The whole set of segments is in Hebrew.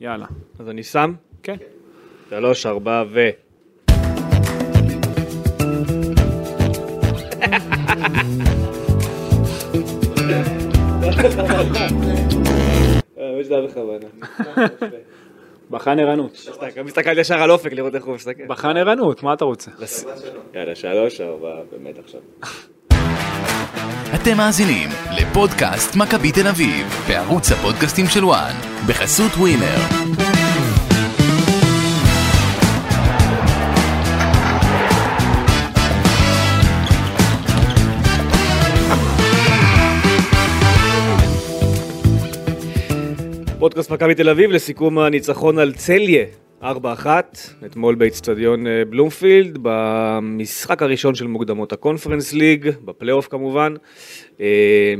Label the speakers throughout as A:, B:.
A: יאללה.
B: אז אני שם?
A: כן.
B: שלוש, ארבע ו...
C: האמת שזה היה אה, בכוונה.
A: בחן ערנות.
B: גם הסתכלתי ישר על אופק לראות איך הוא מסתכל.
A: בחן ערנות, מה אתה רוצה?
C: יאללה, שלוש, ארבע, באמת עכשיו.
D: אתם מאזינים לפודקאסט מכבי תל אביב בערוץ הפודקאסטים של וואן בחסות ווינר.
B: פודקאסט מכבי תל אביב לסיכום הניצחון על צליה 4-1, אתמול באיצטדיון אה, בלומפילד, במשחק הראשון של מוקדמות הקונפרנס ליג, בפלייאוף כמובן. אה,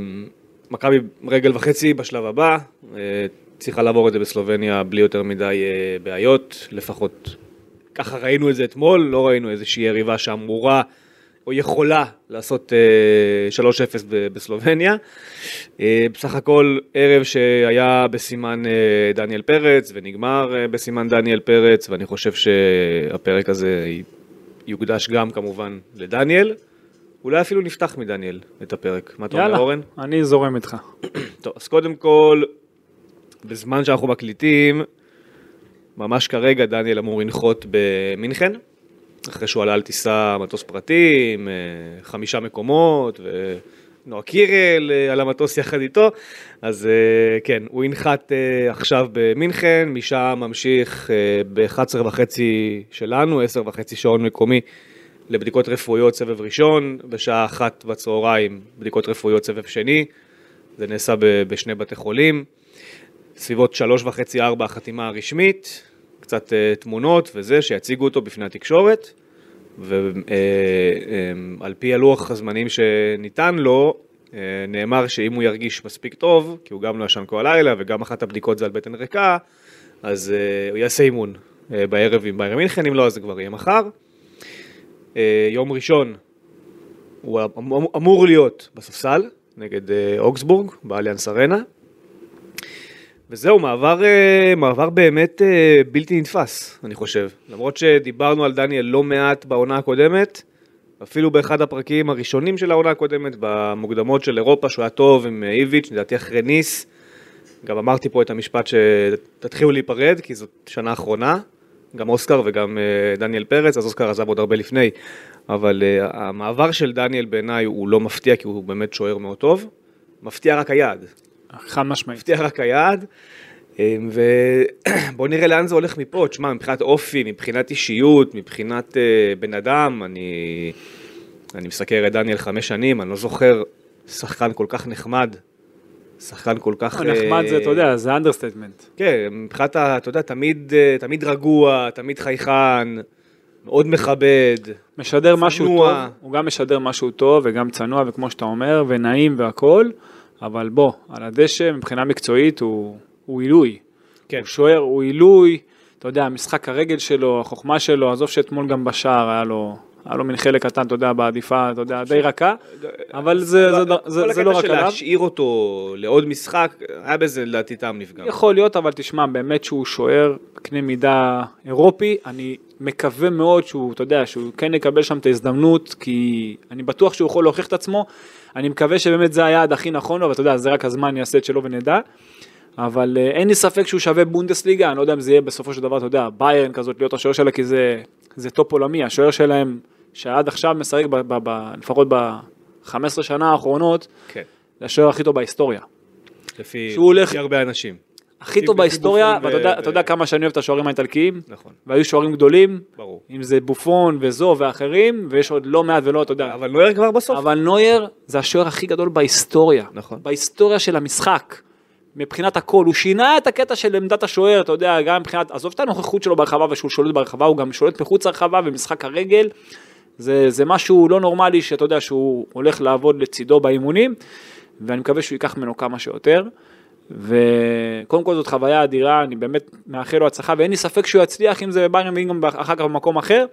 B: מכבי רגל וחצי בשלב הבא, אה, צריכה לעבור את זה בסלובניה בלי יותר מדי אה, בעיות, לפחות ככה ראינו את זה אתמול, לא ראינו איזושהי יריבה שאמורה או יכולה לעשות אה, 3-0 ב- בסלובניה. אה, בסך הכל ערב שהיה בסימן אה, דניאל פרץ ונגמר אה, בסימן דניאל פרץ, ואני חושב שהפרק הזה י- יוקדש גם כמובן לדניאל. אולי אפילו נפתח מדניאל את הפרק. מה אתה אומר,
A: יאללה,
B: אורן?
A: אני זורם איתך.
B: טוב, אז קודם כל, בזמן שאנחנו מקליטים, ממש כרגע דניאל אמור לנחות במינכן, אחרי שהוא עלה על טיסה מטוס פרטי עם אה, חמישה מקומות, ונועה קירל אה, על המטוס יחד איתו, אז אה, כן, הוא ינחת אה, עכשיו במינכן, משם ממשיך ב-11 וחצי שלנו, 10 וחצי שעון מקומי. לבדיקות רפואיות סבב ראשון, בשעה אחת בצהריים בדיקות רפואיות סבב שני, זה נעשה ב- בשני בתי חולים, סביבות שלוש וחצי ארבע החתימה הרשמית, קצת אה, תמונות וזה, שיציגו אותו בפני התקשורת, ועל פי הלוח הזמנים שניתן לו, אה, נאמר שאם הוא ירגיש מספיק טוב, כי הוא גם לא ישן כל הלילה וגם אחת הבדיקות זה על בטן ריקה, אז אה, הוא יעשה אימון אה, בערב עם ביירן מינכן, אם לא אז זה כבר יהיה מחר. אה, יום ראשון הוא אמור- אמור להיות בספסל נגד אה, אוגסבורג באליאנס ארנה. וזהו, מעבר, אה, מעבר באמת אה, בלתי נתפס, אני חושב. למרות שדיברנו על דניאל לא מעט בעונה הקודמת, אפילו באחד הפרקים הראשונים של העונה הקודמת, במוקדמות של אירופה, שהוא היה טוב עם אה, איביץ', לדעתי אחרי ניס. גם אמרתי פה את המשפט שתתחילו להיפרד, כי זאת שנה אחרונה, גם אוסקר וגם אה, דניאל פרץ, אז אוסקר עזב עוד הרבה לפני, אבל אה, המעבר של דניאל בעיניי הוא לא מפתיע, כי הוא באמת שוער מאוד טוב. מפתיע רק היעד,
A: חד משמעית.
B: מפתיע רק היעד. ובואו נראה לאן זה הולך מפה, תשמע, מבחינת אופי, מבחינת אישיות, מבחינת אה, בן אדם, אני, אני מסקר את דניאל חמש שנים, אני לא זוכר שחקן כל כך נחמד, שחקן כל כך...
A: נחמד
B: אה,
A: זה, אתה יודע, זה אנדרסטייטמנט.
B: כן, מבחינת, ה- אתה יודע, תמיד, אה, תמיד רגוע, תמיד חייכן, מאוד מכבד.
A: משדר משהו טוב,
B: צנוע.
A: הוא גם משדר משהו טוב וגם צנוע וכמו שאתה אומר, ונעים והכול, אבל בוא, על הדשא מבחינה מקצועית הוא הוא עילוי.
B: כן.
A: הוא שוער, הוא עילוי, אתה יודע, משחק הרגל שלו, החוכמה שלו, עזוב שאתמול גם בשער היה לו, היה לו מין חלק קטן, אתה יודע, בעדיפה, אתה יודע, די רכה, אבל זה- זה- זה- זה לא רק
B: כל הקטע של
A: עליו.
B: להשאיר אותו לעוד משחק, היה בזה לדעתי טעם נפגם.
A: יכול להיות, אבל תשמע, באמת שהוא שוער קנה מידה אירופי, אני מקווה מאוד שהוא, אתה יודע, שהוא כן יקבל שם את ההזדמנות, כי אני בטוח שהוא יכול להוכיח את עצמו, אני מקווה שבאמת זה היעד הכי נכון לו, אבל אתה יודע, זה רק הזמן יעשה את שלו ונדע, אבל אה, אין לי ספק שהוא שווה בונדסליגה, אני לא יודע אם זה יהיה בסופו של דבר, אתה יודע, ביירן כזאת, להיות השוער שלה, כי זה, זה טופ עולמי, השוער שלהם, שעד עכשיו משחק, ב, ב, ב, לפחות ב-15 שנה האחרונות,
B: כן,
A: זה השוער הכי טוב בהיסטוריה.
B: לפי
A: שהוא הולך-
B: לפי הרבה אנשים.
A: הכי
B: טיפ-
A: טוב בהיסטוריה,
B: טיפופים
A: ואתה
B: ו-
A: יודע-
B: ו-
A: אתה יודע כמה שאני אוהב את השוערים האיטלקיים,
B: נכון,
A: והיו שוערים גדולים,
B: ברור.
A: אם זה בופון וזו ואחרים, ויש עוד לא מעט ולא, אתה יודע.
B: אבל נויר כבר בסוף.
A: אבל נויר זה השוער הכי גדול בהיסטוריה.
B: נכון.
A: בהיסטוריה של המשחק. מבחינת הכל, הוא שינה את הקטע של עמדת השוער, אתה יודע, גם מבחינת, עזוב את הנוכחות שלו ברחבה ושהוא שולט ברחבה, הוא גם שולט מחוץ לרחבה ומשחק הרגל. זה, זה משהו לא נורמלי שאתה יודע שהוא הולך לעבוד לצידו באימונים, ואני מקווה שהוא ייקח ממנו כמה שיותר. וקודם כל זאת חוויה אדירה, אני באמת מאחל לו הצלחה, ואין לי ספק שהוא יצליח, אם זה בביירן ואם גם אחר כך במקום אחר,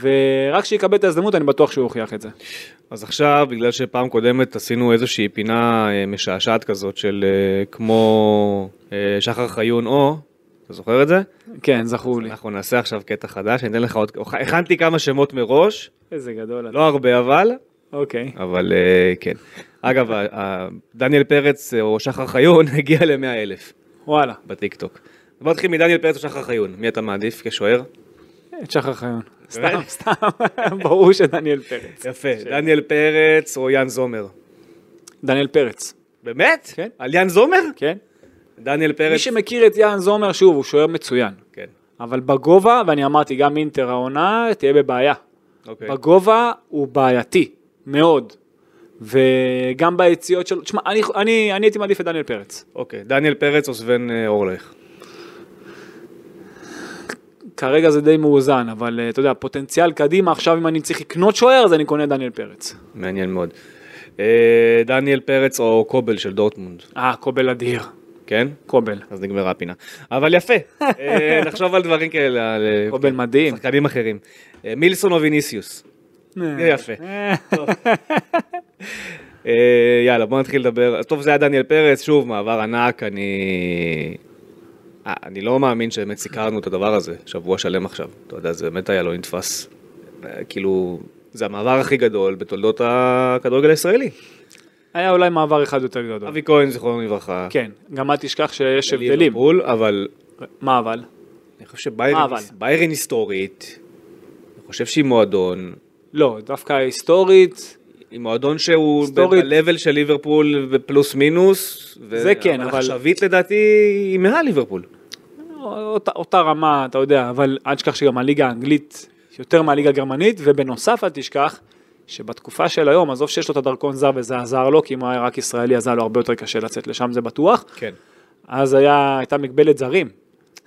A: ורק שיקבל את ההזדמנות אני בטוח שהוא יוכיח את זה.
B: אז עכשיו, בגלל שפעם קודמת עשינו איזושהי פינה אה, משעשעת כזאת של אה, כמו אה, שחר חיון או, אתה זוכר את זה?
A: כן, זכור לי.
B: אנחנו נעשה עכשיו קטע חדש, אני אתן לך עוד... הכנתי כמה שמות מראש,
A: איזה גדול. אתה.
B: לא הרבה אבל,
A: אוקיי.
B: אבל אה, כן. אגב, ה- ה- דניאל פרץ אה, או שחר חיון הגיע ל-100 אלף
A: וואלה.
B: בטיקטוק. בוא נתחיל מדניאל פרץ או שחר חיון, מי אתה מעדיף כשוער?
A: את שחר חיון. סתם, סתם. ברור שדניאל פרץ.
B: יפה, דניאל פרץ או יאן זומר.
A: דניאל פרץ.
B: באמת?
A: כן.
B: על יאן זומר?
A: כן?
B: דניאל
A: מי
B: פרץ.
A: שמכיר את יאן זומר, שוב, הוא שוער מצוין.
B: כן,
A: אבל בגובה, ואני אמרתי, גם אינטר העונה תהיה בבעיה.
B: אוקיי.
A: בגובה הוא בעייתי, מאוד. וגם ביציאות שלו, תשמע, אני, אני, אני הייתי מעדיף את דניאל פרץ.
B: אוקיי, דניאל פרץ או סבן אה, אורלך.
A: כרגע זה די מאוזן, אבל אה, אתה יודע, פוטנציאל קדימה, עכשיו אם אני צריך לקנות שוער, אז אני קונה את דניאל פרץ.
B: מעניין מאוד. אה, דניאל פרץ או קובל של דורטמונד,
A: אה, קובל אדיר.
B: כן?
A: קובל.
B: אז נגמרה הפינה. אבל יפה, אה, נחשוב על דברים כאלה, על אה,
A: קובל מדהים.
B: שחקנים אחרים. אה, מילסון או ויניסיוס. זה יפה.
A: אה,
B: אה, יאללה, בוא נתחיל לדבר. אז טוב, זה היה דניאל פרץ, שוב, מעבר ענק, אני... אה, אני לא מאמין שבאמת סיקרנו את הדבר הזה, שבוע שלם עכשיו. אתה יודע, זה באמת היה לא נתפס. אה, כאילו, זה המעבר הכי גדול בתולדות הכדורגל הישראלי.
A: היה אולי מעבר אחד יותר גדול.
B: אבי כהן, זיכרונו לברכה.
A: אוקיי. כן, גם אל תשכח שיש הבדלים.
B: לליברפול, אבל
A: מה אבל?
B: אני חושב
A: מה
B: שביירן
A: אה, אבל?
B: ביירן היסטורית, אני חושב שהיא מועדון,
A: לא, דווקא היסטורית,
B: היא מועדון שהוא
A: היסטורית.
B: ב-level של ליברפול ופלוס מינוס. ו-
A: זה כן, אבל-
B: עכשווית לדעתי היא מעל ליברפול.
A: אותה, אותה רמה, אתה יודע, אבל אל תשכח שגם הליגה האנגלית יותר מהליגה הגרמנית, ובנוסף אל תשכח שבתקופה של היום, עזוב שיש לו את הדרכון זר וזה עזר לו, כי אם הוא היה רק ישראלי אז היה לו הרבה יותר קשה לצאת לשם, זה בטוח,
B: כן.
A: אז היה, הייתה מגבלת זרים.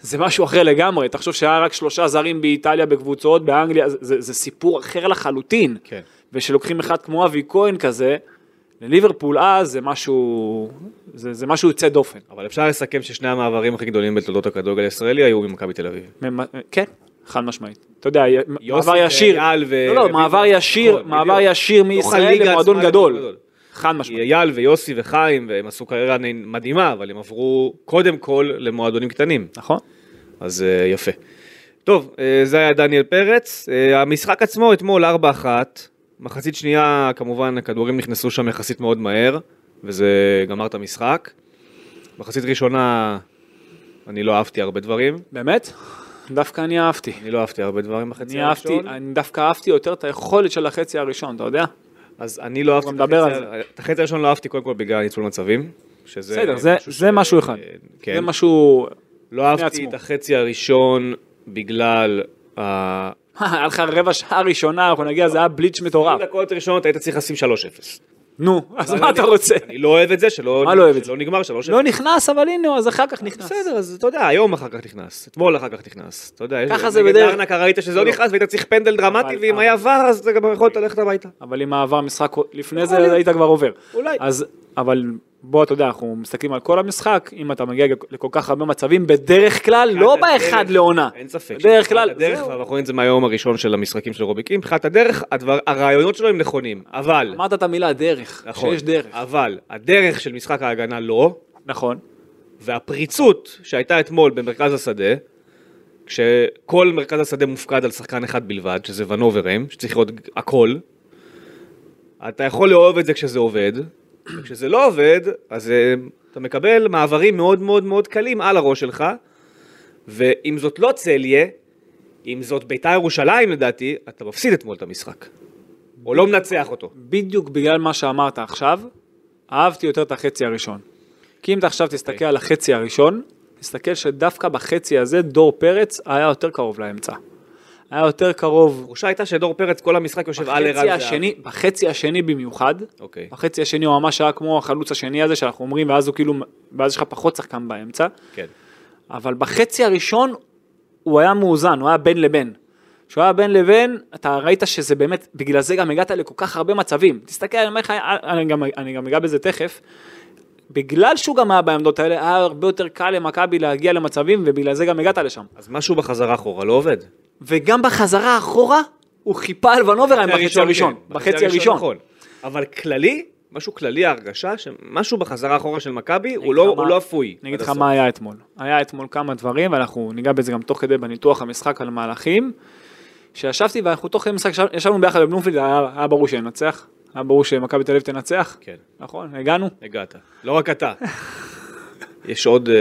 A: זה משהו אחר לגמרי, תחשוב שהיה רק שלושה זרים באיטליה בקבוצות, באנגליה, זה, זה, זה סיפור אחר לחלוטין.
B: כן.
A: ושלוקחים אחד כמו אבי כהן כזה, לליברפול אז זה משהו, זה, זה משהו יוצא דופן.
B: אבל אפשר לסכם ששני המעברים הכי גדולים בתולדות הכדורגל הישראלי היו ממכבי תל אביב.
A: ממ- כן, חד משמעית. אתה יודע,
B: יוסי,
A: מעבר ישיר,
B: אייל ו-
A: לא, לא, מעבר
B: ו-
A: ישיר,
B: נכון,
A: מעבר
B: בדיוק.
A: ישיר
B: בתוך
A: מישראל
B: הליגה
A: למועדון
B: עצמה
A: גדול.
B: למועדון.
A: חד משמעית.
B: אייל ויוסי וחיים, והם עשו קריירה נ- מדהימה, אבל הם עברו קודם כל למועדונים קטנים.
A: נכון?
B: אז אה, יפה. טוב, אה, זה היה דניאל פרץ. אה, המשחק עצמו אתמול 4-1, מחצית שנייה כמובן הכדורים נכנסו שם יחסית מאוד מהר, וזה גמר את המשחק. מחצית ראשונה אני לא אהבתי הרבה דברים,
A: באמת? דווקא אני אהבתי.
B: אני לא אהבתי הרבה דברים בחצי
A: אני אהבתי,
B: הראשון.
A: אני דווקא אהבתי יותר את היכולת של החצי הראשון, אתה יודע?
B: אז אני לא אהבתי
A: גם
B: את החצי,
A: נדבר על
B: הר- את החצי הראשון לא אהבתי קודם כל בגלל ניצול מצבים. שזה
A: בסדר, זה- זה משהו אחד.
B: אה, כן.
A: זה משהו...
B: לא אהבתי
A: עצמו.
B: את החצי הראשון בגלל ה-
A: היה לך רבע שעה ראשונה, אנחנו נגיע, זה היה בליץ' מטורף.
B: דקות ראשונות היית צריך לשים 3-0.
A: נו, אז
B: אבל
A: מה
B: אני-
A: אתה רוצה?
B: אני לא אוהב את זה, שלא
A: מה לא אוהב את
B: שלא נגמר 3-0.
A: לא נכנס, אבל הנה, אז אחר כך נכנס.
B: בסדר, אז אתה יודע, היום אחר כך נכנס, אתמול אחר כך נכנס, אתה יודע, יש-
A: ככה זה
B: נגד
A: בדרך-
B: ארנקה ראית שזה לא
A: לא.
B: נכנס והיית צריך פנדל דרמטי,
A: אבל-
B: ואם
A: אבל-
B: היה ור אז אתה גם יכולת ללכת הביתה.
A: אבל אם העבר משחק לפני זה היית כבר עובר.
B: אולי.
A: אז, אבל בוא, אתה יודע, אנחנו מסתכלים על כל המשחק, אם אתה מגיע לכל כך הרבה מצבים, בדרך כלל, לא
B: מבחינת
A: באחד
B: כן, הדרך,
A: לעונה.
B: אין ספק.
A: בדרך כלל,
B: הדרך,
A: זהו.
B: ואנחנו רואים את זה מהיום הראשון של המשחקים של רוביקין, מבחינת הדרך, הדבר- הרעיונות שלו הם נכונים, אבל,
A: אמרת את המילה דרך,
B: נכון,
A: שיש דרך.
B: אבל הדרך של משחק ההגנה לא,
A: נכון,
B: והפריצות שהייתה אתמול במרכז השדה, כשכל מרכז השדה מופקד על שחקן אחד בלבד, שזה ונוברם, שצריך להיות הכל, אתה יכול לאהוב את זה כשזה עובד, וכשזה לא עובד, אז אה, אתה מקבל מעברים מאוד מאוד מאוד קלים על הראש שלך, ואם זאת לא צליה, אם זאת ביתר ירושלים לדעתי, אתה מפסיד אתמול את המשחק. או לא מנצח אותו.
A: בדיוק בגלל מה שאמרת עכשיו, אהבתי יותר את החצי הראשון. כי אם אתה עכשיו תסתכל על החצי הראשון, תסתכל שדווקא בחצי הזה דור פרץ היה יותר קרוב לאמצע. היה יותר קרוב
B: התחושה הייתה שדור פרץ כל המשחק יושב על ערן
A: בחצי
B: זהבי.
A: השני, בחצי השני במיוחד,
B: אוקיי.
A: בחצי השני הוא ממש היה כמו החלוץ השני הזה שאנחנו אומרים, ואז הוא כאילו, ואז יש לך פחות שחקן באמצע,
B: כן.
A: אבל בחצי הראשון הוא היה מאוזן, הוא היה בין לבין. כשהוא היה בין לבין, אתה ראית שזה באמת, בגלל זה גם הגעת לכל כך הרבה מצבים. תסתכל, אני אומר לך, אני גם, אני גם אגע בזה תכף. בגלל שהוא גם היה בעמדות האלה, היה הרבה יותר קל למכבי להגיע למצבים, ובגלל זה גם הגעת לשם.
B: אז משהו בחזרה אחורה לא עובד.
A: וגם בחזרה אחורה, הוא חיפה על ונוברהיים בחצי הראשון.
B: כן.
A: בחצי הראשון.
B: נכון. אבל כללי, משהו כללי ההרגשה, שמשהו בחזרה אחורה של מכבי הוא לא- הוא לא אפוי.
A: אני אגיד
B: עד
A: לך
B: הסוף.
A: מה היה אתמול. היה אתמול כמה דברים, ואנחנו ניגע בזה גם תוך כדי בניתוח המשחק על מהלכים. שישבתי ואנחנו תוך כדי משחק, ישב- ישבנו ביחד בבלומפילד, היה היה ברור שננצח. היה ברור שמכבי תל אביב תנצח.
B: כן.
A: נכון, הגענו.
B: הגעת. לא רק אתה. יש עוד אה,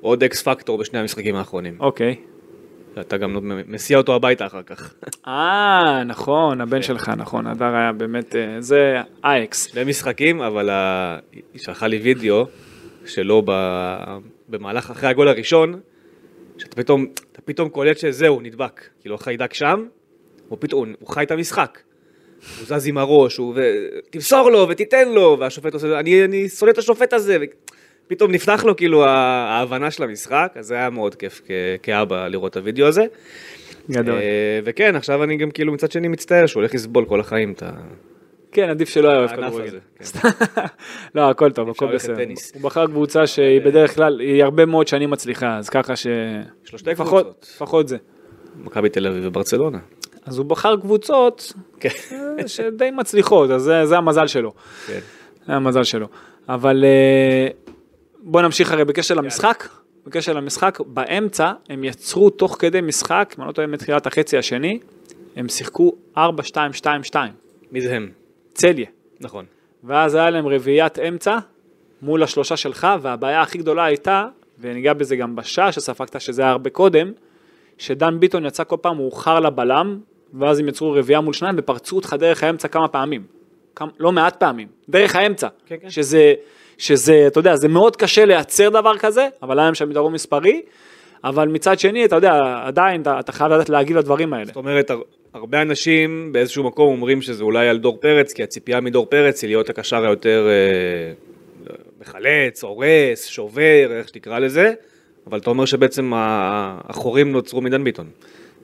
B: עוד אקס פקטור בשני המשחקים האחרונים.
A: אוקיי.
B: אתה גם לא- מסיע אותו הביתה אחר כך.
A: אה, נכון,
B: כן.
A: הבן שלך, נכון, הדר היה באמת, אה, זה אייקס.
B: שני משחקים, אבל ה- היא שלחה לי וידאו שלו ב... במהלך אחרי הגול הראשון, שאתה פתאום, אתה פתאום קולט שזהו, נדבק. כאילו החיידק שם, הוא פתאום, הוא חי את המשחק. הוא זז עם הראש, הוא... ו... תמסור לו ותיתן לו, והשופט עושה, אני, אני שונא את השופט הזה. ופתאום נפתח לו כאילו ה- ההבנה של המשחק, אז זה היה מאוד כיף כ- כאבא לראות את הוידאו הזה.
A: גדול.
B: אה, וכן, עכשיו אני גם כאילו מצד שני מצטער שהוא הולך לסבול כל החיים את ה...
A: כן, עדיף שלא היה אוהב
B: הענף
A: כדורגל.
B: הזה, כן.
A: סתם. לא, הכל טוב,
B: אפשר
A: הכל
B: ללכת אה,
A: בסדר.
B: טניס.
A: הוא בחר קבוצה שהיא בדרך כלל, היא הרבה מאוד שנים מצליחה, אז ככה ש...
B: שלושתי
A: לפחות-
B: קבוצות.
A: לפחות זה.
B: מכבי תל אביב וברצלונה.
A: אז הוא בחר קבוצות
B: כן.
A: אה, שדי מצליחות, אז זה, זה המזל שלו.
B: כן.
A: זה המזל שלו. אבל אה, בוא נמשיך הרי בקשר למשחק. בקשר למשחק, באמצע הם יצרו תוך כדי משחק, אם אני לא טועה מתחילת החצי השני, הם שיחקו 4-2-2-2,
B: מי זה הם?
A: צליה.
B: נכון.
A: ואז היה להם רביעיית אמצע מול השלושה שלך, והבעיה הכי גדולה הייתה, וניגע בזה גם בשעה שספגת, שזה היה הרבה קודם, שדן ביטון יצא כל פעם מאוחר לבלם, ואז הם יצרו רביעייה מול שניים ופרצו אותך דרך האמצע כמה פעמים. כמה, לא מעט פעמים, דרך האמצע.
B: כן, כן.
A: שזה, שזה, אתה יודע, זה מאוד קשה לייצר דבר כזה, אבל היה להם שם יתרון מספרי, אבל מצד שני, אתה יודע, עדיין אתה, אתה חייב לדעת להגיב לדברים האלה.
B: זאת אומרת, הר- הרבה אנשים באיזשהו מקום אומרים שזה אולי על דור פרץ, כי הציפייה מדור פרץ היא להיות הקשר היותר אה, מחלץ, הורס, שובר, איך שתקרא לזה, אבל אתה אומר שבעצם ה- החורים נוצרו מדן ביטון.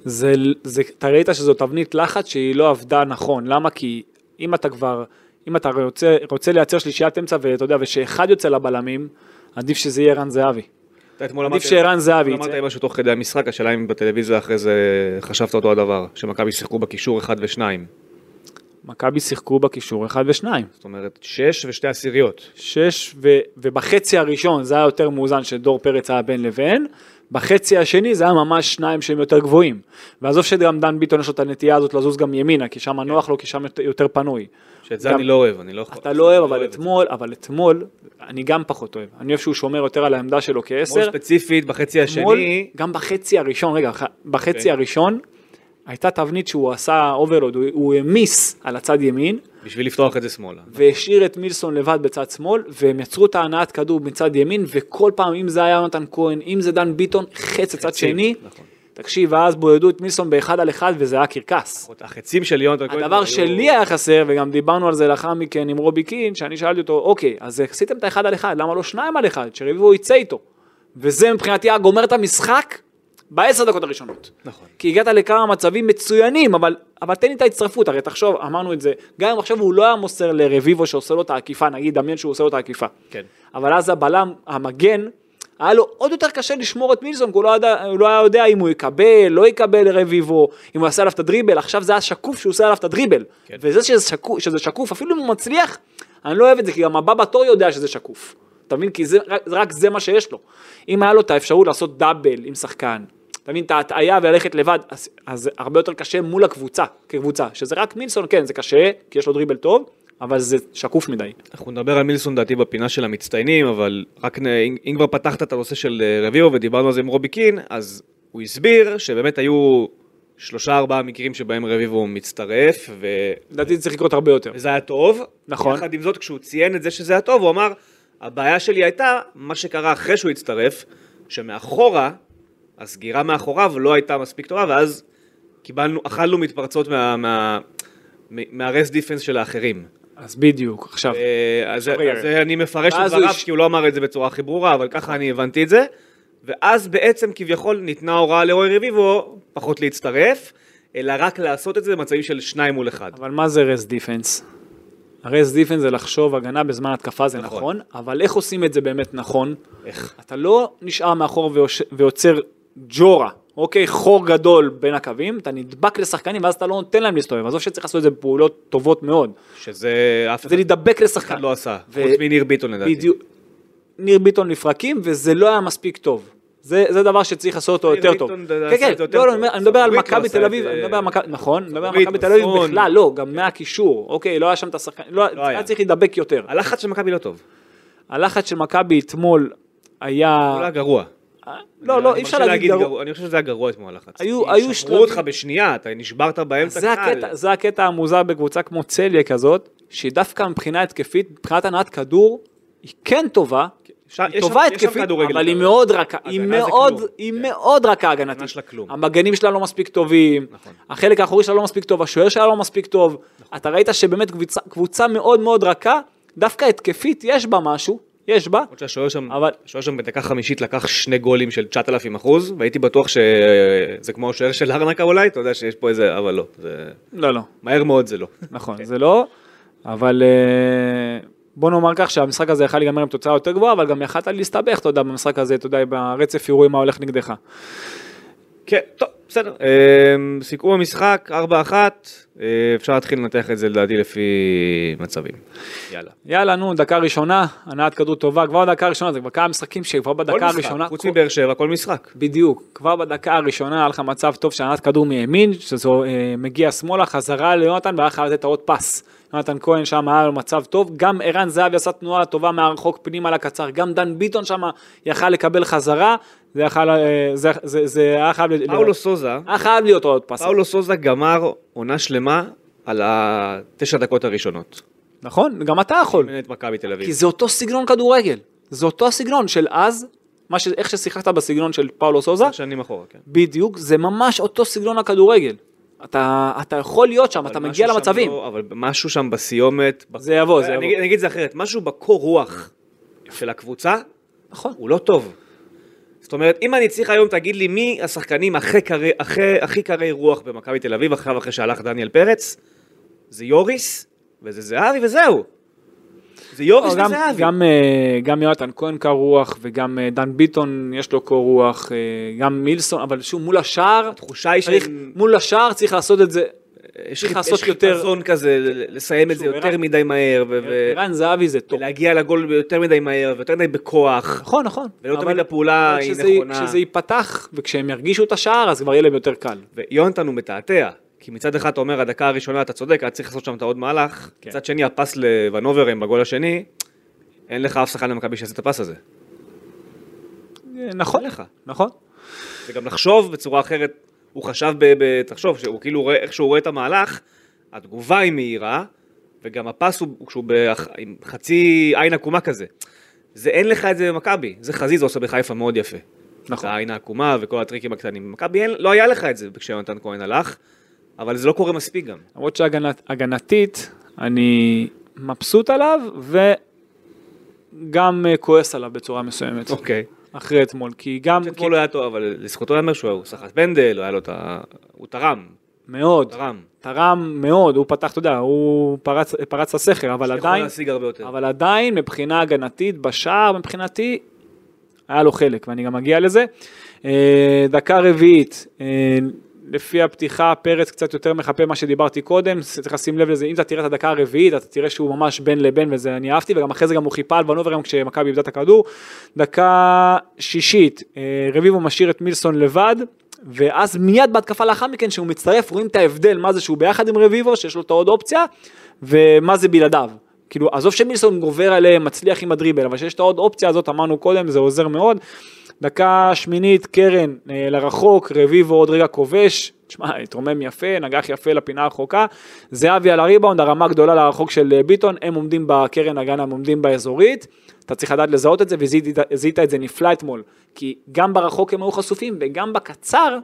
A: זה, זה, אתה ראית שזו תבנית לחץ שהיא לא עבדה נכון, למה? כי אם אתה כבר, אם אתה רוצה, רוצה לייצר שלישיית אמצע ואתה יודע, ושאחד יוצא לבלמים, עדיף שזה יהיה ערן זהבי.
B: אתה אתמול
A: עדיף
B: אמרת-
A: שערן זהבי
B: אתמול אמרת
A: יצא.
B: לי משהו תוך כדי המשחק, השאלה אם בטלוויזיה אחרי זה חשבת אותו הדבר, שמכבי שיחקו בקישור אחד ושניים.
A: מכבי שיחקו בקישור אחד ושניים.
B: זאת אומרת, שש ושתי עשיריות.
A: שש, ו, ובחצי הראשון זה היה יותר מאוזן שדור פרץ היה בין לבין, בחצי השני זה היה ממש שניים שהם יותר גבוהים. ועזוב שגם דן ביטון יש לו את הנטייה הזאת לזוז גם ימינה, כי שם נוח לו, כי שם יותר- יותר פנוי.
B: כן. שאת זה
A: גם-
B: אני לא אוהב, אני לא יכול.
A: אתה לא אוהב, אבל
B: את זה.
A: אתמול, אבל אתמול, אני גם פחות אוהב. אני אוהב שהוא שומר יותר על העמדה שלו
B: אתמול
A: כעשר.
B: ספציפית, בחצי
A: אתמול,
B: השני,
A: גם בחצי הראשון, רגע, ח- בחצי
B: אוקיי.
A: הראשון, הייתה תבנית שהוא עשה אוברלוד, הוא- הוא העמיס על הצד ימין,
B: בשביל לפתוח את זה שמאלה.
A: והשאיר את מילסון לבד בצד שמאל, והם יצרו את ההנעת כדור מצד ימין, וכל פעם, אם זה היה יונתן כהן, אם זה דן ביטון, חץ לצד
B: חצים,
A: שני.
B: נכון.
A: תקשיב, ואז בודדו את מילסון באחד על אחד, וזה היה קרקס.
B: החצים של יונתן כהן
A: הדבר
B: היו-
A: שלי היה חסר, וגם דיברנו על זה לאחר מכן עם רובי קין, שאני שאלתי אותו, אוקיי, אז עשיתם את האחד על אחד, למה לא שניים על אחד, שרביבו יצא איתו? וזה מבחינתי היה גומר את המשחק בעשר דקות הראשונות.
B: נכון.
A: כי הגעת לכמה מצבים מצוינים, אבל, אבל תן לי את ההצטרפות, הרי תחשוב, אמרנו את זה, גם אם עכשיו הוא לא היה מוסר לרביבו שעושה לו את העקיפה, נגיד, דמיין שהוא עושה לו את העקיפה.
B: כן.
A: אבל אז הבלם, המגן, היה לו עוד יותר קשה לשמור את מילסון, כי הוא לא, ידע, הוא לא היה יודע אם הוא יקבל, לא יקבל לרביבו, אם הוא יעשה עליו את הדריבל, עכשיו זה היה שקוף שהוא עושה עליו את הדריבל.
B: כן.
A: וזה שזה שקוף, שזה שקוף, אפילו אם הוא מצליח, אני לא אוהב את זה, כי גם הבא בתור יודע שזה שקוף. אתה מבין? כי זה רק, רק זה מה שיש לו. אם היה לו את האפשרות לעשות דאבל עם שחקן, אתה מבין? את ההטעיה וללכת לבד, אז, אז הרבה יותר קשה מול הקבוצה, כקבוצה. שזה רק מילסון, כן, זה קשה, כי יש לו דריבל טוב, אבל זה שקוף מדי.
B: אנחנו נדבר על מילסון דעתי בפינה של המצטיינים, אבל רק נ... אם, אם כבר פתחת את הנושא של אה, רביבו ודיברנו על זה עם רובי קין, אז הוא הסביר שבאמת היו שלושה ארבעה מקרים שבהם רביבו מצטרף, ו...
A: לדעתי זה צריך לקרות הרבה יותר.
B: וזה היה טוב.
A: נכון.
B: יחד עם זאת, כשהוא ציין את זה שזה היה טוב, הוא אמר, הבעיה שלי הייתה מה שקרה אחרי שהוא הצטרף, שמאחורה, הסגירה מאחוריו לא הייתה מספיק טובה, ואז קיבלנו, אכלנו מתפרצות מה... מה... מהרס דיפנס של האחרים.
A: אז בדיוק, עכשיו.
B: אה, אז
A: רגע,
B: אז
A: רגע.
B: אני מפרש את
A: אוקיי. ואז הוא
B: דבריו
A: הש-
B: כי הוא לא אמר את זה בצורה הכי ברורה, אבל ככה אני הבנתי את זה. ואז בעצם כביכול ניתנה הוראה לרועי רביבו פחות להצטרף, אלא רק לעשות את זה במצבים של שניים מול אחד.
A: אבל מה זה רס דיפנס? רס דיפנס זה לחשוב הגנה בזמן התקפה זה
B: נכון.
A: נכון, אבל איך עושים את זה באמת נכון?
B: איך?
A: אתה לא נשאר מאחור ויוש- ויוצר ג'ורה אוקיי, חור גדול בין הקווים, אתה נדבק לשחקנים ואז אתה לא נותן להם להסתובב, עזוב שצריך לעשות את זה בפעולות טובות מאוד,
B: שזה אף
A: זה
B: אחד
A: להידבק לשחקן.
B: אחד לא עשה,
A: כן, ו-
B: חוץ מניר ביטון לדעתי.
A: בדיוק. ניר ביטון לפרקים, וזה לא היה מספיק טוב. זה, זה דבר שצריך לעשות אותו
B: ניר
A: יותר
B: ביטון
A: טוב.
B: עשה את
A: כן,
B: זה
A: כן,
B: יותר
A: לא, לא,
B: טוב.
A: אני מדבר- אני מדבר על
B: סבורית לא
A: מכבי
B: עשה
A: תל
B: את
A: אביב,
B: זה.
A: אני מדבר על מכבי, נכון, אני מדבר על
B: סבורית,
A: מכבי תל אביב
B: מסון.
A: בכלל, לא, גם מהקישור, אוקיי, לא היה שם את השחקן, לא,
B: לא היה.
A: היה צריך להידבק יותר.
B: הלחץ של מכבי לא טוב,
A: אה. הלחץ של מכבי אתמול היה...
B: הוא היה גרוע.
A: לא,
B: אני
A: לא, אי
B: מרשה
A: אפשר להגיד גרוע.
B: אני חושב שזה היה גרוע אתמול הלחץ.
A: היו-
B: כי
A: היו
B: שברו
A: שלבים-
B: אותך בשנייה, אתה נשברת באמצע
A: זה הקטע,
B: קל.
A: זה הקטע המוזר בקבוצה כמו צליה כזאת, שהיא דווקא מבחינה התקפית, מבחינת הנעת כדור, היא כן טובה,
B: שם-
A: היא
B: יש שם-
A: טובה
B: יש שם
A: התקפית,
B: כדורגל
A: אבל היא
B: יותר.
A: מאוד רכה, היא
B: הגנה זה
A: מאוד,
B: כלום.
A: היא
B: כן.
A: מאוד רכה הגנתית.
B: שלה כלום. נכון.
A: המגנים שלה לא מספיק טובים, החלק האחורי שלה לא מספיק טוב, השוער שלה לא מספיק טוב, אתה ראית שבאמת קבוצה- קבוצה מאוד מאוד רכה, דווקא התקפית יש בה משהו, יש בה,
B: למרות שהשוער שם,
A: אבל-
B: השוער שם בדקה חמישית לקח שני גולים של 9,000 אחוז, והייתי בטוח שזה כמו השוער של ארנקה אולי, אתה יודע שיש פה איזה, אבל לא, זה...
A: לא, לא.
B: מהר מאוד זה לא.
A: נכון, זה לא, אבל אה, בוא נאמר כך שהמשחק הזה יכל להיגמר עם תוצאה יותר גבוהה, אבל גם יכלת להסתבך, אתה יודע, במשחק הזה, אתה יודע, ברצף אירועים מה הולך נגדך.
B: כן, טוב, בסדר. אמ, סיכום המשחק, 4-1, אה, אפשר להתחיל לנתח את זה לדעתי לפי מצבים. יאללה.
A: יאללה, נו, דקה ראשונה, הנעת כדור טובה, כבר דקה ראשונה, זה כבר כמה משחקים שכבר
B: כל
A: בדקה
B: משחק,
A: הראשונה,
B: חוץ
A: כל-
B: מבאר שבע, כל משחק.
A: בדיוק, כבר בדקה הראשונה היה לך מצב טוב שהנעת כדור מימין, שזה אה, מגיע שמאלה, חזרה ליונתן, והיה חייב לתת עוד פס. יונתן כהן שם היה לו מצב טוב, גם ערן זהבי עשה תנועה טובה מהרחוק פנימה לקצר, גם דן ביטון שם יכל לקבל חזרה, זה יכל, אה, זה, זה, זה היה חייב, ל-
B: פאולו סוזה,
A: היה חייב להיות עוד פס,
B: פאולו סוזה גמר עונה שלמה על התשע דקות הראשונות.
A: נכון? גם אתה יכול.
B: מנהלת מכבי תל אביב.
A: כי זה אותו סגנון כדורגל, זה אותו הסגנון של אז, מה ש... איך ששיחקת בסגנון של פאולו סוזה,
B: שנים אחורה, כן.
A: בדיוק, זה ממש אותו סגנון הכדורגל. אתה, אתה יכול להיות שם, אתה
B: אבל
A: מגיע
B: משהו שם
A: למצבים.
B: לא- אבל משהו שם בסיומת... ב-
A: זה יבוא, זה לא.
B: אני-
A: יבוא.
B: אני אגיד את זה אחרת, משהו בקור רוח של הקבוצה,
A: נכון.
B: הוא לא טוב. זאת אומרת, אם אני צריך היום, תגיד לי מי השחקנים הכי קרי- הכי- הכי קרי רוח במכבי תל אביב, עכשיו אחרי שהלך דניאל פרץ, זה יוריס, וזה זהבי, וזהו. זה יוריס
A: לא, גם,
B: וזהבי.
A: גם, אה, גם יונתן כהן קר רוח, וגם אה, דן ביטון יש לו קור רוח, אה, גם מילסון, אבל שוב, מול השער,
B: התחושה היא
A: צריך,
B: שהם-
A: מול השער צריך לעשות את זה.
B: יש
A: צריך
B: חיפ-
A: לעשות
B: יש
A: יותר-
B: חיפזון כזה, ל- לסיים את זה
A: שוב,
B: יותר
A: ערן- כן,
B: מדי מהר, ו- ו-
A: אה, ערן זהבי זה טוב.
B: ולהגיע לגול יותר מדי מהר, ויותר מדי בכוח.
A: נכון, נכון.
B: ולא
A: אבל-
B: תמיד הפעולה
A: אבל
B: היא
A: כשזה-
B: נכונה.
A: כשזה ייפתח, וכשהם ירגישו את השער, אז כבר יהיה להם יותר קל.
B: ויונתן הוא מתעתע, כי מצד אחד אתה אומר, הדקה הראשונה אתה צודק, היה צריך לעשות שם את העוד מהלך,
A: כן.
B: מצד שני הפס לוונוברם בגול השני, אין לך אף שחקן למכבי שיעשה את הפס הזה.
A: אה, נכון,
B: אין לך.
A: נכון.
B: וגם לחשוב בצורה אחרת, הוא חשב, ב- ב- תחשוב, שהוא כאילו רואה, איך שהוא רואה את המהלך, התגובה היא מהירה, וגם הפס הוא כשהוא באח- עם חצי עין עקומה כזה. זה אין לך את זה במכבי, זה חזיזה עושה בחיפה מאוד יפה.
A: נכון.
B: את העין העקומה וכל הטריקים הקטנים. במכבי אין- לא היה לך את זה כשיונתן כהן הלך, אבל זה לא קורה מספיק גם.
A: למרות שהגנתית, אני מבסוט עליו, וגם אה, כועס עליו בצורה מסוימת,
B: אוקיי.
A: אחרי אתמול, כי גם, כי...
B: אתמול לא היה טוב, אבל לזכותו ייאמר שהוא סחט פנדל, היה לו את ה... הוא תרם,
A: מאוד,
B: תרם.
A: תרם מאוד, הוא פתח, אתה יודע, הוא פרץ, פרץ את הסכר, אבל
B: יכול
A: עדיין,
B: להשיג הרבה יותר.
A: אבל עדיין מבחינה הגנתית, בשער מבחינתי, היה לו חלק, ואני גם אגיע לזה. אה, דקה רביעית, אה, לפי הפתיחה, פרץ קצת יותר מחפה מה שדיברתי קודם, צריך לשים לב לזה, אם אתה תראה את הדקה הרביעית, אתה תראה שהוא ממש בין לבין, וזה אני אהבתי, וגם אחרי זה גם הוא חיפה על ונובר היום כשמכבי איבדה את הכדור. דקה שישית, אה, רביבו משאיר את מילסון לבד. ואז מיד בהתקפה לאחר מכן שהוא מצטרף רואים את ההבדל מה זה שהוא ביחד עם רביבו שיש לו את העוד אופציה ומה זה בלעדיו כאילו, עזוב שמילסון גובר עליהם, מצליח עם הדריבל, אבל שיש את העוד אופציה הזאת, אמרנו קודם, זה עוזר מאוד. דקה שמינית, קרן אה, לרחוק, רביבו עוד רגע כובש, תשמע, התרומם יפה, נגח יפה לפינה הרחוקה, זהבי על הריבאונד, הרמה גדולה לרחוק של אה, ביטון, הם עומדים בקרן הגן, הם עומדים באזורית, אתה צריך לדעת לזהות את זה, וזיהית את זה נפלא אתמול, כי גם ברחוק הם היו חשופים, וגם בקצר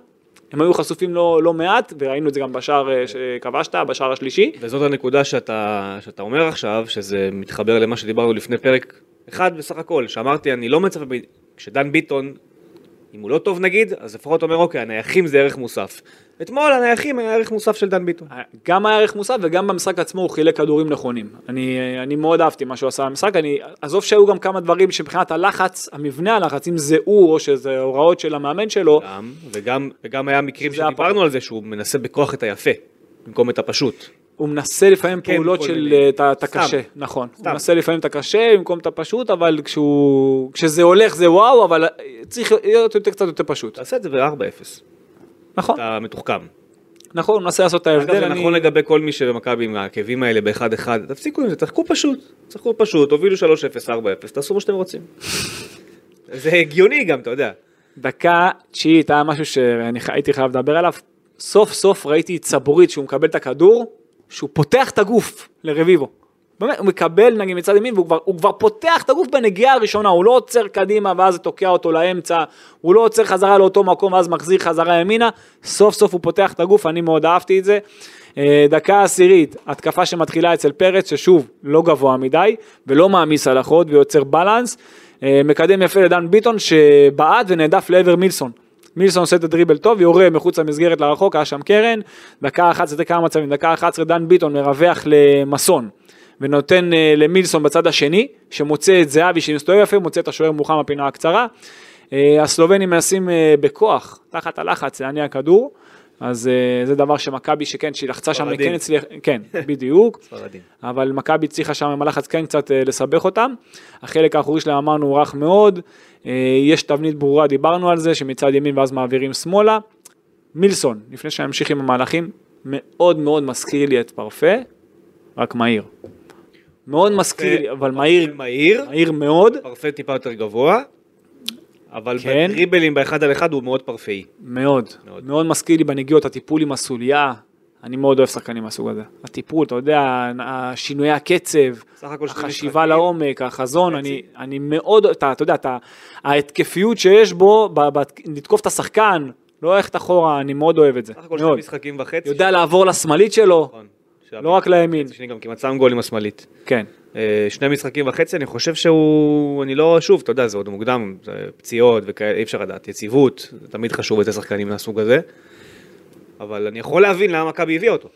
A: הם היו חשופים לא, לא מעט, וראינו את זה גם בשער אה, שכבשת, בשער השלישי.
B: וזאת הנקודה שאתה, שאתה אומר עכשיו, שזה מתחבר למה שדיברנו לפני פרק אחד בסך הכל, שאמרתי, אני לא מצפה, ב- כשדן ביטון אם הוא לא טוב נגיד, אז לפחות אומר, אוקיי, הנייחים זה ערך מוסף. אתמול הנייחים היה ערך מוסף של דן ביטון.
A: גם היה ערך מוסף וגם במשחק עצמו הוא חילק כדורים נכונים. אני, אני מאוד אהבתי מה שהוא עשה במשחק, אני, עזוב שהיו גם כמה דברים שמבחינת הלחץ, המבנה הלחץ, אם זה הוא או שזה הוראות של המאמן שלו,
B: גם, וגם, וגם היה מקרים
A: זה היה
B: שדיברנו על זה שהוא מנסה בכוח את היפה, במקום את הפשוט.
A: הוא מנסה לפעמים
B: כן,
A: פעולות
B: כל
A: של
B: מיני.
A: אה, את ה- את
B: סתם.
A: הקשה, נכון. הוא
B: סתם.
A: מנסה לפעמים את הקשה במקום את הפשוט, אבל כשהוא, כשזה הולך זה וואו, אבל צריך להיות יותר קצת יותר פשוט.
B: תעשה את זה ב-4-0,
A: נכון,
B: אתה מתוחכם.
A: נכון, הוא מנסה לעשות את
B: אגב,
A: ההבדל.
B: זה
A: אני-
B: נכון לגבי כל מי שבמכבי עם העקבים האלה ב-1-1, תפסיקו עם זה, תחכו פשוט, תחכו פשוט, תובילו 3-0, 4-0, תעשו מה שאתם רוצים. זה הגיוני גם, אתה יודע.
A: דקה תשיעית היה משהו שאני ח- הייתי חייב לדבר עליו. סוף סוף ראיתי את סבורית שהוא מקבל את הכדור, שהוא פותח את הגוף לרביבו. באמת, הוא מקבל נגיד מצד ימין והוא כבר, הוא כבר פותח את הגוף בנגיעה הראשונה, הוא לא עוצר קדימה ואז זה תוקע אותו לאמצע, הוא לא עוצר חזרה לאותו מקום ואז מחזיר חזרה ימינה, סוף סוף הוא פותח את הגוף, אני מאוד אהבתי את זה. אה, דקה עשירית, התקפה שמתחילה אצל פרץ, ששוב, לא גבוה מדי, ולא מעמיס על החוד ויוצר בלנס. אה, מקדם יפה לדן ביטון שבעט ונעדף לעבר מילסון. מילסון עושה את הדריבל טוב, יורה מחוץ למסגרת לרחוק, היה שם קרן, דקה 11, זה כמה מצבים, דקה 11 דן ביטון מרווח למסון ונותן אה, למילסון בצד השני, שמוצא את זהבי שמסתובב יפה, מוצא את השוער מוחמד הפינה הקצרה. אה, הסלובנים מנסים אה, בכוח, תחת הלחץ, להניע כדור, אז אה, זה דבר שמכבי שכן, שהיא לחצה שם,
B: ספרדים.
A: כן הצליח, כן, בדיוק.
B: ספרדים.
A: אבל מכבי הצליחה שם עם הלחץ כן קצת אה, לסבך אותם. החלק האחורי שלהם אמרנו הוא רך מאוד, אה, יש תבנית ברורה, דיברנו על זה, שמצד ימין ואז מעבירים שמאלה. מילסון, לפני שנמשיך עם המהלכים, מאוד מאוד מזכיר לי את פרפה, רק מהיר. מאוד מזכיר לי, אבל מהיר,
B: מהיר,
A: מהיר מאוד,
B: פרפה טיפה יותר גבוה, אבל
A: כן.
B: בדריבלים באחד על אחד הוא מאוד פרפאי.
A: מאוד.
B: מאוד.
A: מאוד מזכיר לי בנגיעות, הטיפול עם הסוליה. אני מאוד אוהב שחקנים מהסוג הזה. הטיפול, אתה יודע, השינויי הקצב,
B: סך הכל שני
A: החשיבה
B: משחקים.
A: לעומק, החזון, אני, אני מאוד, אתה, אתה יודע, אתה, ההתקפיות שיש בו, ב, ב, לתקוף את השחקן, לא ללכת אחורה, אני מאוד אוהב את זה.
B: סך הכל שני
A: מאוד.
B: משחקים וחצי.
A: יודע לעבור לשמאלית שלו,
B: נכון.
A: לא רק לימין.
B: השני גם כמעט שם גול עם השמאלית.
A: כן.
B: אה, שני משחקים וחצי, אני חושב שהוא, אני לא, שוב, אתה יודע, זה עוד מוקדם, זה פציעות וכאלה, אי אפשר לדעת, יציבות, זה תמיד חשוב אצל שחקנים מהסוג הזה, אבל אני יכול להבין למה מכבי הביאה אותו.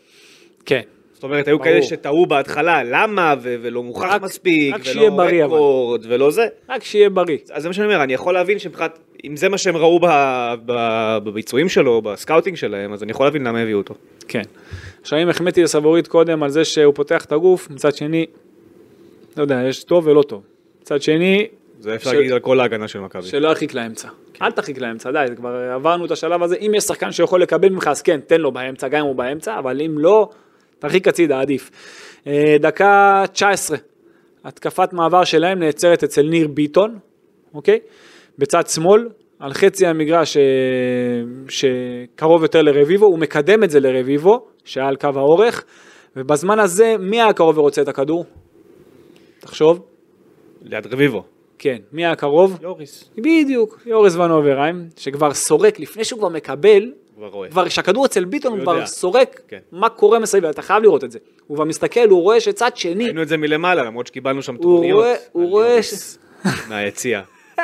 A: כן.
B: זאת אומרת, היו
A: ברור.
B: כאלה שטעו בהתחלה, למה, ו- ולא מוכח
A: רק-
B: מספיק,
A: רק שיהיה
B: ולא
A: בריא, אבל.
B: רקורד, ולא זה.
A: רק שיהיה בריא.
B: אז זה מה שאני אומר, אני יכול להבין שמבחינת, אם זה מה שהם ראו ב- ב- בביצועים שלו, בסקאוטינג שלהם, אז אני יכול להבין למה הביאו אותו.
A: כן. עכשיו אם החמאתי לסבורית קודם על זה שהוא פותח את הגוף, מצד שני, לא יודע, יש טוב ולא טוב. מצד שני,
B: זה אפשר
A: ש-
B: להגיד על כל ההגנה של מכבי.
A: שלא ירחיק לאמצע. אל תרחיק לאמצע, די, זה כבר עברנו את השלב הזה. אם יש שחקן שיכול לקבל ממך, אז כן, תן לו באמצע, גם אם הוא באמצע, אבל אם לא, תרחיק הצידה, עדיף. אה, דקה 19, התקפת מעבר שלהם נעצרת אצל ניר ביטון, אוקיי? בצד שמאל, על חצי המגרש אה, שקרוב יותר לרביבו, הוא מקדם את זה לרביבו, שהיה על קו האורך, ובזמן הזה, מי היה קרוב ורוצה את הכדור? תחשוב.
B: ליד רביבו.
A: כן, מי היה קרוב?
B: יוריס.
A: בדיוק, יורס ון אוברהיים, אה? שכבר סורק, לפני שהוא כבר מקבל,
B: כבר רואה.
A: כבר כשהכדור אצל ביטון הוא
B: הוא יודע.
A: כבר סורק,
B: כן.
A: מה קורה מסביב, אתה חייב לראות את זה. הוא כבר מסתכל, הוא רואה שצד שני,
B: ראינו את זה מלמעלה, למרות שקיבלנו שם
A: הוא
B: תוכניות.
A: רואה- הוא
B: על
A: רואה
B: יוריס מהיציע.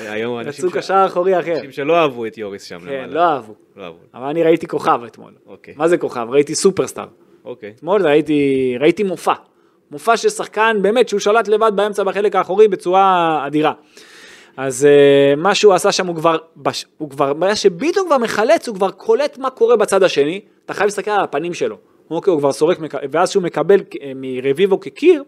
B: היום אנשים
A: יצאו
B: ש-
A: קשר אחורי אחר.
B: אנשים שלא אהבו את יוריס שם
A: כן,
B: למעלה.
A: לא אהבו.
B: לא אהבו.
A: אבל אני ראיתי כוכב אתמול.
B: אוקיי.
A: מה זה כוכב? ראיתי סופרסטאר.
B: אוקיי.
A: אתמול ראיתי, ראיתי מופע. מופע של שחקן באמת שהוא שלט לבד באמצע בחלק האחורי בצורה אדירה. אז uh, מה שהוא עשה שם הוא כבר, בש, הוא כבר, מה שביטון כבר מחלץ, הוא כבר קולט מה קורה בצד השני, אתה חייב להסתכל על הפנים שלו. אוקיי, הוא כבר סורק, מק- ואז שהוא מקבל כ- אה, מרביבו כקיר,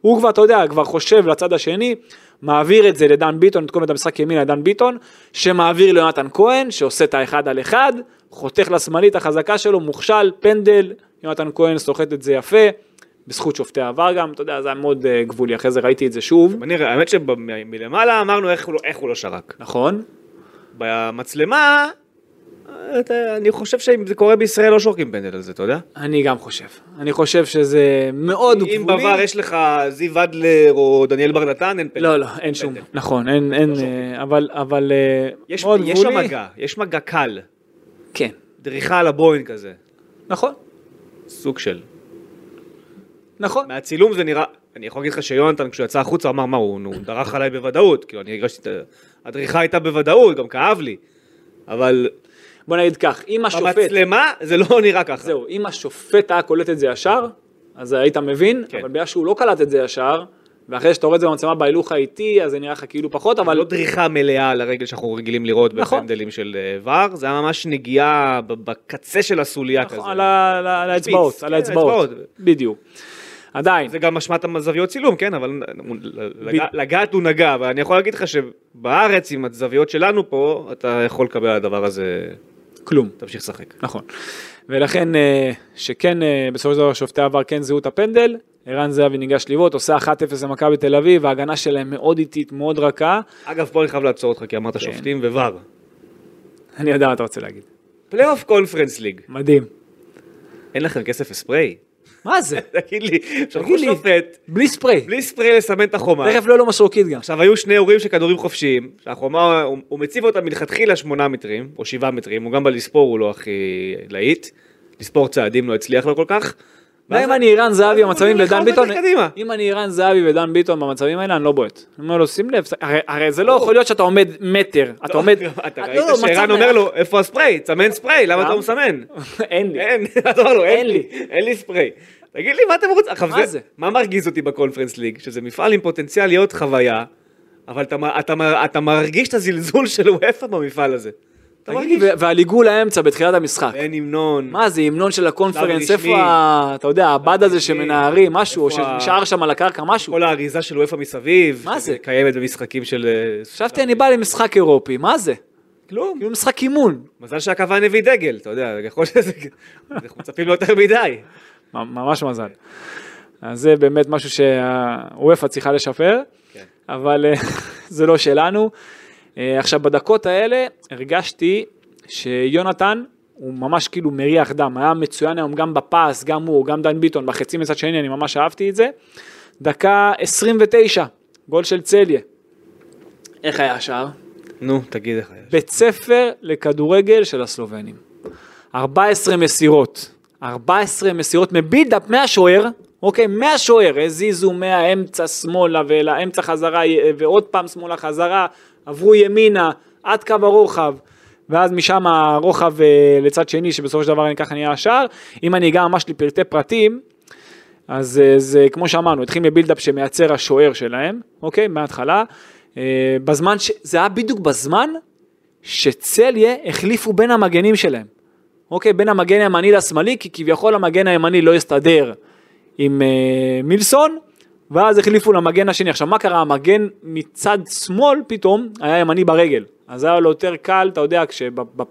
A: הוא כבר, אתה יודע, כבר חושב לצד השני, מעביר את זה לדן ביטון, את כל המשחק ימין לדן ביטון, שמעביר ליונתן כהן, שעושה את האחד על אחד, חותך לשמאלית החזקה שלו, מוכשל, פנדל, יונתן כהן סוחט את זה יפה, בזכות שופטי העבר גם, אתה יודע, זה היה מאוד אה, גבולי, אחרי זה ראיתי את זה שוב,
B: בוא נראה, האמת שמלמעלה אמרנו איך הוא לא- איך הוא לא שרק.
A: נכון?
B: במצלמה, אה, אתה- אני חושב שאם זה קורה בישראל לא שורקים פנדל על זה, אתה יודע?
A: אני גם חושב. אני חושב שזה מאוד גבולי.
B: אם בעבר יש לך זיו אדלר או דניאל בר נתן, אין פנדל.
A: לא, לא, אין שום. נכון, אין, אין, אה, אבל, אבל אה,
B: לא יש
A: מאוד
B: יש
A: גבולי.
B: שם מגע, יש מגע קל.
A: כן,
B: דריכה על הבוין כזה.
A: נכון,
B: סוג של.
A: נכון.
B: מהצילום זה נראה, אני יכול להגיד לך שיונתן, כשהוא יצא החוצה, אמר, מה, הוא הוא דרך עליי בוודאות. כאילו, אני הרגשתי את ה... הדריכה הייתה בוודאות, גם כאב לי. אבל
A: בוא נגיד כך, אם השופט,
B: במצלמה זה לא נראה ככה.
A: זהו, אם השופט היה קולט את זה ישר, אז היית מבין,
B: כן.
A: אבל בגלל שהוא לא קלט את זה ישר, ואחרי שאתה רואה את זה במצלמה בהילוך האיטי, אז זה נראה לך כאילו פחות,
B: אבל
A: אבל
B: לא דריכה מלאה על הרגל שאנחנו רגילים לראות
A: נכון.
B: בפנדלים של אה, ור, זה היה ממש נגיעה ב- בקצה של הסוליה כזה.
A: נכון, על ה- על ה- על האצבעות,
B: כן,
A: על האצבעות,
B: האצבעות.
A: בדיוק. עדיין,
B: זה גם אשמת הזוויות צילום, כן, אבל הוא- לג- לגעת הוא נגע, אבל אני יכול להגיד לך שבארץ, עם הזוויות שלנו פה, אתה יכול לקבל על הדבר הזה,
A: כלום.
B: תמשיך לשחק.
A: נכון. ולכן, אה, שכן, אה, בסופו של דבר שופטי העבר כן זיהו את הפנדל, ערן זהבי ניגש לבעוט, עושה 1-0 למכבי תל אביב, ההגנה שלהם מאוד איטית, מאוד רכה.
B: אגב, פה אני חייב לעצור אותך, כי אמרת שופטים וור.
A: אני יודע מה אתה רוצה להגיד.
B: פלייאוף קונפרנס ליג,
A: מדהים.
B: אין לכם כסף לספרי?
A: מה זה?
B: תגיד לי, שלחו
A: תגיד לי.
B: שופט,
A: בלי ספריי.
B: בלי ספרי לסמן את החומה.
A: תכף לא לא מסורקית גם.
B: עכשיו, היו שני אירועים של כדורים חופשיים, שהחומה, הוא, הוא מציב אותה מלכתחילה שמונה מטרים, או שבעה מטרים, הוא גם בלספור הוא לא הכי להיט, לספור צעדים לא הצליח לו כל כך.
A: אם אני ערן זהבי
B: הוא
A: במצבים
B: הולך
A: ודן
B: עוד
A: ביטון,
B: מטר לא קדימה.
A: אם אני ערן זהבי ודן ביטון במצבים האלה, אני לא בועט. אני אומר לו, שים לב, הרי- הרי זה לא יכול להיות שאתה עומד מטר, אתה עומד...
B: אתה
A: לא,
B: ראית
A: לא, מצב
B: שערן אומר
A: נייח.
B: לו, איפה הספרי? תסמן ספרי, למה אתה לא מסמן?
A: אין לי.
B: אין, אתה אומר לו,
A: אין
B: אין
A: לי.
B: לי, אין לי ספרי. תגיד לי, מה אתם רוצים? עכשיו,
A: מה זה?
B: זה? מה מרגיז אותי בקונפרנס ליג? שזה מפעל עם פוטנציאל להיות חוויה, אבל אתה מ- אתה מ- אתה מרגיש את הזלזול של וופא במפעל הזה. אתה מרגיש.
A: ו- ועל עיגול האמצע בתחילת המשחק.
B: אין המנון.
A: מה זה המנון של הקונפרנס,
B: רשמי.
A: איפה, ה- אתה יודע, הבד הזה שמנערים, משהו, או
B: איפה ה-
A: שנשאר שם על הקרקע, משהו.
B: כל האריזה של וופא מסביב.
A: מה זה?
B: קיימת במשחקים של... אה,
A: חשבתי אני בא למשחק אירופי, מה זה?
B: כלום.
A: כאילו משחק אימון.
B: מזל שהקוואני הביא דגל, אתה יודע, יכול שזה... אנחנו מצפים לו יותר מדי.
A: מ- ממש מזל. אז זה באמת משהו שהוופא צריכה לשפר,
B: כן.
A: אבל אה, זה לא שלנו. אה, עכשיו, בדקות האלה הרגשתי שיונתן, הוא ממש כאילו מריח דם, היה מצוין היום גם בפס, גם הוא, גם דן ביטון, בחצי מצד שני, אני ממש אהבתי את זה. דקה 29, גול של צליה. איך היה השער?
B: נו, תגיד איך היה.
A: בית ספר לכדורגל של הסלובנים. 14 מסירות, 14 מסירות מבילדאפ מהשוער, אוקיי, מהשוער, הזיזו מהאמצע שמאלה ולאמצע חזרה י- ועוד פעם שמאלה חזרה, עברו ימינה עד קו הרוחב. ואז משם הרוחב אה, לצד שני, שבסופו של דבר אני- ככה נהיה השער. אם אני אגע ממש לפרטי פרטים, אז אה, זה כמו שאמרנו, התחיל מבילדאפ שמייצר השוער שלהם, אוקיי, מההתחלה. אה, בזמן, ש... זה היה בדיוק בזמן שצליה החליפו בין המגנים שלהם. אוקיי, בין המגן הימני לשמאלי, כי כביכול המגן הימני לא הסתדר עם אה, מילסון, ואז החליפו למגן השני. עכשיו, מה קרה? המגן מצד שמאל פתאום היה ימני ברגל. אז היה לו יותר קל, אתה יודע, כשב, ב,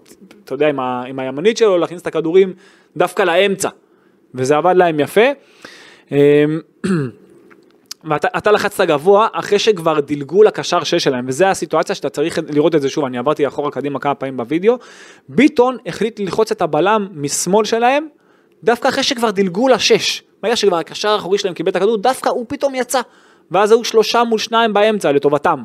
A: אתה יודע, עם, ה, עם הימנית שלו, להכניס את הכדורים דווקא לאמצע. וזה עבד להם יפה. אמ, ואתה אתה לחצת גבוה אחרי שכבר דילגו לקשר 6 שלהם, וזו הסיטואציה שאתה צריך לראות את זה שוב, אני עברתי אחורה קדימה כמה פעמים בווידאו, ביטון החליט ללחוץ את הבלם משמאל שלהם, דווקא אחרי שכבר דילגו לשש, ברגע שכבר הקשר האחורי שלהם קיבל את הכדור, דווקא הוא פתאום יצא, ואז היו שלושה מול שניים באמצע לטובתם.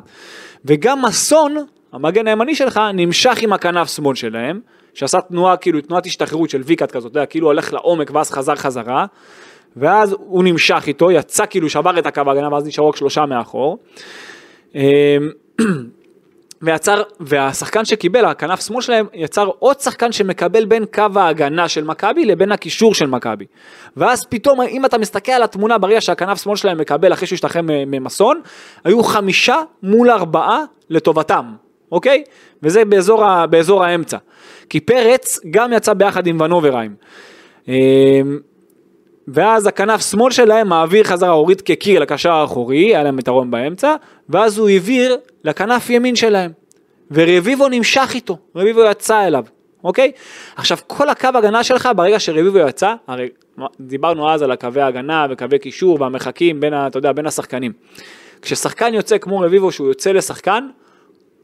A: וגם מסון, המגן הימני שלך, נמשך עם הכנף שמאל שלהם, שעשה תנועה כאילו תנועת השתחררות של ויקאט כזאת, אתה יודע, כאילו הולך לעומק ואז חזר חזרה. ואז הוא נמשך איתו, יצא כאילו שבר את הקו ההגנה ואז נשארו רק שלושה מאחור. אמ, ויצר, והשחקן שקיבל, הכנף שמאל שלהם, יצר עוד שחקן שמקבל בין קו ההגנה של מכבי לבין הקישור של מכבי. ואז פתאום, אם אתה מסתכל על התמונה ברגע שהכנף שמאל שלהם מקבל אחרי שהוא השתחרר מ- ממסון, היו חמישה מול ארבעה לטובתם, אוקיי? וזה באזור, ה, באזור האמצע. כי פרץ גם יצא ביחד עם ונוברהיים. אמ, ואז הכנף שמאל שלהם מעביר חזרה, הוריד כקיר לקשר האחורי, היה להם יתרון באמצע, ואז הוא העביר לכנף ימין שלהם. ורביבו נמשך איתו, רביבו יצא אליו, אוקיי? עכשיו, כל הקו הגנה שלך, ברגע שרביבו יצא, הרי דיברנו אז על הקווי ההגנה וקווי קישור והמרחקים בין, ה- אתה יודע, בין השחקנים. כששחקן יוצא כמו רביבו, שהוא יוצא לשחקן,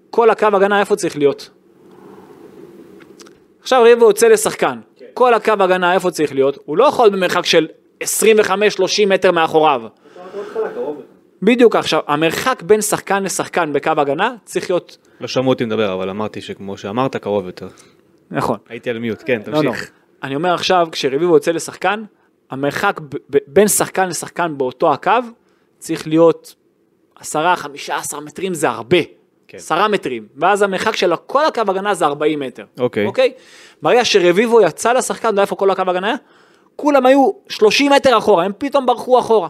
A: כל הקו הגנה איפה צריך להיות? עכשיו רביבו יוצא לשחקן, כל הקו הגנה איפה צריך להיות? הוא לא יכול במרחק של 25-30 מטר מאחוריו. בדיוק עכשיו, המרחק בין שחקן לשחקן בקו הגנה צריך להיות,
B: לא שמעו אותי מדבר, אבל אמרתי שכמו שאמרת, קרוב יותר.
A: נכון,
B: הייתי על מיוט, כן,
A: לא, לא.
B: תמשיך.
A: אני אומר עכשיו, כשרביבו יוצא לשחקן, המרחק ב- ב- בין שחקן לשחקן באותו הקו צריך להיות 10, 15 מטרים זה הרבה.
B: כן.
A: 10 מטרים, ואז המרחק של כל הקו הגנה זה 40 מטר.
B: אוקיי.
A: אוקיי? ברגע שרביבו יצא לשחקן, אתה יודע איפה כל הקו הגנה היה? כולם היו 30 מטר אחורה, הם פתאום ברחו אחורה.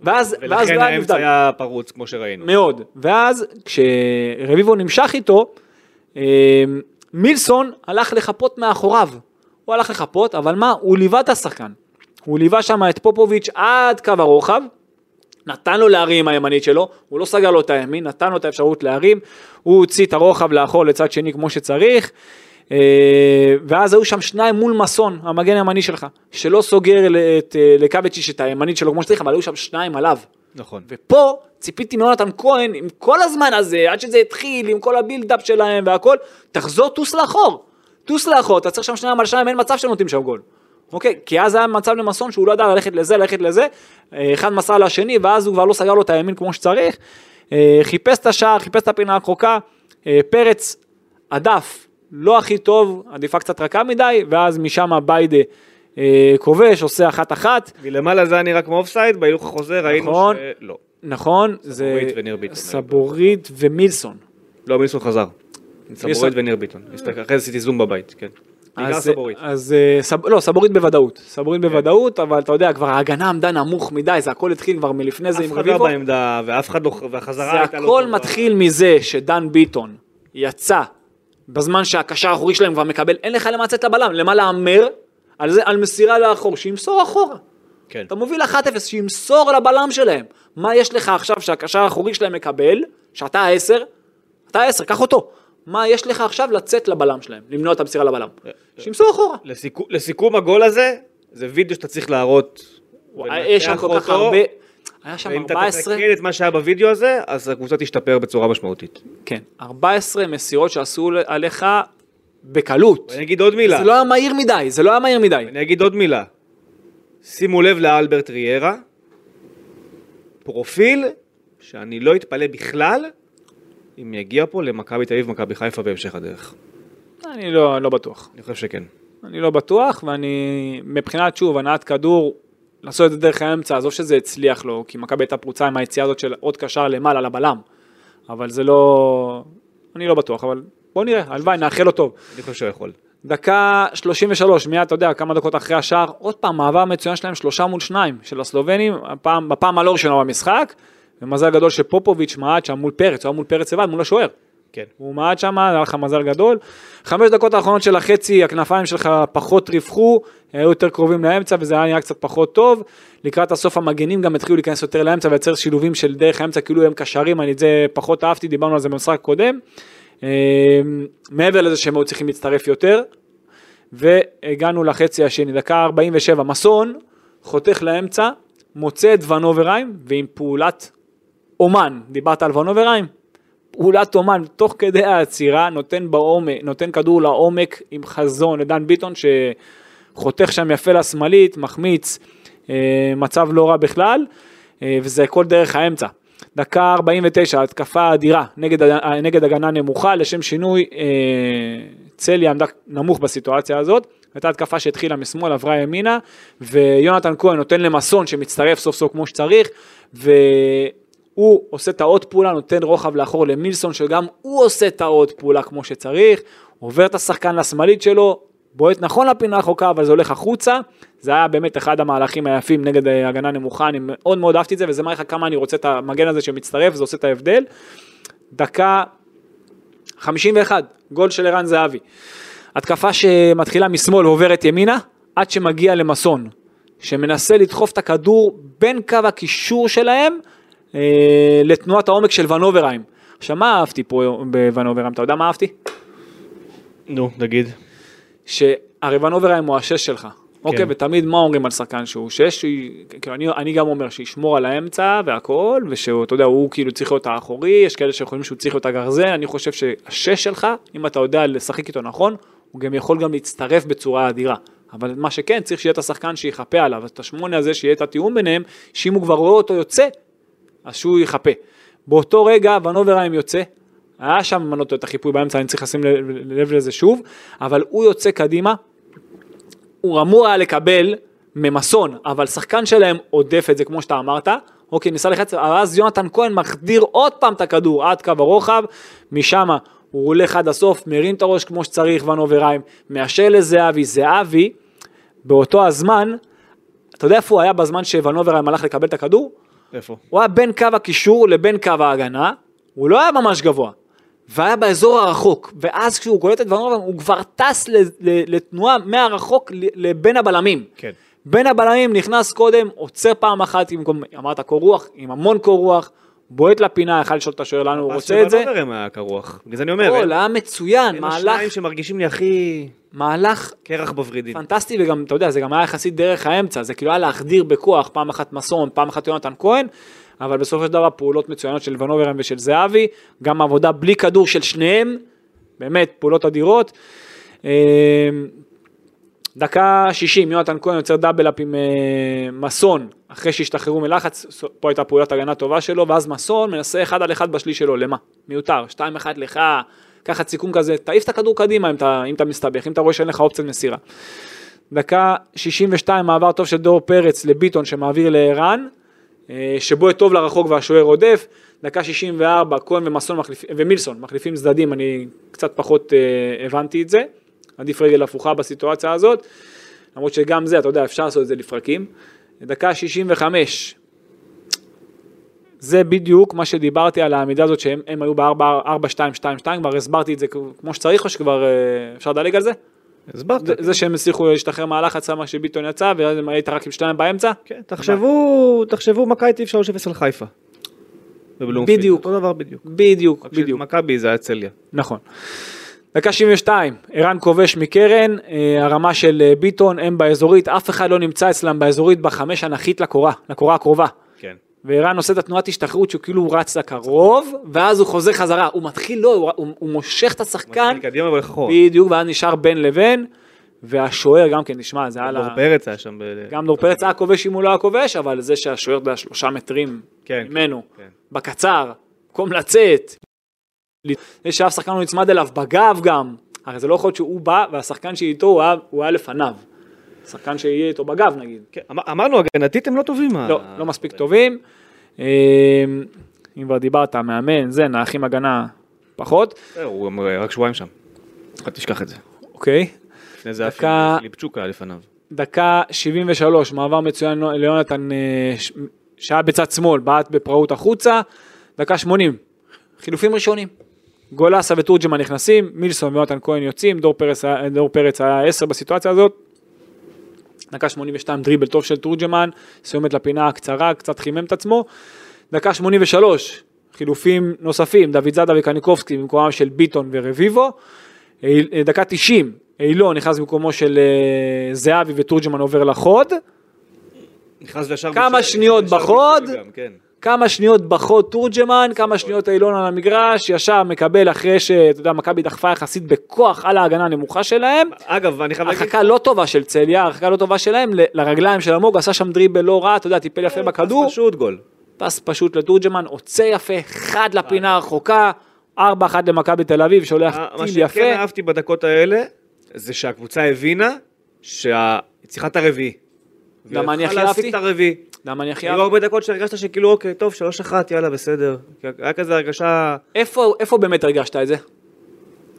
A: ואז, ואז
B: ולכן
A: לא היה
B: האמצע
A: נבדל.
B: היה פרוץ, כמו שראינו.
A: מאוד. ואז כשרביבו נמשך איתו, אה, מילסון הלך לחפות מאחוריו. הוא הלך לחפות, אבל מה, הוא ליווה את השחקן. הוא ליווה שם את פופוביץ' עד קו הרוחב, נתן לו להרים עם הימנית שלו, הוא לא סגר לו את הימין, נתן לו את האפשרות להרים, הוא הוציא את הרוחב לאחור לצד שני כמו שצריך, אה, ואז היו שם שניים מול מסון, המגן הימני שלך, שלא סוגר ל- את, אה, לקאבצ'יש את הימנית שלו כמו שצריך, אבל היו שם שניים עליו.
B: נכון.
A: ופה ציפיתי מיונתן כהן, עם כל הזמן הזה, עד שזה התחיל, עם כל הבילדאפ שלהם והכל, תחזור, טוס לאחור. טוס לאחור, אתה צריך שם שניים על שניים, אין מצב שנותנים שם גול. אוקיי? כי אז היה מצב למסון שהוא לא ידע ללכת לזה, ללכת לזה, אה, אחד מסר לשני, ואז הוא כבר לא סגר לו את הימין כמו שצריך. אה, חיפש את השער, חיפש את הפינה הרחוקה, אה, פרץ הדף לא הכי טוב, עדיפה קצת רכה מדי, ואז משם ביידה אה, כובש, עושה אחת-אחת.
B: מלמעלה זה היה נראה כמו אופסייד, בהילוך החוזר ראינו לא.
A: נכון.
B: שלא.
A: נכון, זה
B: סבורית וניר ביטון.
A: סבורית ומילסון.
B: לא, מילסון חזר. סבורית
A: מילסון-
B: וניר ביטון. הסתכל- אחרי זה עשיתי זום בבית, כן. בעיקר
A: אז-
B: סבורית. כן.
A: אז אה, סב- לא, סבורית בוודאות. סבורית בוודאות, אבל אתה יודע, כבר ההגנה עמדה נמוך מדי, זה הכל התחיל כבר מלפני זה
B: אף
A: עם
B: אחד לא
A: רביבו.
B: בעמדה, ואף אחד לא... והחזרה
A: זה
B: הייתה לא
A: הכל
B: טובה.
A: מתחיל מזה שדן ביטון יצא בזמן שהקשר האחורי שלהם כבר מקבל, אין לך למה לצאת לבלם, למה להמר על זה, על מסירה לאחור, שימסור אחורה.
B: כן.
A: אתה מוביל 1-0, שימסור לבלם שלהם. מה יש לך עכשיו שהקשר האחורי שלהם מקבל, שאתה ה-10, אתה ה-10, קח אותו. מה יש לך עכשיו לצאת לבלם שלהם, למנוע את המסירה לבלם?
B: אה,
A: שימסור אחורה.
B: לסיכו- לסיכום הגול הזה, זה וידאו שאתה צריך להראות.
A: וואי, אה, יש שם כל
B: ולנתח
A: כך
B: אותו,
A: הרבה, היה שם
B: ואם אתה
A: 14,
B: תתקן את מה שהיה בווידאו הזה, אז הקבוצה תשתפר בצורה משמעותית.
A: כן, 14 מסירות שעשו עליך בקלות.
B: אני אגיד עוד מילה.
A: זה לא היה מהיר מדי, זה לא היה מהיר מדי.
B: אני אגיד עוד מילה. שימו לב לאלברט ריארה, פרופיל שאני לא אתפלא בכלל אם יגיע פה למכבי תל אביב, מכבי חיפה בהמשך הדרך.
A: אני לא, לא בטוח.
B: אני חושב שכן.
A: אני לא בטוח, ואני, מבחינת, שוב, הנעת כדור, לעשות את זה דרך האמצע, עזוב שזה הצליח לו, כי מכבי הייתה פרוצה עם היציאה הזאת של עוד קשר למעלה לבלם, אבל זה לא... אני לא בטוח, אבל בוא נראה, הלוואי, נאחל לו טוב.
B: אני חושב שהוא יכול.
A: דקה 33, מיד, אתה יודע, כמה דקות אחרי השער, עוד פעם, מעבר מצוין שלהם, שלושה מול שניים, של הסלובנים, הפעם, בפעם הלא ראשונה במשחק, ומזל גדול שפופוביץ' מעד שם מול פרץ, הוא היה מול פרץ לבד, מול השוער.
B: כן.
A: הוא מעד שם, היה לך מזל גדול. חמש דקות האחרונות של החצי, הכנפיים שלך פחות רווחו, היו יותר קרובים לאמצע וזה היה נראה קצת פחות טוב. לקראת הסוף המגנים גם התחילו להיכנס יותר לאמצע ולייצר שילובים של דרך האמצע, כאילו הם קשרים, אני את זה פחות אהבתי, דיברנו על זה במשחק הקודם. אה, מעבר לזה שהם היו צריכים להצטרף יותר. והגענו לחצי השני, דקה 47, מסון חותך לאמצע, מוצא את ונוברהיים, ועם פעולת אומן, דיברת על ונוברהיים? פעולת אומן, תוך כדי העצירה, נותן, בעומק, נותן כדור לעומק עם חזון לדן ביטון, שחותך שם יפה לשמאלית, מחמיץ, אה, מצב לא רע בכלל, אה, וזה הכל דרך האמצע. דקה 49, התקפה אדירה נגד, ה- נגד הגנה נמוכה, לשם שינוי אה, צלי עמדה נמוך בסיטואציה הזאת, הייתה התקפה שהתחילה משמאל, עברה ימינה, ויונתן כהן נותן למסון שמצטרף סוף סוף כמו שצריך, ו... הוא עושה את העוד פעולה, נותן רוחב לאחור למילסון, שגם הוא עושה את העוד פעולה כמו שצריך, עובר את השחקן לשמאלית שלו, בועט נכון לפינה החוקה, אבל זה הולך החוצה. זה היה באמת אחד המהלכים היפים נגד אה, הגנה נמוכה, אני מאוד מאוד אהבתי את זה, וזה מראה לך כמה אני רוצה את המגן הזה שמצטרף, זה עושה את ההבדל. דקה 51, גול של ערן זהבי. התקפה שמתחילה משמאל ועוברת ימינה, עד שמגיע למסון, שמנסה לדחוף את הכדור בין קו הקישור שלהם אה, לתנועת העומק של ונוברהיים. עכשיו, מה אהבתי פה בוונוברהיים? אתה יודע מה אהבתי?
B: נו, נגיד.
A: שהרי ונוברהיים הוא השש שלך. אוקיי, ותמיד מה אומרים על שחקן שהוא שש, שהיא- כאילו אני, אני גם אומר שישמור על האמצע והכל, ושהוא, אתה יודע, הוא כאילו צריך להיות האחורי, יש כאלה שחושבים שהוא צריך להיות הגרזן, אני חושב שהשש שלך, אם אתה יודע לשחק איתו נכון, הוא גם יכול גם להצטרף בצורה אדירה. אבל מה שכן, צריך שיהיה את השחקן שיחפה עליו, אז את השמונה הזה שיהיה את התיאום ביניהם, שאם הוא כבר רואה אותו יוצא, אז שהוא יחפה. באותו רגע ונוברהיים יוצא, היה שם אם אני לא טועה, את החיפוי באמצע, אני צריך לשים לב- לב לזה שוב, אבל הוא יוצא קדימה, הוא אמור היה לקבל ממסון, אבל שחקן שלהם עודף את זה כמו שאתה אמרת, אוקיי, ניסה לחץ, אבל אז יונתן כהן מחדיר עוד פעם את הכדור עד קו הרוחב, משם הוא הולך עד הסוף, מרים את הראש כמו שצריך, ון אוברהיים, מאשר לזהבי, זהבי, באותו הזמן, אתה יודע איפה הוא היה בזמן שוון אוברהיים הלך לקבל את הכדור?
B: איפה?
A: הוא היה בין קו הקישור לבין קו ההגנה, הוא לא היה ממש גבוה, והיה באזור הרחוק, ואז כשהוא קולט את ונוברן הוא כבר טס ל- ל- לתנועה מהרחוק ל- לבין הבלמים.
B: כן.
A: בין הבלמים נכנס קודם, עוצר פעם אחת, עם, אמרת קור רוח, עם המון קור רוח, בועט לפינה, יכל לשאול את השוער לאן הוא רוצה את זה.
B: לא נראה היה קרוח, בגלל זה אני אומר.
A: גול,
B: אלה-
A: היה מצוין,
B: אלה השניים
A: מהלך,
B: שמרגישים לי הכי
A: מהלך
B: קרח בוורידים.
A: פנטסטי, וגם, אתה יודע, זה גם היה יחסית דרך האמצע, זה כאילו היה להחדיר בכוח, פעם אחת מסון, פעם אחת יונתן כהן, אבל בסופו של דבר פעולות מצוינות של ונוברם ושל זהבי, גם עבודה בלי כדור של שניהם, באמת, פעולות אדירות. אה, דקה 60, יונתן כהן יוצר דאבל-אפ עם אה, מסון, אחרי שהשתחררו מלחץ, ס- פה הייתה פעולת הגנה טובה שלו, ואז מסון מנסה אחד על אחד בשליש שלו, למה? מיותר, 2-1 לך, קח סיכום כזה, תעיף את הכדור קדימה אם אתה, אם אתה מסתבך, אם אתה רואה שאין לך אופציית מסירה. דקה 62 מעבר טוב של דור פרץ לביטון שמעביר לערן, אה, שבועט טוב לרחוק והשוער רודף, דקה 64 כהן ומסון מחליפ, ומילסון מחליפים צדדים, אני קצת פחות אה, הבנתי את זה, עדיף רגל הפוכה בסיטואציה הזאת, למרות שגם זה, אתה יודע, אפשר לעשות את זה לפרקים. דקה 65, זה בדיוק מה שדיברתי על העמידה הזאת שהם הם היו ב-4-2-2-2, כבר הסברתי את זה כמו שצריך או שכבר אה, אפשר לדלג על זה?
B: הסברת.
A: זה- זה שהם הצליחו להשתחרר מהלחץ למה שביטון יצא ואז הם היית רק עם שניים באמצע?
B: כן, תחשבו, תחשבו מכבי תל אביב 3-0 על חיפה. בבלומפילד.
A: בדיוק.
B: אותו דבר בדיוק.
A: בדיוק,
B: רק
A: בדיוק,
B: שמכבי זה היה צליה.
A: נכון. דקה 72, ערן כובש מקרן, אה, הרמה של אה, ביטון, הם באזורית, אף אחד לא נמצא אצלם באזורית בחמש אנכית לקורה, לקורה הקרובה.
B: כן.
A: וערן עושה את התנועת השתחררות שהוא כאילו רץ לקרוב, ואז הוא חוזר חזרה, הוא מתחיל, לא, הוא- הוא, הוא מושך את השחקן,
B: מתחיל קדימה ולאחורה.
A: בדיוק, ואז נשאר בין לבין, והשוער גם כן, תשמע, זה היה לה...
B: דור פרץ היה שם. ב-
A: גם דור פרץ היה כובש אם הוא לא היה כובש, אבל זה שהשוער היה שלושה מטרים
B: כן,
A: ממנו,
B: כן.
A: בקצר, במקום לצאת, זה שאף שחקן לא נצמד אליו, בגב גם, הרי זה לא יכול להיות שהוא בא והשחקן שאיתו הוא היה, הוא היה לפניו, שחקן שיהיה איתו בגב נגיד,
B: כן, אמ- אמרנו, הגנתית הם לא טובים.
A: לא,
B: ה-
A: לא מספיק טובים, אה, אם כבר דיברת, מאמן, זה, נאחים הגנה פחות,
B: אה, הוא גם, אה, רק שבועיים שם. אל תשכח את זה.
A: אוקיי,
B: לפני זה
A: דקה-
B: היה ליפצ'וקה לפניו.
A: דקה 73, מעבר מצוין לא- ליונתן אה, ש- שהיה בצד שמאל, בעט בפראות החוצה, דקה 80, חילופים ראשונים. גולסה וטורג'מן נכנסים, מילסון ויונתן כהן יוצאים, דור פרץ, היה- דור פרץ היה 10 בסיטואציה הזאת. דקה 82 דריבל טוב של תורג'מן, סיומת לפינה הקצרה, קצת חימם את עצמו. דקה 83, חילופים נוספים, דוד זאדה וקניקובסקי במקומם של ביטון ורביבו. איל- אה, דקה 90, אילון נכנס במקומו של אה, זהבי וטורג'מן עובר לחוד.
B: נכנס ישר
A: כמה
B: בשביל-
A: שניות
B: ישר
A: בחוד.
B: בשביל גם, כן.
A: כמה שניות בחוד תורג'מן, כמה שניות אילון על המגרש, ישר מקבל אחרי שאתה יודע, מכבי דחפה יחסית בכוח על ההגנה הנמוכה שלהם.
B: אגב, אני חייב להגיד...
A: הרחקה לא טובה של צליה, הרחקה לא טובה שלהם ל- לרגליים של אלמוג, עשה שם דריבל לא רע, אתה יודע, טיפל יפה בכדור,
B: פס אה, פשוט גול.
A: פס פשוט לתורג'מן, עוצר יפה, חד לפינה הרחוקה, 4-1 למכבי תל אביב, שולח
B: מה
A: טיל
B: שכן
A: יפה,
B: אהבתי בדקות האלה, זה שהקבוצה הבינה שהיא צריכה את הרביעי.
A: גם אני הכי
B: והיא
A: אהבתי,
B: להשיג את הרביעי.
A: למה אני הכי
B: היו
A: אהבתי,
B: הרבה דקות שהרגשת שכאילו, אוקיי, טוב, שלוש אחת, יאללה, בסדר. היה כזה הרגשה...
A: איפה- איפה באמת הרגשת את זה?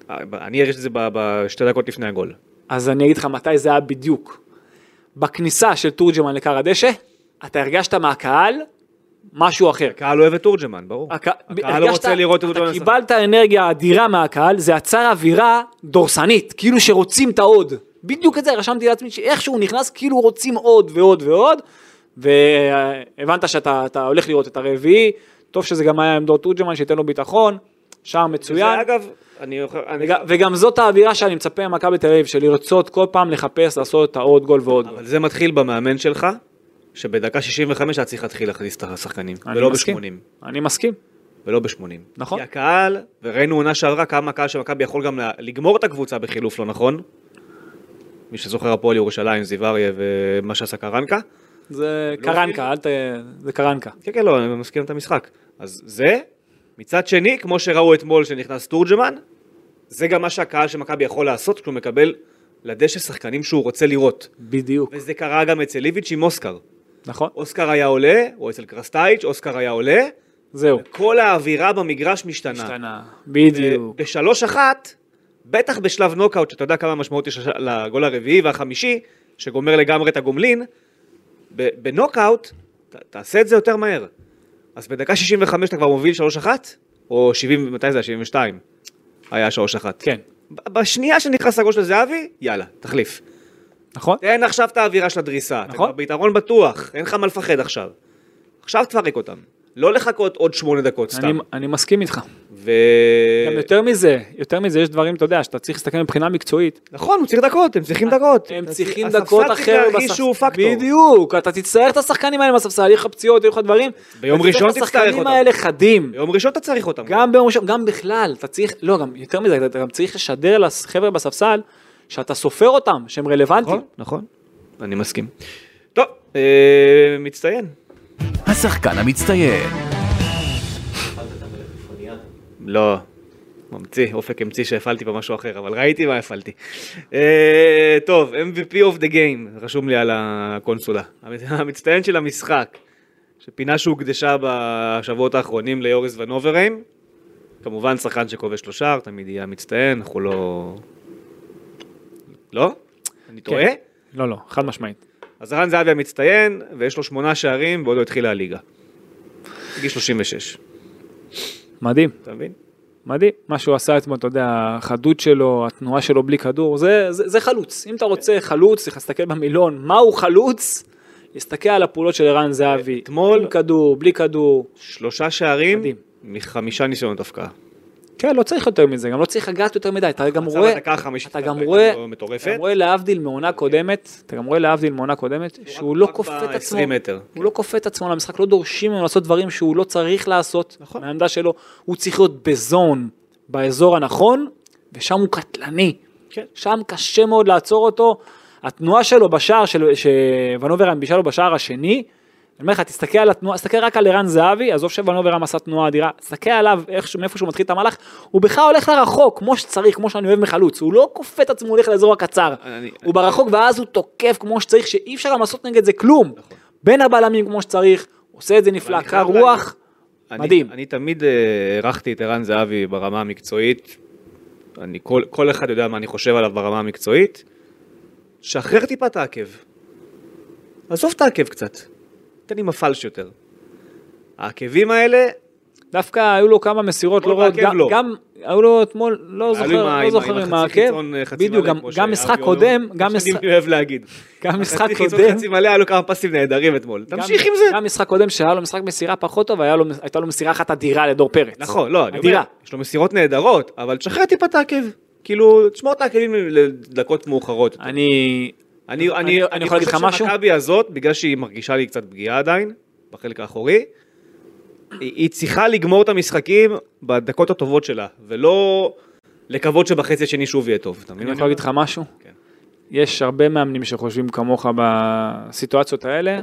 B: אה, אני הרגשתי את זה ב- בשתי דקות לפני הגול.
A: אז אני אגיד לך מתי זה היה בדיוק. בכניסה של תורג'מן לכר הדשא, אתה הרגשת מהקהל משהו אחר.
B: הקהל אוהב את תורג'מן, ברור.
A: הק-
B: הקהל לא
A: הרגשת-
B: רוצה לראות את תורג'מן
A: אתה
B: לשחק.
A: קיבלת אנרגיה אדירה מהקהל, זה יצר אווירה דורסנית, כאילו שרוצים את העוד. בדיוק את זה רשמתי לעצמי, שאיך שהוא נכנס, כאילו רוצים עוד ועוד ועוד, והבנת שאתה אתה הולך לראות את הרביעי, טוב שזה גם היה עמדות תורג'מן, שייתן לו ביטחון, שער מצוין.
B: זה אגב, אני... אני-
A: וג- וגם זאת האווירה שאני מצפה ממכבי תל אביב, של לרצות כל פעם לחפש לעשות את העוד גול ועוד גול.
B: אבל זה מתחיל במאמן שלך, שבדקה 65 אתה צריך להתחיל להכניס את השחקנים,
A: אני
B: ולא
A: מסכים.
B: ב-80.
A: אני מסכים,
B: ולא ב-80.
A: נכון.
B: כי הקהל, וראינו עונה שעברה כמה הקהל של מכבי יכול גם לה- לגמור את הקבוצה בחילוף לא נכון. מי שזוכר הפועל ירושלים, זיו אריה ומה שעשה קרנקה.
A: זה קרנקה, אל ת... זה קרנקה.
B: כן, כן, לא, אני מסכים את המשחק. אז זה, מצד שני, כמו שראו אתמול שנכנס תורג'מן, זה גם מה שהקהל של מכבי יכול לעשות כשהוא מקבל לדשא שחקנים שהוא רוצה לראות.
A: בדיוק.
B: וזה קרה גם אצל איביץ' עם אוסקר.
A: נכון.
B: אוסקר היה עולה, או אצל קרסטייץ', אוסקר היה עולה,
A: זהו.
B: כל האווירה במגרש משתנה.
A: השתנה. בדיוק.
B: בשלוש אחת, בטח בשלב נוקאוט, שאתה יודע כמה משמעות יש לש- לגול הרביעי והחמישי, שגומר לגמרי את הגומלין, ב- בנוקאוט, ת- תעשה את זה יותר מהר. אז בדקה 65 אתה כבר מוביל 3-1? או 70, מתי זה היה? 72. היה 3-1.
A: כן.
B: ב- בשנייה שנכנס הגול של זהבי, יאללה, תחליף.
A: נכון?
B: תן עכשיו את האווירה של הדריסה. נכון. אתה
A: נכון.
B: כבר ביתרון בטוח, אין לך מה לפחד עכשיו. עכשיו תפרק אותם. לא לחכות עוד שמונה דקות סתם. אה,
A: אני- אני מסכים איתך.
B: ו...
A: גם יותר מזה, יותר מזה, יש דברים, אתה יודע, שאתה צריך להסתכל מבחינה מקצועית.
B: נכון, הוא צריך דקות, הם צריכים דקות.
A: אה, הם
B: אז
A: צריכים
B: הספסל
A: דקות
B: צריך
A: אחרת
B: להרגיש
A: בספסל.
B: שהוא פקטור.
A: בדיוק, אתה תצטרך את השחקנים האלה בספסל, יהיו לך פציעות, יהיו לך דברים.
B: ביום
A: אתה
B: ראשון
A: את
B: תצטרך
A: השחקנים
B: אותם.
A: האלה חדים.
B: ביום ראשון אתה צריך אותם.
A: גם ביום ראשון, גם בכלל, אתה צריך, לא, גם יותר מזה, אתה גם צריך לשדר לחבר'ה בספסל, שאתה סופר אותם, שהם רלוונטיים.
B: נכון, נכון. אני מסכים. טוב, אה, מצטיין.
D: השחקן המצטיין,
B: לא. ממציא, אופק המציא שהפעלתי במשהו אחר, אבל ראיתי מה הפעלתי. אה, טוב, MVP of the game, רשום לי על הקונסולה. המצ- המצטיין של המשחק, שפינה שהוקדשה בשבועות האחרונים ליוריס ונוברהיים. כמובן, שחקן שכובש לו שער, תמיד יהיה המצטיין, אנחנו לא... לא? אני טועה?
A: לא, לא, חד משמעית.
B: אז ערן זהבי המצטיין, ויש לו שמונה שערים, ועוד לא התחילה הליגה. בגיל 36,
A: מדהים,
B: אתה מבין?
A: מדהים. מה שהוא עשה אתמול, אתה יודע, החדות שלו, התנועה שלו בלי כדור, זה, זה, זה חלוץ. אם אתה רוצה חלוץ, צריך להסתכל במילון, מהו חלוץ? להסתכל על הפעולות של ערן זהבי.
B: אתמול-
A: עם כדור, בלי כדור.
B: שלושה שערים,
A: מדהים.
B: מחמישה ניסיונות הפקעה.
A: כן, לא צריך יותר מזה, גם לא צריך לגעת יותר מדי, אתה גם
B: מצב
A: רואה,
B: הדקה החמישית
A: אתה
B: הייתה
A: גם רואה,
B: מטורפת.
A: אתה גם רואה להבדיל מעונה קודמת, אתה גם רואה להבדיל מעונה קודמת, שהוא
B: רק-
A: לא
B: רק
A: כופה את
B: ב-
A: עצמו,
B: 20 מטר,
A: הוא לא כופה את עצמו למשחק, לא דורשים ממנו לעשות דברים שהוא לא צריך לעשות,
B: נכון.
A: מהעמדה שלו, הוא צריך להיות בזון, באזור הנכון, ושם הוא קטלני,
B: כן.
A: שם קשה מאוד לעצור אותו, התנועה שלו בשער, של- שוונוברם בישל לו בשער השני, אני אומר לך, תסתכל על התנועה, תסתכל רק על ערן זהבי, עזוב שוונוברם עשה תנועה אדירה, תסתכל עליו, איך, ש- מאיפה שהוא מתחיל את המהלך, הוא בכלל הולך לרחוק, כמו שצריך, כמו שאני אוהב מחלוץ, הוא לא כופה את עצמו, הוא הולך לאזור הקצר,
B: אני-
A: הוא ברחוק ואז הוא תוקף כמו שצריך, שאי אפשר גם לעשות נגד זה כלום, בין הבלמים כמו שצריך, עושה את זה נפלא,
B: נכון. אני
A: קר
B: חייב
A: רוח,
B: אני-
A: מדהים.
B: אני תמיד אה, הערכתי את ערן זהבי ברמה המקצועית. אני, כל, כל אחד יודע מה אני חושב עליו ברמה המקצועית. שחרר טיפה את העקב. עזוב את העקב קצת. תן לי מפלש יותר. העקבים
A: לא
B: האלה,
A: דווקא היו לו כמה מסירות לא
B: אתמול
A: רעות,
B: בעקב
A: גם-
B: לא.
A: גם, היו לו אתמול, לא
B: היה לו עם ה-
A: זוכר, לא
B: עם
A: זוכר
B: ה-
A: עם
B: החצי
A: העקב,
B: חיצון, אה, חצי
A: בדיוק,
B: מלא,
A: גם-
B: כמו
A: גם
B: שאבי
A: משחק
B: אונו-
A: קודם, גם
B: כמו שאני
A: משחק-
B: אוהב להגיד.
A: גם משחק
B: החצי חיצון,
A: קודם,
B: חצי לא מלא, היה לו כמה פסים נהדרים אתמול. תמשיך עם
A: גם-
B: זה.
A: גם משחק קודם שהיה לו משחק מסירה פחות טוב, היה לו- הייתה לו מסירה אחת אדירה לדור פרץ.
B: נכון, לא, אני אומר,
A: אדירה.
B: יש לו מסירות נהדרות, אבל תשחרר טיפה את העקב. כאילו, תשמור את העקבים לדקות מאוחרות.
A: אני...
B: אני, אני,
A: אני יכול להגיד לך
B: חושב
A: משהו?
B: שמכבי הזאת, בגלל שהיא מרגישה לי קצת פגיעה עדיין, בחלק האחורי, היא, היא צריכה לגמור את המשחקים בדקות הטובות שלה, ולא לקוות שבחצי השני שוב יהיה טוב. אתה מבין?
A: אני יכול להגיד לך משהו?
B: כן.
A: יש הרבה מאמנים שחושבים כמוך בסיטואציות האלה.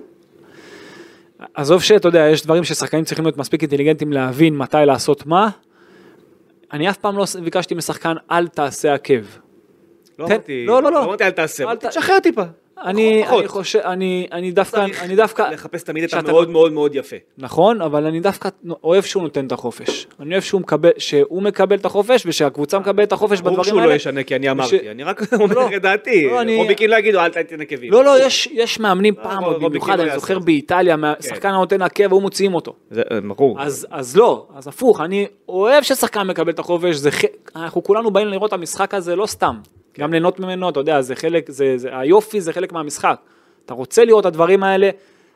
A: עזוב שאתה יודע, יש דברים ששחקנים צריכים להיות מספיק אינטליגנטים להבין מתי לעשות מה. אני אף פעם לא ביקשתי משחקן אל תעשה עקב.
B: לא
A: תן-
B: אמרתי,
A: לא, לא, לא.
B: אמרתי אל תעשה,
A: אל ת-
B: אמרתי, תשחרר טיפה.
A: אני,
B: פחות.
A: אני חושב, אני, אני דווקא,
B: צריך
A: אני דווקא,
B: לחפש תמיד את
A: כשאתה-
B: המאוד מאוד מאוד יפה.
A: נכון, אבל אני דווקא אוהב שהוא נותן את החופש. אני אוהב שהוא מקבל, שהוא מקבל את החופש ושהקבוצה מקבלת את החופש בדברים
B: ברור
A: האלה.
B: שהוא לא ישנה כי אני
A: וש-
B: אמרתי, אני רק אומר
A: לא,
B: את דעתי.
A: לא, אני-
B: רוביקין לא יגידו אל תתן עקבים.
A: לא, לא, יש, יש מאמנים
B: כאילו, לא,
A: פעם,
B: לא,
A: עוד
B: רובי
A: במיוחד,
B: קין
A: אני
B: לא
A: זוכר
B: יעשה.
A: באיטליה, מה- שחקן נותן עקב והוא מוציאים אותו.
B: זה אה, ברור.
A: אז, אז לא, אז הפוך, אני אוהב ששחקן מקבל את החופש, זה ח... אנחנו כולנו באים לראות את המשחק הזה לא סתם,
B: כן.
A: גם ליהנות ממנו, אתה יודע, זה חלק, זה, זה, היופי זה חלק מהמשחק. אתה רוצה לראות את הדברים האלה,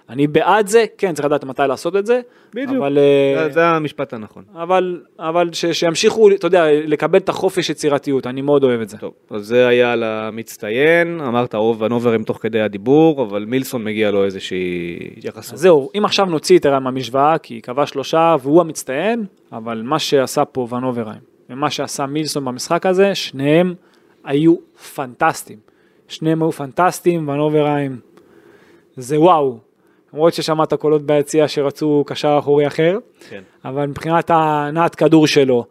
A: אני בעד זה, כן, צריך לדעת מתי לעשות את זה,
B: בדיוק.
A: אבל, אה,
B: זה- זה המשפט הנכון.
A: אבל, אבל ש, שימשיכו, אתה יודע, לקבל את החופש יצירתיות, אני מאוד אוהב את זה.
B: טוב, אז זה היה על המצטיין, אמרת אוב ונוברים תוך כדי הדיבור, אבל מילסון מגיע לו איזושהי
A: אז
B: התייחסות.
A: זהו, אם עכשיו נוציא את ערן מהמשוואה, כי קבע שלושה והוא המצטיין, אבל מה שעשה פה ונוברהיים, ומה שעשה מילסון במשחק הזה, שניהם היו פנטסטיים. שניהם היו פנטסטיים, ונוברהיים, זה וואו. למרות ששמעת קולות ביציע שרצו קשר אחורי אחר,
B: כן.
A: אבל מבחינת הנעת כדור שלו,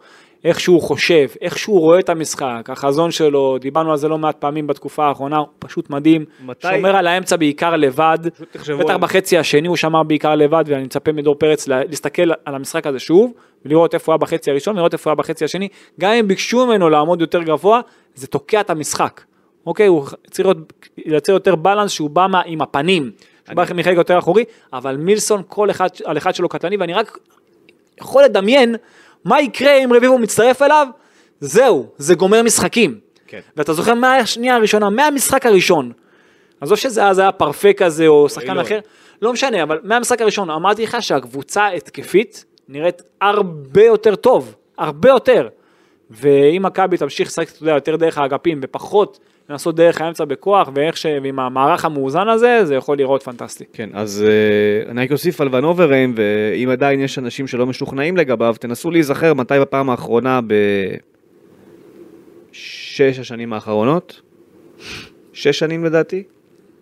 A: איך שהוא חושב, איך שהוא רואה את המשחק, החזון שלו, דיברנו על זה לא מעט פעמים בתקופה האחרונה, הוא פשוט מדהים.
B: מתי-
A: שומר על האמצע בעיקר לבד,
B: פשוט תחשבו
A: בטח
B: על-
A: בחצי השני הוא שמר בעיקר לבד, ואני מצפה מדור פרץ לה- להסתכל על המשחק הזה שוב, ולראות איפה הוא היה בחצי הראשון, ולראות איפה הוא היה בחצי השני. גם אם ביקשו ממנו לעמוד יותר גבוה, זה תוקע את המשחק. אוקיי, הוא צריך להיות- לייצר יותר בלנס שהוא בא מה- עם הפנים, שהוא בא מחלק יותר אחורי, אבל מילסון כל אחד על אחד שלו קטלני, ואני רק יכול לדמיין מה יקרה אם רביבו מצטרף אליו, זהו, זה גומר משחקים.
B: כן.
A: ואתה זוכר מהשנייה הראשונה, מהמשחק הראשון. עזוב שזה אז היה פרפה כזה או שחקן
B: אילון.
A: אחר, לא משנה, אבל מהמשחק הראשון אמרתי לך שהקבוצה התקפית נראית הרבה יותר טוב, הרבה יותר. ואם מכבי תמשיך לשחק, אתה יודע, יותר דרך האגפים ופחות לנסות דרך האמצע בכוח ואיך ש... ועם המערך המאוזן הזה, זה יכול להיראות פנטסטי.
B: כן, אז אה, אני רק אוסיף על ון אוברהיים, ואם עדיין יש אנשים שלא משוכנעים לגביו, תנסו להיזכר מתי בפעם האחרונה בשש השנים האחרונות, שש שנים לדעתי,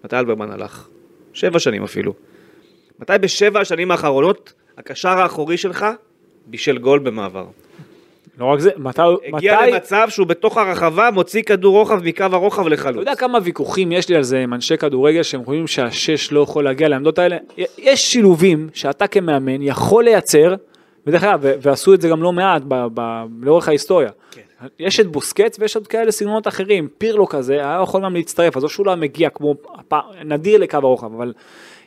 B: מתי אלברמן הלך? שבע שנים אפילו. מתי בשבע השנים האחרונות הקשר האחורי שלך בישל גול במעבר?
A: לא רק זה, מתי...
B: הגיע
A: מתי-
B: למצב שהוא בתוך הרחבה מוציא כדור רוחב מקו הרוחב
A: אתה
B: לחלוץ.
A: יודע כמה ויכוחים יש לי על זה עם אנשי כדורגל שהם חושבים שהשש לא יכול להגיע לעמדות האלה? יש שילובים שאתה כמאמן יכול לייצר, ודרך אגב, ו- ועשו את זה גם לא מעט ב- ב- לאורך ההיסטוריה.
B: כן.
A: יש את בוסקץ ויש עוד כאלה סגנונות אחרים, פירלו כזה, היה יכול גם להצטרף, עזוב שהוא לא היה מגיע כמו, הפ- נדיר לקו הרוחב, אבל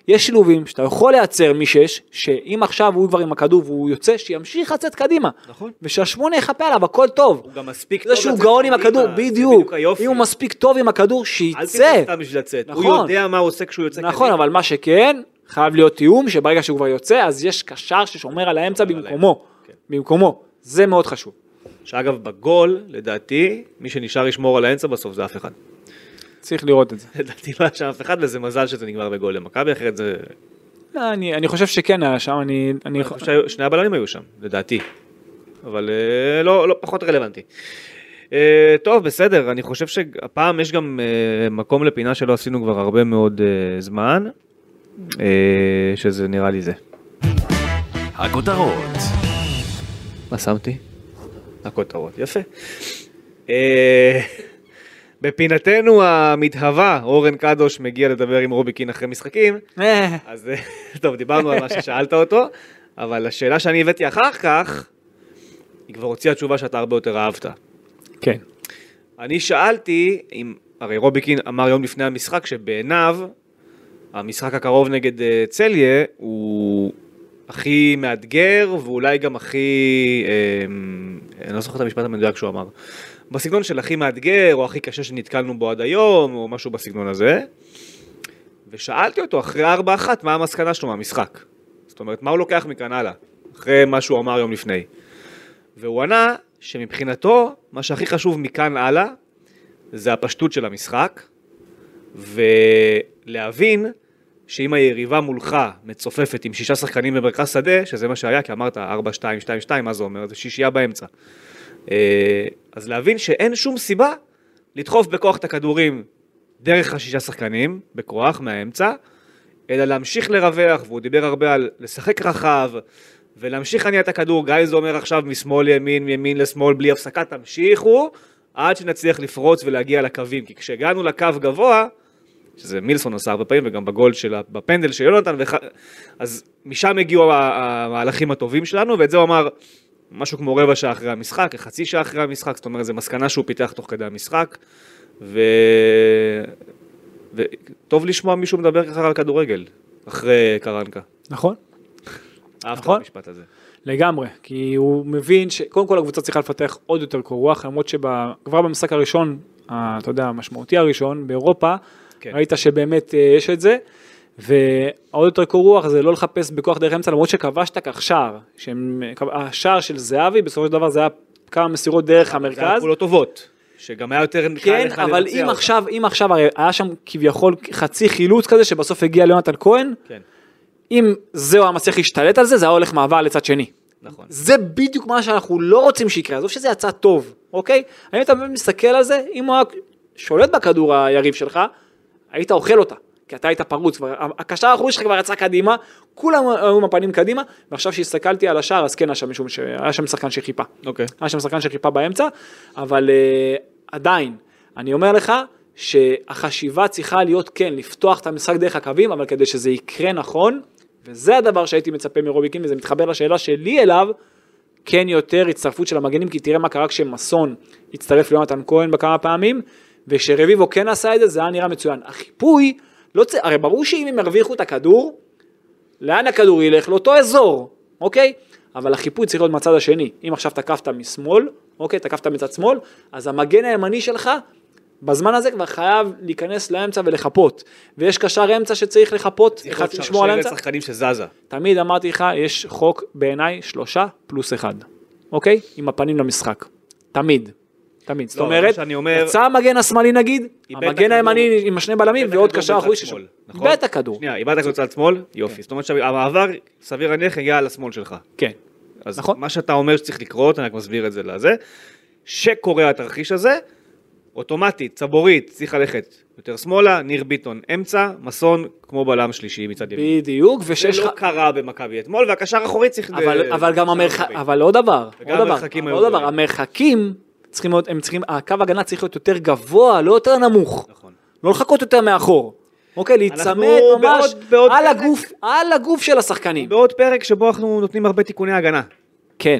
A: יש שילובים שאתה יכול לייצר משש, שאם עכשיו הוא כבר עם הכדור והוא יוצא, שימשיך לצאת קדימה.
B: נכון.
A: ושהשמונה יחפה עליו, הכל טוב.
B: הוא גם מספיק
A: זה שהוא גאון עם הכדור, בדיוק.
B: היופי.
A: אם הוא מספיק טוב עם הכדור,
B: אל תצא
A: שייצא.
B: סתם בשביל לצאת, הוא
A: נכון.
B: יודע מה הוא עושה כשהוא יוצא
A: נכון, אבל מה שכן, חייב להיות תיאום, שברגע שהוא כבר יוצא, אז יש קשר ששומר על האמצע
B: על כן.
A: במקומו. במקומו. זה מאוד חשוב.
B: שאגב בגול, לדעתי, מי שנשאר לשמור על האמצע בסוף זה אף אחד.
A: צריך לראות את זה.
B: לדעתי לא היה שם אף אחד וזה מזל שזה נגמר בגול למכבי, אחרת זה...
A: אני אני חושב שכן היה שם, אני... אני-
B: אני חושב ששני הבלמים היו שם, לדעתי. אבל אה, לא, לא פחות רלוונטי. אה, טוב, בסדר, אני חושב שהפעם יש גם אה, מקום לפינה שלא עשינו כבר הרבה מאוד אה, זמן, אה, שזה נראה לי זה.
D: הכותרות.
B: מה שמתי? הכותרות, יפה. אה, בפינתנו המתהווה, אורן קדוש מגיע לדבר עם רוביקין אחרי משחקים,
A: אה,
B: אז אה, טוב, דיברנו על מה ששאלת אותו, אבל השאלה שאני הבאתי אחר כך, היא כבר הוציאה תשובה שאתה הרבה יותר אהבת.
A: כן.
B: אני שאלתי, אם, הרי רוביקין אמר יום לפני המשחק שבעיניו, המשחק הקרוב נגד אה, צליה הוא הכי מאתגר ואולי גם הכי, אה, אני לא זוכר את המשפט המדויק שהוא אמר, בסגנון של הכי מאתגר או הכי קשה שנתקלנו בו עד היום או משהו בסגנון הזה. ושאלתי אותו אחרי 4-1 מה המסקנה שלו מהמשחק. זאת אומרת, מה הוא לוקח מכאן הלאה, אחרי מה שהוא אמר יום לפני. והוא ענה שמבחינתו, מה שהכי חשוב מכאן הלאה, זה הפשטות של המשחק, ולהבין שאם היריבה מולך מצופפת עם שישה שחקנים במרכז שדה, שזה מה שהיה, כי אמרת 4, 2, 2, 2, מה זה אומר? זה שישייה באמצע. אה, אז להבין שאין שום סיבה לדחוף בכוח את הכדורים דרך השישה שחקנים, בכוח, מהאמצע, אלא להמשיך לרווח, והוא דיבר הרבה על לשחק רחב, ולהמשיך להניע את הכדור, גם אם זה אומר עכשיו משמאל לימין, מימין לשמאל, בלי הפסקה, תמשיכו, עד שנצליח לפרוץ ולהגיע לקווים, כי כשהגענו לקו גבוה, שזה מילסון עשה הרבה פעמים, וגם בגול של, ה- בפנדל של יונתן, וח... אז משם הגיעו ה- המהלכים הטובים שלנו, ואת זה הוא אמר משהו כמו רבע שעה אחרי המשחק, חצי שעה אחרי המשחק, זאת אומרת, זו מסקנה שהוא פיתח תוך כדי המשחק, ו... וטוב לשמוע מישהו מדבר ככה על כדורגל, אחרי קרנקה.
A: נכון?
B: אהבת את
A: נכון.
B: המשפט הזה.
A: לגמרי, כי הוא מבין שקודם כל הקבוצה צריכה לפתח עוד יותר קור רוח, למרות שכבר במשחק הראשון, ה- אתה יודע, המשמעותי הראשון באירופה,
B: כן.
A: כן. ראית שבאמת אה, יש את זה, והעוד יותר קור רוח זה לא לחפש בכוח דרך אמצע, למרות שכבשת כך שער, שהם- השער של זהבי בסופו של דבר זה היה כמה מסירות דרך
B: זה היה
A: המרכז.
B: פעולות טובות, שגם היה יותר קל לך
A: כן,
B: לבצע
A: אבל אם
B: אותה.
A: עכשיו, אם עכשיו, הרי היה שם כביכול חצי חילוץ כזה שבסוף הגיע ליונתן כהן,
B: כן,
A: אם זהו היה מצליח להשתלט על זה, זה היה הולך מעבר לצד שני.
B: נכון.
A: זה בדיוק מה שאנחנו לא רוצים שיקרה, עזוב שזה יצא טוב, אוקיי? האם אתה באמת מסתכל על זה, אם הוא היה שולט בכדור היריב שלך, היית אוכל אותה. כי אתה היית פרוץ, כבר- הקשר האחורי שלך כבר יצא קדימה, כולם היו עם הפנים קדימה, ועכשיו שהסתכלתי על השער, אז כן היה שם מישהו, ש- היה שם שחקן שחיפה.
B: אוקיי.
A: היה שם שחקן שחיפה באמצע, אבל אה, עדיין, אני אומר לך שהחשיבה צריכה להיות כן, לפתוח את המשחק דרך הקווים, אבל כדי שזה יקרה נכון, וזה הדבר שהייתי מצפה מרובי קין, וזה מתחבר לשאלה שלי אליו, כן יותר הצטרפות של המגנים, כי תראה מה קרה כשמסון הצטרף ליונתן כהן בכמה פעמים, וכשרביבו כן עשה את זה, זה היה נראה מצוין. החיפוי, לא צ... הרי ברור שאם הם ירוויחו את הכדור, לאן הכדור ילך? לאותו אזור, אוקיי? אבל החיפוי צריך להיות מהצד השני. אם עכשיו תקפת משמאל, אוקיי? תקפת מצד שמאל, אז המגן הימני שלך, בזמן הזה כבר חייב להיכנס לאמצע ולחפות. ויש קשר אמצע שצריך לחפות, אחד לשמור על
B: שרשרת
A: האמצע.
B: שחקנים שזזה.
A: תמיד אמרתי לך, יש חוק בעיניי שלושה פלוס אחד, אוקיי? עם הפנים למשחק. תמיד. תמיד. זאת
B: לא, אבל
A: אומרת,
B: שאני אומר-
A: יצא המגן השמאלי נגיד,
B: איבד את
A: המגן
B: הכדור.
A: הימני עם השני בלמים
B: איבד
A: ועוד
B: הכדור
A: קשר
B: בצד
A: אחורי
B: לא שמאל,
A: ששם.
B: נכון?
A: איבד את הכדור.
B: שנייה, איבדת כדור צד שמאל? יופי. זאת אומרת שהמעבר, סביר להניח, הגיע על השמאל שלך.
A: כן.
B: אז
A: נכון.
B: מה שאתה אומר שצריך לקרות, אני רק מסביר את זה לזה, שקורה התרחיש הזה, אוטומטית, צבורית, צריך ללכת יותר שמאלה, ניר ביטון אמצע, מסון כמו בלם שלישי מצד ימין.
A: בדיוק,
B: זה
A: ושיש לך...
B: לא קרה במכבי אתמול, והקשר האחורי צריך...
A: אבל,
B: ל-
A: אבל גם
B: קשר
A: המרח...
B: אחורי.
A: אבל עוד דבר,
B: וגם
A: עוד דבר,
B: המרחקים היו
A: עוד דבר,
B: גדולים.
A: המרחקים צריכים להיות, הם צריכים, הקו הגנה צריך להיות יותר גבוה, לא יותר נמוך.
B: נכון.
A: לא לחכות יותר מאחור. אוקיי, להיצמד
B: בעוד-
A: ממש
B: בעוד
A: על
B: פרק-
A: הגוף, על הגוף של השחקנים.
B: בעוד פרק שבו אנחנו נותנים הרבה תיקוני הגנה.
A: כן.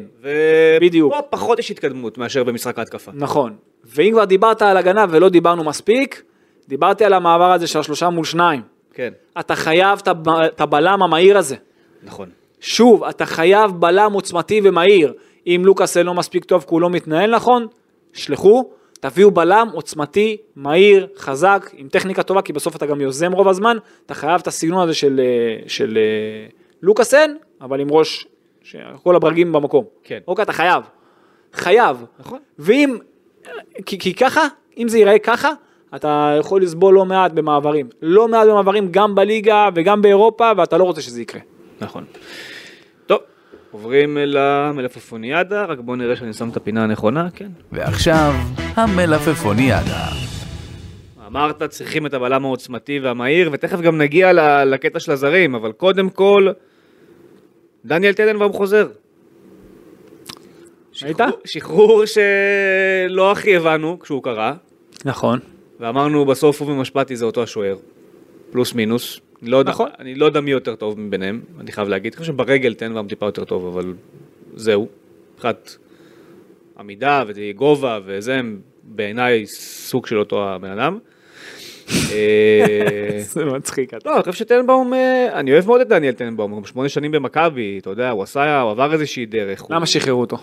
A: בדיוק.
B: ופה פחות יש התקדמות מאשר במשחק ההתקפה.
A: נכון. ואם כבר דיברת על הגנה ולא דיברנו מספיק, דיברתי על המעבר הזה של השלושה מול שניים.
B: כן,
A: אתה חייב את הב- את הבלם המהיר הזה.
B: נכון.
A: שוב, אתה חייב בלם עוצמתי ומהיר. אם לוקאסל לא מספיק טוב כי הוא לא מתנהל נכון, שלחו, תביאו בלם עוצמתי, מהיר, חזק, עם טכניקה טובה, כי בסוף אתה גם יוזם רוב הזמן, אתה חייב את הסגנון הזה של, אה, של אה, לוקאסל, אבל עם ראש, ש- כל הברגים במקום.
B: כן.
A: אוקיי, אתה חייב. חייב.
B: נכון.
A: ואם, כי, כי ככה, אם זה ייראה ככה, אתה יכול לסבול לא מעט במעברים. לא מעט במעברים גם בליגה וגם באירופה, ואתה לא רוצה שזה יקרה.
B: נכון. טוב, עוברים אל המלפפוניאדה, רק בואו נראה שאני שם את הפינה הנכונה, כן.
D: ועכשיו, המלפפוניאדה.
B: אמרת צריכים את הבלם העוצמתי והמהיר, ותכף גם נגיע ל- לקטע של הזרים, אבל קודם כל, דניאל טננבאום חוזר.
A: ראית?
B: שחרור- שחרור שלא הכי הבנו כשהוא קרה,
A: נכון.
B: ואמרנו בסוף הוא ומשפטי זה אותו השוער, פלוס מינוס. אני לא,
A: נכון.
B: יודע, אני לא יודע מי יותר טוב מביניהם, אני חייב להגיד. אני חושב שברגל טנבאום טיפה יותר טוב, אבל זהו. מבחינת עמידה וגובה וזה, הם בעיניי סוג של אותו הבן אדם. אה,
A: זה מצחיק. אתה.
B: לא, אני חושב שטננבאום, אה, אני אוהב מאוד את דניאל טננבאום, הוא גם שמונה שנים במכבי, אתה יודע, הוא עשה, הוא עבר איזושהי דרך. הוא-
A: למה שחררו אותו?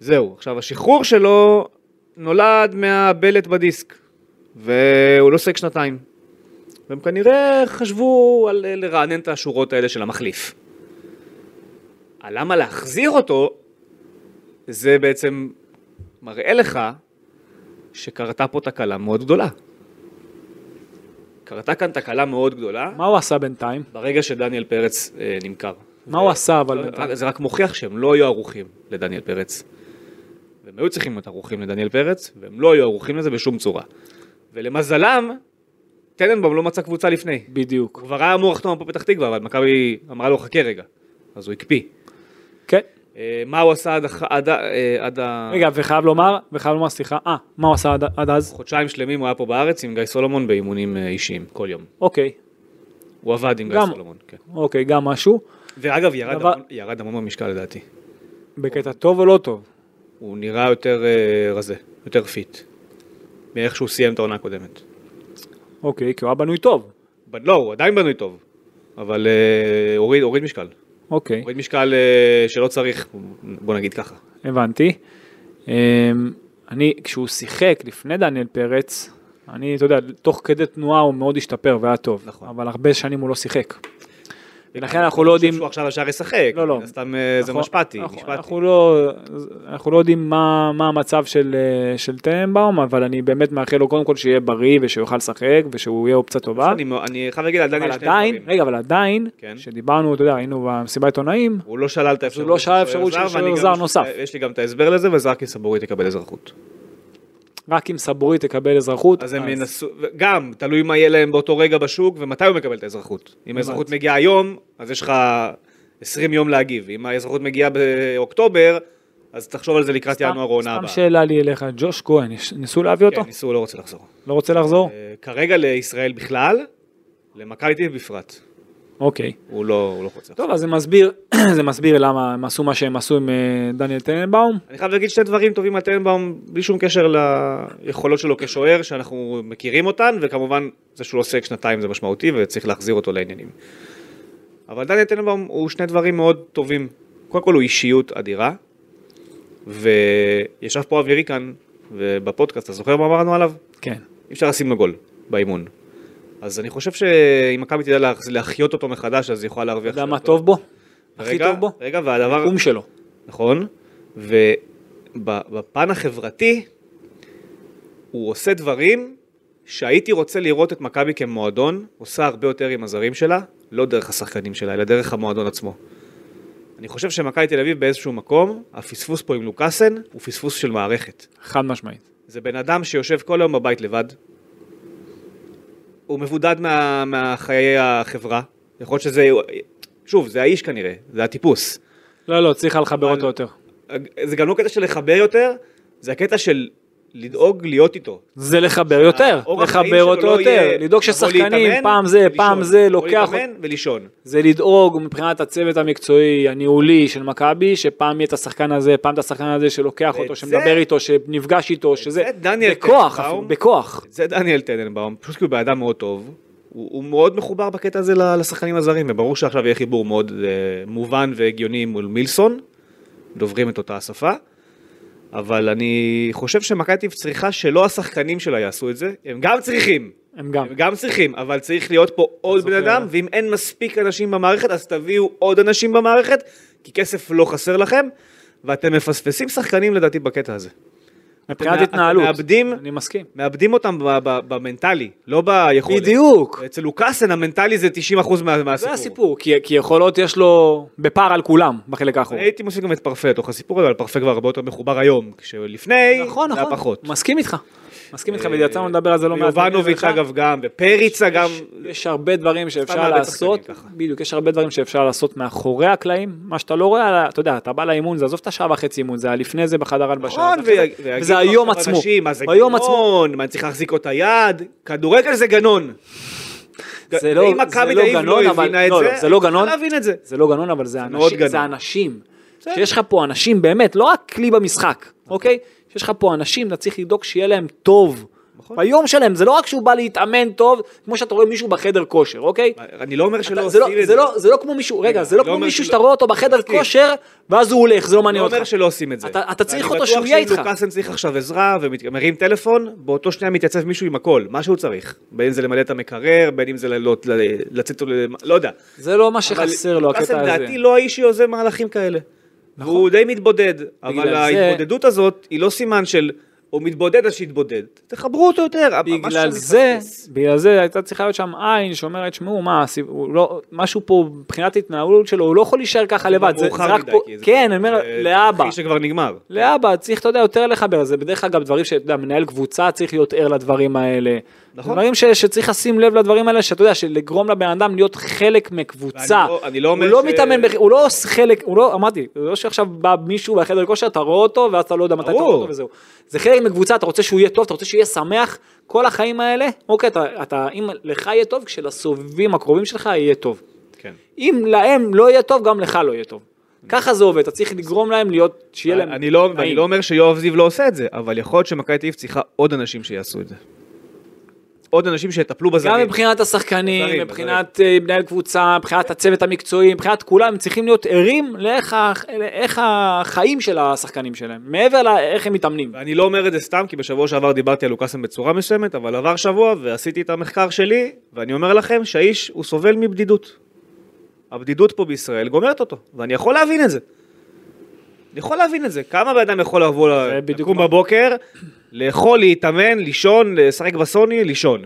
B: זהו, עכשיו השחרור שלו נולד מהבלט בדיסק, והוא לא שחק שנתיים. והם כנראה חשבו על אה, לרענן את השורות האלה של המחליף. על למה להחזיר אותו, זה בעצם מראה לך שקרתה פה תקלה מאוד גדולה. קרתה כאן תקלה מאוד גדולה
A: מה הוא עשה בינתיים?
B: ברגע שדניאל פרץ אה, נמכר.
A: מה הוא עשה אבל
B: לא,
A: בינתיים?
B: רק- זה רק מוכיח שהם לא היו ערוכים לדניאל פרץ. והם היו צריכים להיות ערוכים לדניאל פרץ, והם לא היו ערוכים לזה בשום צורה. ולמזלם, טננבאום לא מצא קבוצה לפני.
A: בדיוק.
B: הוא כבר היה אמור לחתום פה פתח תקווה, אבל מכבי אמרה לו חכה רגע. אז הוא הקפיא.
A: כן.
B: אה, מה הוא עשה עד, הח- עד, ה- אה, עד ה...
A: רגע, וחייב לומר, וחייב לומר, סליחה, אה, מה הוא עשה עד- עד אז?
B: חודשיים שלמים הוא היה פה בארץ עם גיא סולומון באימונים אה, אישיים, כל יום.
A: אוקיי,
B: הוא עבד עם גיא
A: גם-
B: סולומון, כן.
A: אוקיי, גם משהו.
B: ואגב, ירד,
A: דבר-
B: המון, ירד המון במשקל לדעתי.
A: בקטע טוב או לא טוב?
B: הוא נראה יותר אה, רזה, יותר פיט, מאיך שהוא סיים את העונה הקודמת.
A: אוקיי, כי הוא היה בנוי טוב.
B: אבל לא, הוא עדיין בנוי טוב, אבל אה, הוריד, הוריד משקל.
A: אוקיי,
B: הוריד משקל אה, שלא צריך, בוא נגיד ככה.
A: הבנתי. אמ, אני, כשהוא שיחק לפני דניאל פרץ, אני, אתה יודע, תוך כדי תנועה הוא מאוד השתפר והיה טוב.
B: נכון.
A: אבל הרבה שנים הוא לא שיחק. ולכן אנחנו לא יודעים...
B: שהוא עכשיו ישר ישחק,
A: לא, לא.
B: מן הסתם אה, זה
A: נכון,
B: משפטי,
A: נכון,
B: משפטי.
A: אנחנו לא, אנחנו לא יודעים מה, מה המצב של, אה, של טננבאום, אבל אני באמת מאחל לו קודם כל שיהיה בריא ושהוא יוכל לשחק ושהוא יהיה אופציה טובה.
B: אני מאו- אני חייב להגיד על דניאל
A: אבל
B: שני
A: עדיין,
B: דברים.
A: רגע, אבל עדיין,
B: כן.
A: שדיברנו, אתה יודע, היינו במסיבת עיתונאים,
B: הוא לא שלל את האפשרות.
A: לא שלל
B: של
A: אפשרות של
B: זר,
A: שוער
B: ואני גם-
A: זר נוסף.
B: יש לי גם את ההסבר לזה, וזרקי סבורית יקבל אזרחות.
A: רק אם סבורית תקבל אזרחות.
B: אז הם ינסו, גם, תלוי מה יהיה להם באותו רגע בשוק ומתי הוא מקבל את האזרחות. אם האזרחות מגיעה היום, אז יש לך 20 יום להגיב. אם האזרחות מגיעה באוקטובר, אז תחשוב על זה לקראת
A: סתם-
B: ינואר או עונה הבאה.
A: סתם שאלה לי אליך, ג'וש כהן, יש- ניסו להביא אותו?
B: כן, ניסו, לא רוצה לחזור.
A: לא רוצה לחזור?
B: אה, כרגע לישראל בכלל, למכבי תל אביב בפרט.
A: אוקיי.
B: הוא לא הוא לא רוצה. לחזור.
A: טוב, אז זה מסביר, זה מסביר למה הם עשו מה שהם עשו עם אה, דניאל טננבאום.
B: אני חייב להגיד שני דברים טובים על טננבאום, בלי שום קשר ליכולות שלו כשוער, שאנחנו מכירים אותן, וכמובן זה שהוא לא עושה שנתיים זה משמעותי, וצריך להחזיר אותו לעניינים. אבל דניאל טננבאום הוא שני דברים מאוד טובים. קודם כל הוא אישיות אדירה, וישב פה אבירי כאן, ובפודקאסט, אתה זוכר מה אמרנו עליו?
A: כן.
B: אי אפשר לשים לו גול באימון. אז אני חושב שאם מכבי תדע לה- להחיות אותו מחדש, אז היא יכולה
A: אתה
B: להרוויח...
A: יודע
B: שם
A: מה
B: אותו.
A: טוב בו? הכי
B: רגע,
A: טוב בו?
B: רגע, והדבר...
A: קום שלו.
B: נכון? ובפן החברתי, הוא עושה דברים שהייתי רוצה לראות את מכבי כמועדון, עושה הרבה יותר עם הזרים שלה, לא דרך השחקנים שלה, אלא דרך המועדון עצמו. אני חושב שמכבי תל אביב באיזשהו מקום, הפספוס פה עם לוקאסן הוא פספוס של מערכת.
A: חד משמעית.
B: זה בן אדם שיושב כל היום בבית לבד. הוא מבודד מה, מהחיי החברה. יכול להיות שזה... שוב, זה האיש כנראה, זה הטיפוס.
A: לא, לא, צריך היה לחבר
B: אבל-
A: אותו יותר.
B: זה גם לא קטע של לחבר יותר, זה הקטע של לדאוג להיות איתו.
A: זה לחבר יותר,
B: אורח חיים
A: לחבר
B: שלו
A: אותו
B: לא
A: יותר,
B: יהיה
A: לדאוג
B: לבוא
A: ששחקנים,
B: להתאמן
A: פעם זה,
B: ולישון.
A: פעם זה,
B: לבוא
A: לוקח,
B: להתאמן ולישון.
A: זה לדאוג מבחינת הצוות המקצועי, הניהולי של מכבי, שפעם יהיה את השחקן הזה, פעם את השחקן הזה שלוקח
B: ואת
A: אותו,
B: זה-
A: שמדבר איתו, שנפגש איתו, שזה,
B: זה דניאל
A: בכוח,
B: טננבאום.
A: אפילו, בכוח.
B: זה דניאל טננבאום, פשוט כי הוא בן אדם מאוד טוב. הוא, הוא מאוד מחובר בקטע הזה ל- לשחקנים הזרים, וברור שעכשיו יהיה חיבור מאוד אה, מובן והגיוני מול מילסון, דוברים את אותה השפה, אבל אני חושב שמכבי תל אביב צריכה שלא השחקנים שלה יעשו את זה, הם גם צריכים,
A: הם גם.
B: הם גם צריכים, אבל צריך להיות פה עוד
A: זוכר.
B: בן אדם, ואם אין מספיק אנשים במערכת, אז תביאו עוד אנשים במערכת, כי כסף לא חסר לכם, ואתם מפספסים שחקנים לדעתי בקטע הזה.
A: מבחינת
B: אתם-
A: התנהלות.
B: אתם מאבדים,
A: אני מסכים.
B: מאבדים אותם ב- ב- במנטלי, לא ביכולת.
A: בדיוק.
B: אצל לוקאסן המנטלי זה 90% מה- מהסיפור.
A: זה הסיפור, כי כי יכולות יש לו בפער על כולם בחלק האחורי.
B: הייתי מוסיף גם את פרפה לתוך הסיפור הזה, אבל פרפה כבר הרבה יותר מחובר היום, כשלפני,
A: נכון,
B: זה היה
A: נכון.
B: פחות.
A: מסכים איתך. מסכים איתך, ויצאנו לדבר על זה לא מעט.
B: ויובנוביץ'
A: אני אומר לך,
B: אה, אגב גם, ופריצה גם,
A: יש הרבה דברים שאפשר
B: מאבד
A: לעשות,
B: שחקנים ככה.
A: בדיוק, יש הרבה דברים שאפשר לעשות מאחורי הקלעים, מה שאתה לא רואה, על ה- אתה יודע, אתה בא לאימון, זה עזוב את השעה וחצי אימון, זה היה לפני זה בחדר הלבשה,
B: נכון,
A: זה אחרי זה,
B: ויג- ויגידו
A: וזה היום
B: עכשיו
A: עצמו,
B: אנשים, מה זה
A: ביום עצמו,
B: גנון, מה צריך להחזיק אותה יד, כדורגל זה גנון.
A: זה לא-
B: ואם
A: זה
B: מכבי
A: לא
B: תל אביב
A: גנון,
B: לא
A: אבל-
B: הבינה את
A: לא,
B: זה,
A: לא, זה לא
B: אני
A: גנון.
B: צריך להבין את זה.
A: זה לא גנון, אבל זה
B: מאוד
A: אנשים, זה
B: גנון.
A: אנשים,
B: בסדר.
A: שיש לך פה אנשים באמת, לא רק כלי במשחק, אוקיי? שיש לך פה אנשים, אתה צריך לדאוג שיהיה להם טוב.
B: נכון.
A: ביום שלהם, זה לא רק שהוא בא להתאמן טוב, כמו שאתה רואה מישהו בחדר כושר, אוקיי?
B: אני לא אומר שלא
A: אתה- זה לא-
B: עושים את
A: זה
B: זה.
A: לא- זה לא כמו מישהו, רגע, זה לא
B: אני לא
A: כמו
B: אומר
A: מישהו
B: שלא-
A: שאתה רואה אותו בחדר
B: מסכים.
A: כושר, ואז הוא הולך, זה לא
B: אני
A: מעניין אותך.
B: אומר שלא עושים את זה.
A: אתה- אתה צריך
B: ואני
A: אותו שהוא
B: בטוח
A: יהיה
B: שאם
A: איתך.
B: לוקאסן צריך עכשיו עזרה ומרים טלפון, באותו שנייה מתייצב מישהו עם הכל, מה שהוא צריך. בין אם זה למלא את המקרר, בין אם זה ל- לא- ל- לצאת, או ל- לא יודע.
A: זה לא מה
B: אבל
A: שחסר לו,
B: לוקאסן
A: הקטע הזה. נכון.
B: לדעתי לא האיש שיוזם מהלכים כאלה. והוא די מתבודד, אבל
A: זה-
B: ההתבודדות הזאת היא לא סימן של הוא מתבודד אז שיתבודד. תחברו אותו יותר.
A: בגלל
B: משהו
A: זה,
B: לא מתפספס.
A: בגלל זה הייתה צריכה להיות שם עין שאומרת, שמעו, מה, הסיב- הוא לא- משהו פה מבחינת התנהלות שלו, הוא לא יכול להישאר ככה לבד, זה
B: מאוחר
A: זה רק
B: מדי,
A: פה,
B: כי זה-
A: כן, אני אומר,
B: זה
A: לאבא,
B: תרחיש שכבר נגמר.
A: לאבא, צריך, אתה יודע, יותר לחבר, זה בדרך כלל גם דברים שאתה יודע, מנהל קבוצה צריך להיות ער לדברים האלה.
B: נכון.
A: דברים ש- שצריך לשים לב לדברים האלה, שאתה יודע, שלגרום לבן אדם להיות חלק מקבוצה.
B: ואני לא- אני לא אומר
A: הוא לא
B: ש-
A: מתאמן, בכ- הוא לא עושה חלק, הוא לא, אמרתי, זה לא שעכשיו בא מישהו בחדר כושר, אתה רואה אותו, ואז אתה לא יודע מתי אתה
B: ברור.
A: רואה אותו וזהו. זה חלק מקבוצה, אתה רוצה שהוא יהיה טוב, אתה רוצה שהוא יהיה שמח, כל החיים האלה, אוקיי, אתה, אתה, אם לך יהיה טוב, כשלסובבים הקרובים שלך יהיה טוב.
B: כן.
A: אם להם לא יהיה טוב, גם לך לא יהיה טוב. ככה זה עובד, אתה צריך לגרום להם להיות, שיהיה להם
B: אני לא, אני
A: נעים.
B: לא אומר שיואב זיו לא עושה את זה, אבל יכול להיות שמכבי תל אביב צריכה עוד אנשים שיעשו את זה. עוד אנשים שיטפלו
A: גם
B: בזרים.
A: מבחינת השחקנים,
B: הזרים,
A: מבחינת אה, מנהל קבוצה, מבחינת הצוות המקצועי, מבחינת כולם, הם צריכים להיות ערים לאיך ה- לאיך החיים של השחקנים שלהם, מעבר לאיך הם מתאמנים.
B: ואני לא אומר את זה סתם, כי בשבוע שעבר דיברתי על לוקאסם בצורה מסוימת, אבל עבר שבוע ועשיתי את המחקר שלי, ואני אומר לכם שהאיש, הוא סובל מבדידות. הבדידות פה בישראל גומרת אותו, ואני יכול להבין את זה. אני יכול להבין את זה. כמה בן אדם יכול לבוא,
A: זה
B: ל-
A: בדיוק
B: לקום
A: מה-
B: בבוקר, לאכול, להתאמן, לישון, לשחק בסוני, לישון.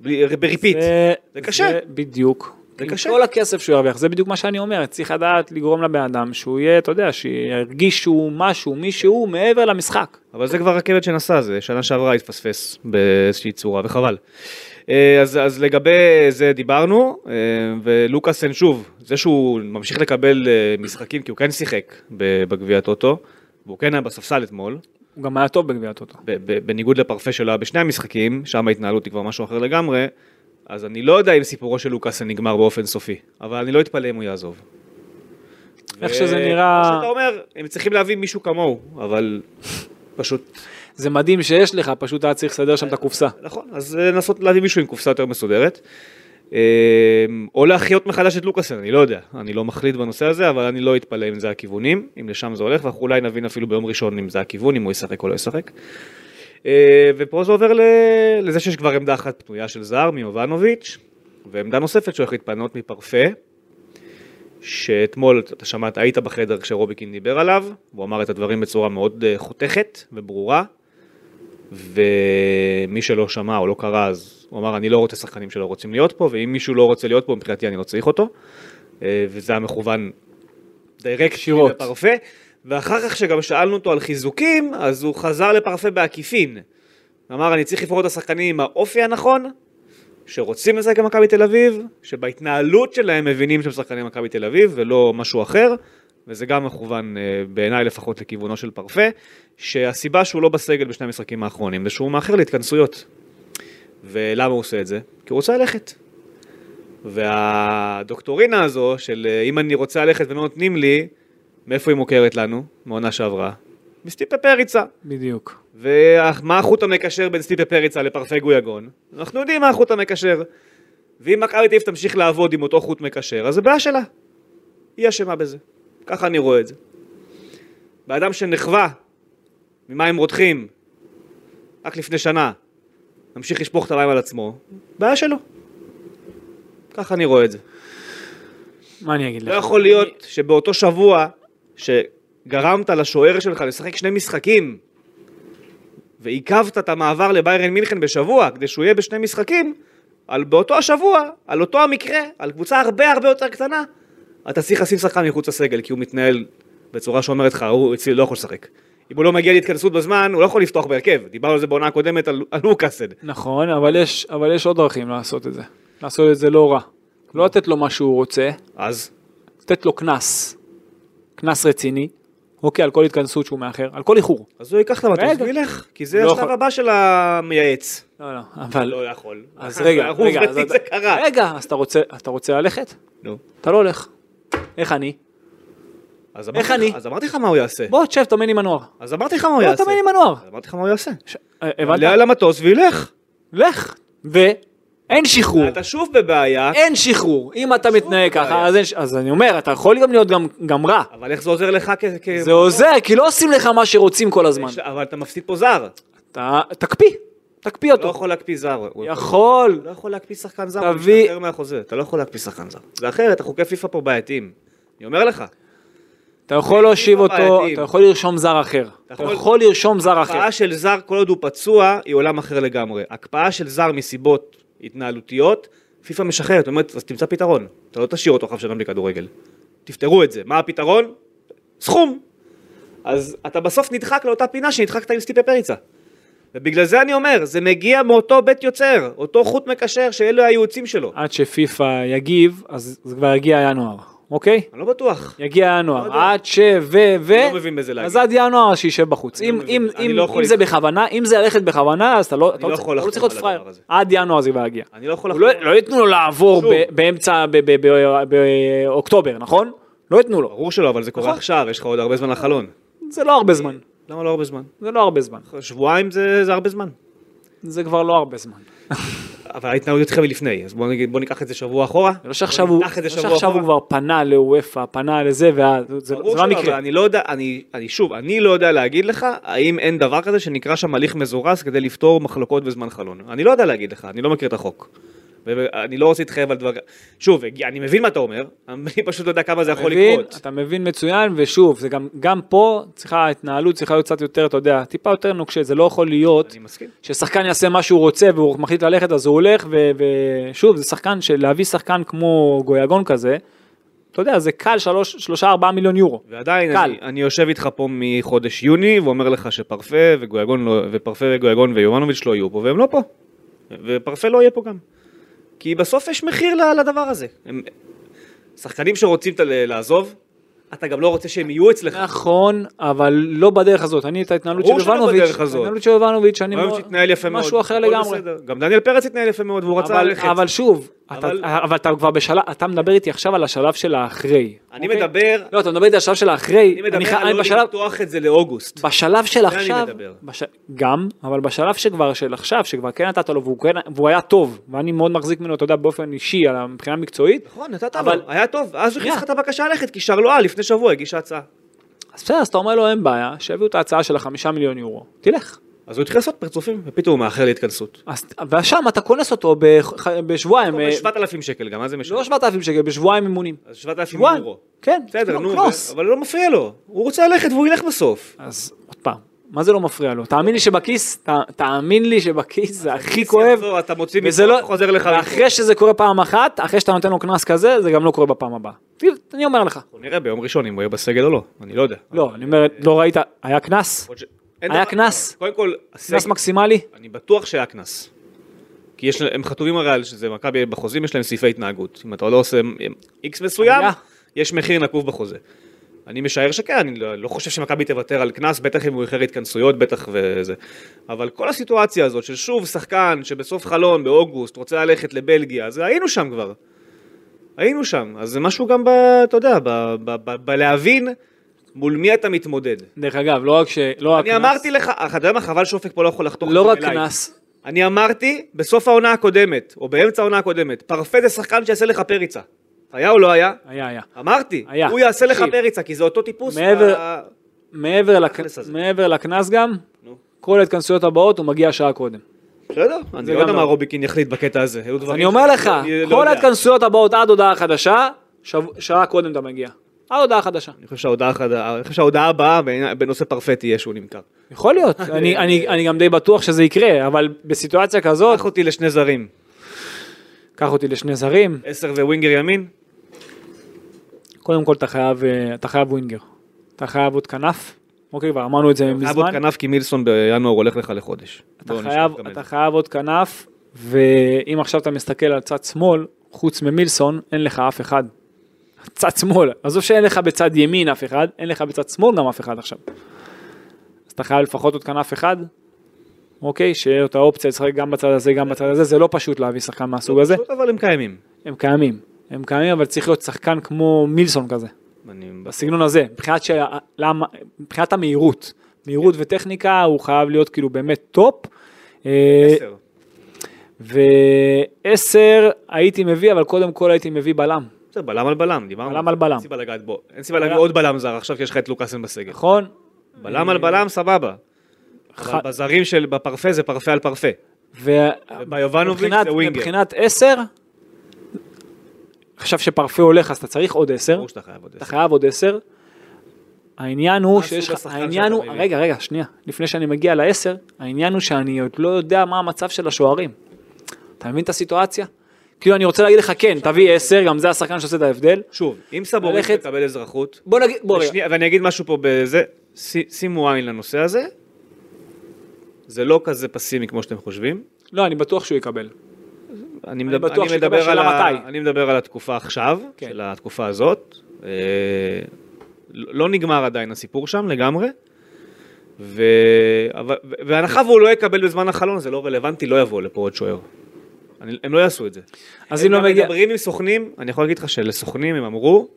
B: בלי- בריפיט.
A: זה-
B: זה קשה.
A: זה בדיוק,
B: זה
A: עם
B: קשה.
A: כל הכסף שהוא ירוויח, זה בדיוק מה שאני אומר, צריך לדעת לגרום לבן אדם שהוא יהיה, אתה יודע, שירגיש שהוא משהו, מישהו מעבר למשחק.
B: אבל זה כבר רכבת שנסע, זה שנה שעברה התפספס באיזושהי צורה, וחבל. אה, אז, אז לגבי זה דיברנו, אה, ולוקאסן שוב, זה שהוא ממשיך לקבל אה, משחקים, כי הוא כן שיחק ב- בגביע הטוטו, והוא כן היה בספסל אתמול,
A: הוא גם היה טוב בגביע הטוטו.
B: ב- ב- בניגוד לפרפה שלו היה בשני המשחקים, שם ההתנהלות היא כבר משהו אחר לגמרי, אז אני לא יודע אם סיפורו של לוקאסן נגמר באופן סופי, אבל אני לא אתפלא אם הוא יעזוב.
A: איך
B: ו-
A: שזה
B: כמו
A: נראה,
B: שאתה אומר, הם צריכים להביא מישהו כמוהו, אבל פשוט...
A: זה מדהים שיש לך, פשוט היה צריך לסדר שם את הקופסה.
B: נכון, אז אה, לנסות להביא מישהו עם קופסה יותר מסודרת. אה, או להחיות מחדש את לוקאסן, אני לא יודע, אני לא מחליט בנושא הזה, אבל אני לא אתפלא אם זה הכיוונים, אם לשם זה הולך, ואנחנו אולי נבין אפילו ביום ראשון אם זה הכיוון, אם הוא ישחק או לא ישחק. אה, ופה זה עובר ל- לזה שיש כבר עמדה אחת פנויה של זר מיובנוביץ', ועמדה נוספת שהולכת להתפנות מפרפה, שאתמול, אתה שמעת, היית בחדר כשרוביקין דיבר עליו, הוא אמר את הדברים בצורה מאוד אה, חותכת וברורה, ומי שלא שמע או לא קרא אז הוא אמר אני לא רוצה שחקנים שלא רוצים להיות פה ואם מישהו לא רוצה להיות פה מבחינתי אני לא צריך אותו אה, וזה היה מכוון דיירקט
A: ישירות.
B: לפרפה ואחר כך שגם שאלנו אותו על חיזוקים אז הוא חזר לפרפה בעקיפין אמר אני צריך לבחור את השחקנים עם האופי הנכון שרוצים לשחק במכבי תל אביב שבהתנהלות שלהם מבינים שהם שחקנים במכבי תל אביב ולא משהו אחר וזה גם מכוון אה, בעיניי לפחות לכיוונו של פרפה, שהסיבה שהוא לא בסגל בשני המשחקים האחרונים זה שהוא מאחר להתכנסויות. ולמה הוא עושה את זה? כי הוא רוצה ללכת. והדוקטורינה הזו של אה, אם אני רוצה ללכת ולא נותנים לי, מאיפה היא מוכרת לנו? מעונה שעברה. מסטיפה פריצה.
A: בדיוק.
B: ומה החוט המקשר בין סטיפה פריצה לפרפה גויגון? אנחנו יודעים מה החוט המקשר. ואם מכבי תל אביב תמשיך לעבוד עם אותו חוט מקשר, אז זה בעיה שלה. היא אשמה בזה. ככה אני רואה את זה. באדם שנחווה ממים רותחים רק לפני שנה, ממשיך לשפוך את המים על עצמו, בעיה שלו. ככה אני רואה את זה.
A: מה אני אגיד לך?
B: לא יכול להיות שבאותו שבוע שגרמת לשוער שלך לשחק שני משחקים ועיכבת את המעבר לביירן מינכן בשבוע כדי שהוא יהיה בשני משחקים, על באותו השבוע, על אותו המקרה, על קבוצה הרבה הרבה יותר קטנה, אתה צריך לשים שחקן מחוץ לסגל כי הוא מתנהל בצורה שאומרת לך, הוא אצלי לא יכול לשחק. אם הוא לא מגיע להתכנסות בזמן, הוא לא יכול לפתוח בהרכב. דיברנו על זה בעונה הקודמת על, על לוקאסד.
A: נכון, אבל יש, אבל יש עוד דרכים לעשות את זה. לעשות את זה לא רע. לא לתת לו מה שהוא רוצה,
B: אז,
A: לתת לו קנס. קנס רציני. אוקיי, על כל התכנסות שהוא מאחר, על כל איחור.
B: אז הוא ייקח את המטוס
A: רגע.
B: וילך, כי זה
A: לא
B: השלב
A: יכול.
B: הבא של המייעץ.
A: לא, לא, אבל...
B: לא יכול.
A: אז רגע,
B: הוא
A: רגע, אז אה,
B: עובדתית זה קרה.
A: רגע, אז אתה רוצה, אתה רוצה ללכת?
B: נו.
A: אתה לא הולך. איך אני?
B: אז אמרתי
A: איך
B: לך-
A: אני?
B: אז אמרתי לך מה הוא יעשה.
A: בוא, תשב, תאמן עם הנוער.
B: אז אמרתי לך מה הוא
A: בוא,
B: יעשה.
A: תאמן עם הנוער.
B: אז אמרתי לך מה הוא יעשה.
A: ש- אה,
B: עלה
A: הבנת?
B: על המטוס וילך.
A: לך. ואין שחרור.
B: אתה שוב בבעיה,
A: אין שחרור. אם אתה מתנהג
B: בעיה.
A: ככה, אז אין ש- אז אני אומר, אתה יכול גם להיות גם- גם רע.
B: אבל איך זה עוזר לך כ... כ-
A: זה עוזר, כי לא עושים לך מה שרוצים כל הזמן.
B: יש- אבל אתה מפסיד פה זר.
A: אתה- תקפיא, תקפיא
B: אתה לא
A: אותו.
B: יכול להקפיא זר. הוא-
A: יכול.
B: אתה לא יכול להקפיא שחקן זר.
A: תביא-
B: תביא... אתה מהחוזה. אתה לא יכול להקפיא שחקן זר. זה אחרת, החוקי פיפ"א פה בעייתיים. אני אומר לך.
A: אתה יכול להושיב אותו,
B: בעייתיים.
A: אתה יכול לרשום זר אחר. אתה
B: יכול- אה,
A: יכול לרשום זר אחר.
B: הקפאה של זר, כל עוד הוא פצוע, היא עולם אחר לגמרי. הקפאה של זר מסיבות התנהלותיות, פיפ"א משחררת, אומרת, אז תמצא פתרון. אתה לא תשאיר אותו עכשיו שנה בלי כדורגל. תפתרו את זה. מה הפתרון? סכום. אז אתה בסוף נדחק לאותה פינה שנדחקת עם סטיפה פריצה. ובגלל זה אני אומר, זה מגיע מאותו בית יוצר, אותו חוט מקשר שאלה הייעוצים שלו.
A: עד שפיפ"א יגיב, אז זה כבר יגיע ינואר, אוקיי?
B: אני לא בטוח.
A: יגיע
B: לא
A: ינואר,
B: יודע.
A: עד ש... ו... ו...
B: אני לא מבין בזה
A: אז
B: להגיד.
A: עד ינואר שישב בחוץ.
B: אני לא
A: אם-
B: מבין.
A: אם
B: אני
A: אם-
B: לא יכול
A: אם זה
B: לחתום.
A: בכוונה, אם זה ללכת בכוונה, אז אתה לא אתה
B: לא
A: לא צריך
B: יכול
A: אתה לא צריך להיות
B: לחתום על
A: פראייר.
B: הדבר הזה.
A: עד ינואר זה כבר יגיע.
B: אני לא יכול
A: הוא לא-
B: לחתום.
A: לא ייתנו לו לעבור
B: שוב.
A: ב- באמצע... ב- ב- ב- באוקטובר, נכון? לא ייתנו לו.
B: ברור שלא, אבל זה קורה
A: נכון.
B: עכשיו, יש לך עוד הרבה זמן לחלון.
A: זה לא הרבה זמן.
B: למה לא הרבה זמן?
A: זה לא הרבה זמן.
B: שבועיים זה זה הרבה זמן.
A: זה כבר לא הרבה זמן.
B: אבל ההתנהלות התחילה מלפני, אז בוא, נגיד, בוא ניקח את זה שבוע אחורה.
A: זה לא שעכשיו הוא,
B: ניקח את זה
A: לא
B: שבוע
A: שעכשיו הוא
B: אחורה.
A: כבר פנה לאוופא, פנה לזה, ואז- זה- זה
B: ברור
A: לא
B: שלא, אבל
A: המקרה.
B: אני לא יודע, אני, אני שוב, אני לא יודע להגיד לך האם אין דבר כזה שנקרא שם הליך מזורז כדי לפתור מחלוקות בזמן חלון. אני לא יודע להגיד לך, אני לא מכיר את החוק. ואני לא רוצה להתחייב על דבר... שוב, הגיע- אני מבין מה אתה אומר, אני פשוט לא יודע כמה זה יכול
A: מבין,
B: לקרות.
A: אתה מבין מצוין, ושוב, זה גם, גם פה צריכה, ההתנהלות צריכה להיות קצת יותר, אתה יודע, טיפה יותר נוקשה, זה לא יכול להיות
B: אני מסכים.
A: ששחקן יעשה מה שהוא רוצה והוא מחליט ללכת אז הוא הולך, ו- ושוב, זה שחקן, של- להביא שחקן כמו גויגון כזה, אתה יודע, זה קל שלוש, שלושה, ארבעה מיליון יורו.
B: ועדיין,
A: קל.
B: אני, אני יושב איתך פה מחודש יוני, ואומר לך שפרפה וגויגון, לא, ופרפה וגויגון ויובנוביץ' לא יהיו פה, והם לא פה. ופרפה לא יהיה פה גם. כי בסוף יש מחיר ל- לדבר הזה. הם... שחקנים שרוצים ת- לעזוב, אתה גם לא רוצה שהם יהיו אצלך.
A: נכון, אבל לא בדרך הזאת. אני את ההתנהלות של
B: ברור שלא
A: יובנוביץ',
B: בדרך הזאת.
A: ההתנהלות של יובנוביץ', אני
B: היום
A: מאוד-
B: שהתנהל יפה מאוד.
A: משהו אחר
B: הכל
A: לגמרי.
B: בסדר. גם דניאל פרץ התנהל יפה מאוד, והוא רצה
A: אבל,
B: ללכת.
A: אבל שוב, אתה,
B: אבל-
A: אבל אתה כבר בשלב, אתה מדבר איתי עכשיו על השלב של האחרי.
B: אני מדבר,
A: לא, אתה מדבר איתי על השלב של האחרי.
B: אני מדבר
A: אני ח-
B: על
A: אני
B: לא
A: בשלב-
B: לפתוח את זה לאוגוסט.
A: בשלב של
B: אני
A: עכשיו,
B: מדבר.
A: בש... גם, אבל בשלב שכבר של עכשיו, שכבר כן נתת לו והוא, כן, והוא היה טוב, ואני מאוד מחזיק ממנו, אתה יודע, באופן אישי, על מבחינה מקצועית,
B: נכון, נתת
A: אבל-
B: לו, היה טוב, אז הוא הכניס
A: שנייה.
B: לך את הבקשה ללכת, כי שרלואה לפני שבוע הגישה הצעה.
A: אז בסדר, אז אתה אומר לו אין בעיה, שיביאו את ההצעה של החמישה מיליון יורו, תלך.
B: אז הוא התחיל לעשות פרצופים, ופתאום הוא מאחר להתכנסות.
A: אז, ושם אתה קונס אותו בח... בשבועיים, אה,
B: ב-7,000 שקל גם, מה זה משנה?
A: לא 7,000 שקל, בשבועיים אימונים.
B: אז 7,000
A: שבועיים,
B: יורו.
A: כן,
B: בסדר, נו,
A: קלוס.
B: זה- אבל לא מפריע לו. הוא רוצה ללכת והוא ילך בסוף.
A: אז עוד פעם, מה זה לא מפריע לו? תאמין לי שבכיס, ת, תאמין לי שבכיס זה הכי כואב.
B: יחזור, אתה מוציא
A: וזה
B: מפה,
A: לא,
B: חוזר לך.
A: אחרי שזה קורה פעם אחת, אחרי שאתה נותן לו קנס כזה, זה גם לא קורה בפעם הבאה. תראי, אני אומר לך.
B: מפה. נראה ביום ראשון אם הוא יהיה בסגל או לא, אני לא יודע.
A: לא, אני אומר, לא ראית, היה קנס?
B: עוד ש- אין
A: היה
B: דבר-
A: קנס?
B: קודם כל,
A: קנס
B: הסגל,
A: מקסימלי?
B: אני בטוח שהיה קנס. כי יש, לה- הם חתומים הרי על שזה מכבי, בחוזים יש להם סעיפי התנהגות. אם אתה לא עושה איקס מסוים,
A: היה.
B: יש מחיר נקוב בחוזה. אני משער שכן, אני לא, לא חושב שמכבי תוותר על קנס, בטח אם הוא איחר התכנסויות, בטח וזה. אבל כל הסיטואציה הזאת של שוב שחקן שבסוף חלון באוגוסט רוצה ללכת לבלגיה, אז היינו שם כבר. היינו שם, אז זה משהו גם, ב, אתה יודע, ב- ב- ב- בלהבין מול מי אתה מתמודד.
A: דרך אגב, לא רק ש... לא
B: אני
A: הקנס-
B: אמרתי לך, אך, אתה יודע מה, חבל שאופק פה לא יכול לחתוך
A: לא
B: את זה
A: רק
B: אליי.
A: קנס,
B: אני אמרתי בסוף העונה הקודמת, או באמצע העונה הקודמת, פרפה זה שחקן שיעשה לך פריצה. היה או לא היה?
A: היה, היה.
B: אמרתי.
A: היה.
B: הוא יעשה לך
A: תקשיב.
B: פריצה, כי זה אותו טיפוס.
A: מעבר-
B: ה-
A: מעבר לק-
B: תכלס הזה.
A: מעבר לקנס גם,
B: נו.
A: כל ההתכנסויות הבאות הוא מגיע שעה קודם.
B: בסדר, אני לא
A: גם
B: יודע מה
A: לא.
B: רוביקין יחליט בקטע הזה. היו דברים
A: אני אומר
B: שאני-
A: לך,
B: אני לא
A: כל
B: יודע.
A: ההתכנסויות הבאות עד הודעה חדשה, שב- שעה קודם אתה מגיע. עד הודעה חדשה.
B: אני חושב שההודעה החד- אני חושב שההודעה הבאה בעיני- בנושא פרפה תהיה שהוא נמכר.
A: יכול להיות, אני- אני אני גם די בטוח שזה יקרה, אבל בסיטואציה כזאת,
B: קח אותי לשני זרים,
A: קח אותי לשני זרים,
B: עשר וווינגר ימין,
A: קודם כל אתה חייב, אה, אתה חייב ווינגר. אתה חייב עוד כנף, אוקיי, כבר אמרנו את זה
B: חייב עוד
A: מזמן.
B: כנף כי מילסון בינואר הולך לך לחודש.
A: אתה
B: בוא נשכח
A: חייב,
B: גם את
A: אתה
B: זה.
A: חייב עוד כנף, ואם עכשיו אתה מסתכל על צד שמאל, חוץ ממילסון, אין לך אף אחד. צד שמאל, עזוב שאין לך בצד ימין אף אחד, אין לך בצד שמאל גם אף אחד עכשיו. אז אתה חייב לפחות עוד כנף אחד, אוקיי, שיהיה לו את האופציה לשחק גם בצד הזה, גם בצד הזה, זה לא פשוט להביא שחקן מהסוג הזה,
B: פשוט, אבל הם קיימים.
A: הם קיימים, הם קיימים, אבל צריך להיות שחקן כמו מילסון כזה.
B: אני-
A: בסגנון הזה, מבחינת, ש... למה... מבחינת המהירות,
B: כן.
A: מהירות וטכניקה הוא חייב להיות כאילו באמת טופ. אה,
B: עשר.
A: ועשר הייתי מביא, אבל קודם כל הייתי מביא בלם,
B: בסדר, בלם על בלם, דיברנו.
A: בלם על בלם.
B: אין סיבה לגעת בו. אין סיבה להביא
A: בלם.
B: עוד בלם זר עכשיו שיש לך את לוקאסן בסגל.
A: נכון?
B: בלם על בלם, סבבה.
A: ח-
B: אבל בזרים של, בפרפה זה פרפה על פרפה.
A: ו-
B: וביובנוביץ'
A: מבחינת-
B: זה ווינגר.
A: מבחינת עשר, עכשיו שפרפה הולך אז אתה צריך עוד עשר,
B: ברור שאתה חייב עוד
A: אתה
B: עשר.
A: חייב עוד עשר. העניין הוא
B: מה
A: שיש
B: אה, סוג
A: לך,
B: השחקן
A: העניין הוא,
B: שאתה מביא?
A: רגע, רגע, שנייה, לפני שאני מגיע לעשר, העניין הוא שאני עוד לא יודע מה המצב של השוערים. אתה מבין את הסיטואציה? כאילו, אני רוצה להגיד לך, כן, תביא עשר, גם זה השחקן שעושה את ההבדל.
B: שוב, אם סבורית
A: ללכת-
B: תקבל אזרחות,
A: בוא נגיד, בוא רגע,
B: ושנייה, ואני אגיד משהו פה בזה, ש- שימו עין לנושא הזה, זה לא כזה פסימי כמו שאתם חושבים.
A: לא, אני בטוח שהוא יקבל.
B: אני מדבר,
A: בטוח
B: אני
A: שתקבל
B: מדבר, על,
A: שאלה
B: ה...
A: מתי.
B: אני מדבר על התקופה עכשיו,
A: כן.
B: של התקופה הזאת. אה, לא נגמר עדיין הסיפור שם לגמרי. ו... אבל... ו- והנחה והוא לא יקבל בזמן החלון, זה לא רלוונטי, לא יבוא לפה עוד שוער. אני... הם לא יעשו את זה.
A: אז אם לא
B: הם
A: מגיע,
B: מדברים עם סוכנים, אני יכול להגיד לך שלסוכנים הם אמרו,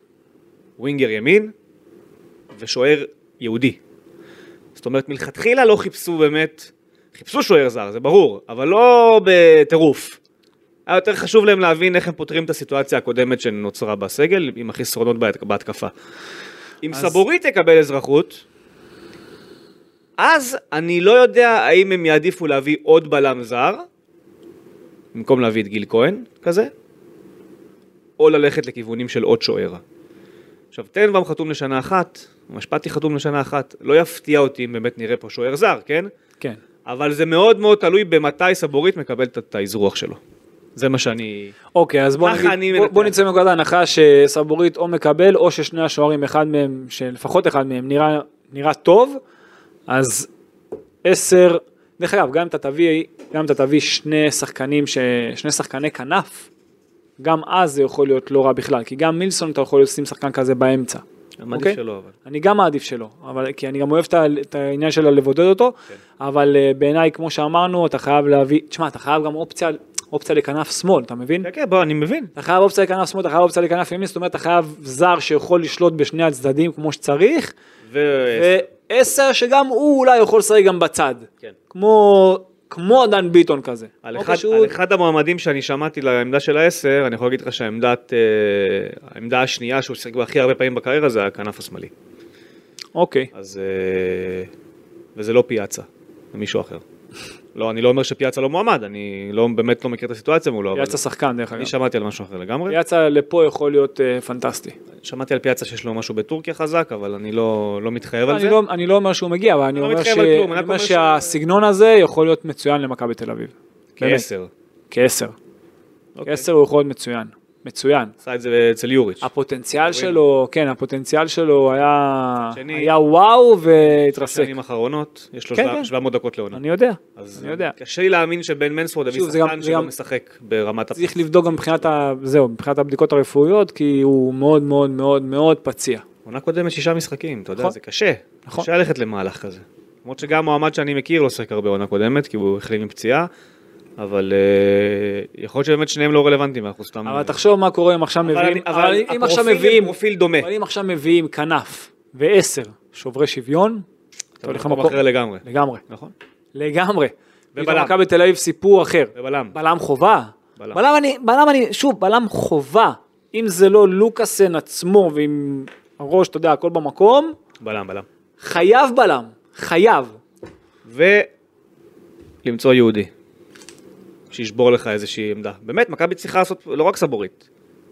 B: ווינגר ימין ושוער יהודי. זאת אומרת, מלכתחילה לא חיפשו באמת, חיפשו שוער זר, זה ברור, אבל לא בטירוף. היה יותר חשוב להם להבין איך הם פותרים את הסיטואציה הקודמת שנוצרה בסגל, עם החסרונות בהת- בהתקפה. אם
A: אז-
B: סבורית יקבל אזרחות, אז אני לא יודע האם הם יעדיפו להביא עוד בלם זר, במקום להביא את גיל כהן כזה, או ללכת לכיוונים של עוד שוער. עכשיו, טנבאום חתום לשנה אחת, משפטי חתום לשנה אחת, לא יפתיע אותי אם באמת נראה פה שוער זר, כן?
A: כן.
B: אבל זה מאוד מאוד תלוי במתי סבורית מקבל את- את האזרוח שלו. זה מה שאני...
A: אוקיי, אז בוא,
B: ככה
A: נגיד,
B: אני
A: בוא,
B: מנתח.
A: בוא נצא מנקודת ההנחה שסבורית או מקבל, או ששני השוערים, אחד מהם, שלפחות אחד מהם נראה, נראה טוב, אז עשר, דרך אגב, גם אם אתה תביא, גם אם אתה תביא שני שחקנים, ש, שני שחקני כנף, גם אז זה יכול להיות לא רע בכלל, כי גם מילסון אתה יכול לשים שחקן כזה באמצע.
B: אמרתי
A: אוקיי.
B: שלא, אבל...
A: אני גם מעדיף שלא, אבל, כי אני גם אוהב את ה- את העניין שלה לבודד אותו,
B: כן.
A: אבל אה, בעיניי, כמו שאמרנו, אתה חייב להביא, תשמע, אתה חייב גם אופציה, אופציה לכנף שמאל, אתה מבין?
B: כן, כן, בוא, אני מבין.
A: אתה חייב אופציה לכנף שמאל, אתה חייב אופציה לכנף ימין, זאת אומרת, אתה חייב זר שיכול לשלוט בשני הצדדים כמו שצריך,
B: ו...
A: ועשר שגם הוא אולי יכול לשחק גם בצד.
B: כן.
A: כמו, כמו דן ביטון כזה.
B: על
A: או
B: אחד,
A: לא פשוט-
B: על אחד המועמדים שאני שמעתי לעמדה של העשר, אני יכול להגיד לך שהעמדת, אה, העמדה השנייה שהוא שיחק בה הכי הרבה פעמים בקריירה זה הכנף השמאלי.
A: אוקיי.
B: אז... אה, וזה לא פיאצה, זה מישהו אחר. לא, אני לא אומר שפיאצה לא מועמד, אני לא, באמת לא מכיר את הסיטואציה מולו, אבל...
A: יצא שחקן דרך אגב.
B: אני שמעתי על משהו אחר לגמרי.
A: יצא לפה יכול להיות אה, פנטסטי.
B: שמעתי על פיאצה שיש לו משהו בטורקיה חזק, אבל אני לא, לא מתחייב על
A: אני
B: זה.
A: לא, אני לא אומר שהוא מגיע, אבל אני
B: לא
A: אומר, ש...
B: מתחייב על כלום, אני
A: אני
B: רק
A: אומר
B: אומר ש-
A: שהסגנון הזה יכול להיות מצוין למכבי תל אביב. באמת.
B: כעשר.
A: כעשר.
B: אוקיי.
A: כעשר הוא יכול להיות מצוין. מצוין.
B: עשה את זה אצל יוריץ'.
A: הפוטנציאל שלו, כן, הפוטנציאל שלו היה,
B: שני-
A: היה וואו והתרסק.
B: שנים האחרונות, יש לו
A: כן,
B: שבע-
A: כן.
B: 700 דקות לעונה.
A: אני יודע,
B: אז כן.
A: אני יודע.
B: קשה לי להאמין שבן מנספורד הביא
A: שוב, זה גם-
B: שחקן
A: זה
B: שלא
A: גם-
B: משחק ברמת הפ...
A: צריך לבדוק גם מבחינת, ה... זהו, מבחינת הבדיקות הרפואיות, כי הוא מאוד מאוד מאוד מאוד פציע.
B: עונה קודמת שישה משחקים, אתה יודע,
A: נכון.
B: זה קשה.
A: נכון.
B: קשה ללכת למהלך כזה. למרות שגם מועמד שאני מכיר לא שיחק הרבה עונה קודמת, כי הוא החלים מפציעה, אבל אה, יכול להיות שבאמת שניהם לא רלוונטיים, אנחנו סתם...
A: אבל תחשוב מה קורה אם עכשיו מביאים,
B: אבל
A: אבל אם עכשיו
B: הפרופיל
A: מביאים,
B: פרופיל דומה.
A: אבל אם עכשיו מביאים כנף ועשר שוברי שוויון, אתה הולך
B: במקום
A: למקום,
B: אחר לגמרי.
A: לגמרי,
B: נכון.
A: לגמרי.
B: ובלם.
A: ובלם. מכבי תל אביב סיפור אחר.
B: ובלם.
A: בלם חובה.
B: בלם.
A: בלם אני, בלם אני, שוב, בלם חובה. אם זה לא לוקאסן עצמו ועם הראש, אתה יודע, הכל במקום,
B: בלם, בלם.
A: חייב בלם, חייב.
B: ולמצוא יהודי, שישבור לך איזושהי עמדה. באמת, מכבי צריכה לעשות לא רק סבורית.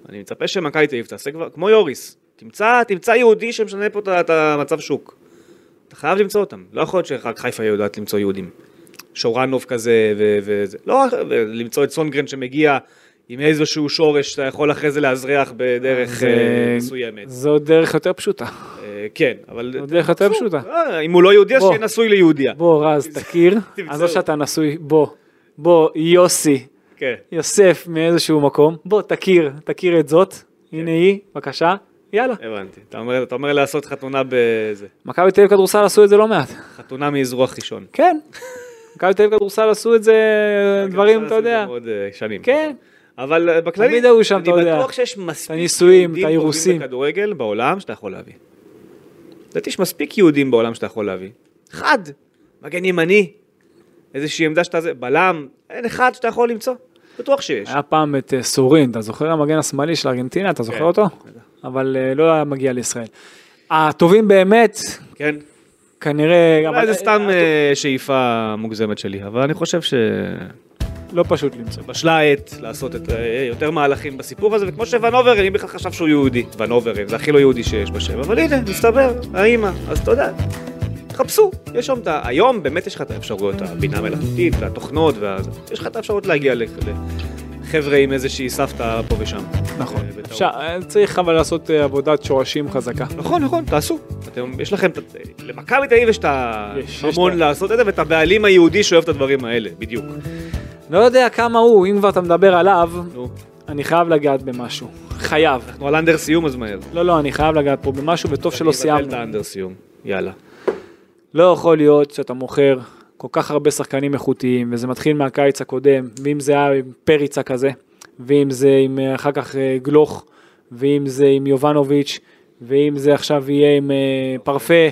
B: אני מצפה שמכבי תל אביב תעשה כבר, כמו יוריס, תמצא, תמצא יהודי שמשנה פה את ה- את המצב שוק. אתה חייב למצוא אותם, לא יכול להיות שרק חיפה יודעת למצוא יהודים. שורנוב כזה ו- וזה, לא, למצוא את סונגרן שמגיע עם איזשהו שורש שאתה יכול אחרי זה לאזרח בדרך אה, מסוימת.
A: זו דרך יותר פשוטה.
B: אה, כן, אבל...
A: זו דרך יותר
B: עזוב,
A: פשוטה.
B: אה, אם הוא לא יהודי אז
A: בוא.
B: שיהיה נשוי ליהודיה.
A: בוא, רז, תכיר.
B: תמצאו.
A: עזוב שאתה נשוי, בוא. בוא, יוסי,
B: כן.
A: יוסף מאיזשהו מקום. בוא, תכיר, תכיר את זאת. הנה היא, בבקשה. יאללה.
B: הבנתי. אתה אומר, אתה אומר לעשות חתונה בזה.
A: מכבי תל אביב כדורסל עשו את זה לא מעט.
B: חתונה מאזרוח ראשון.
A: כן. מכבי תל אביב כדורסל עשו את זה, כן, דברים, אתה יודע.
B: עוד אה, שנים.
A: כן.
B: אבל אה, בכללי,
A: תמיד היו שם, אתה
B: אני
A: יודע.
B: בטוח שיש מספיק
A: הנישואים,
B: יהודים
A: את האירוסים.
B: טובים בכדורגל בעולם שאתה יכול להביא. לדעתי יש מספיק יהודים בעולם שאתה יכול להביא. אחד, מגן ימני, איזושהי עמדה שאתה זה, בלם, אין אחד שאתה יכול למצוא. בטוח שיש.
A: היה פעם את אה, סורין, אתה זוכר המגן השמאלי של ארגנטינה, אתה זוכר
B: כן,
A: אותו? אבל אה, לא היה מגיע לישראל. הטובים באמת,
B: כן.
A: כנראה, גם-
B: אולי זה סתם אה, שאיפה מוגזמת שלי, אבל אני חושב ש...
A: לא פשוט למצוא.
B: בשלה העת לעשות את, אה, יותר מהלכים בסיפור הזה, וכמו שוון אוברן, אם בכלל חשב שהוא יהודי. וון אוברן, זה הכי לא יהודי שיש בשם, אבל הנה, מסתבר, האימא, אז אתה יודע, חפשו, יש שם את ה... היום באמת יש לך את האפשרויות, הבינה המלאכותית והתוכנות, וה... יש לך את האפשרות להגיע לח- לחבר'ה עם איזושהי סבתא פה ושם.
A: נכון.
B: אה, בטעות.
A: אפשר- אה, צריך אבל לעשות אה, עבודת שורשים חזקה.
B: נכון, נכון, תעשו. אתם, יש לכם, את- למכבי תל אביב יש את
A: יש, יש
B: הממון
A: את ה-
B: לעשות את זה, ואת הבעלים היהודי שאוהב את הדברים האלה, בדיוק.
A: לא יודע כמה הוא, אם כבר אתה מדבר עליו,
B: נו,
A: אני חייב לגעת במשהו. חייב.
B: אנחנו על אנדר סיום אז מהר.
A: לא, לא, אני חייב לגעת פה במשהו, וטוב שלא
B: אני
A: סיימנו.
B: מבטל את האנדר סיום, יאללה.
A: לא יכול להיות שאתה מוכר כל כך הרבה שחקנים איכותיים, וזה מתחיל מהקיץ הקודם, ואם זה היה עם פריצה כזה, ואם זה עם אה, אחר כך אה, גלוך, ואם זה עם יובנוביץ', ואם זה עכשיו יהיה עם אה, פרפה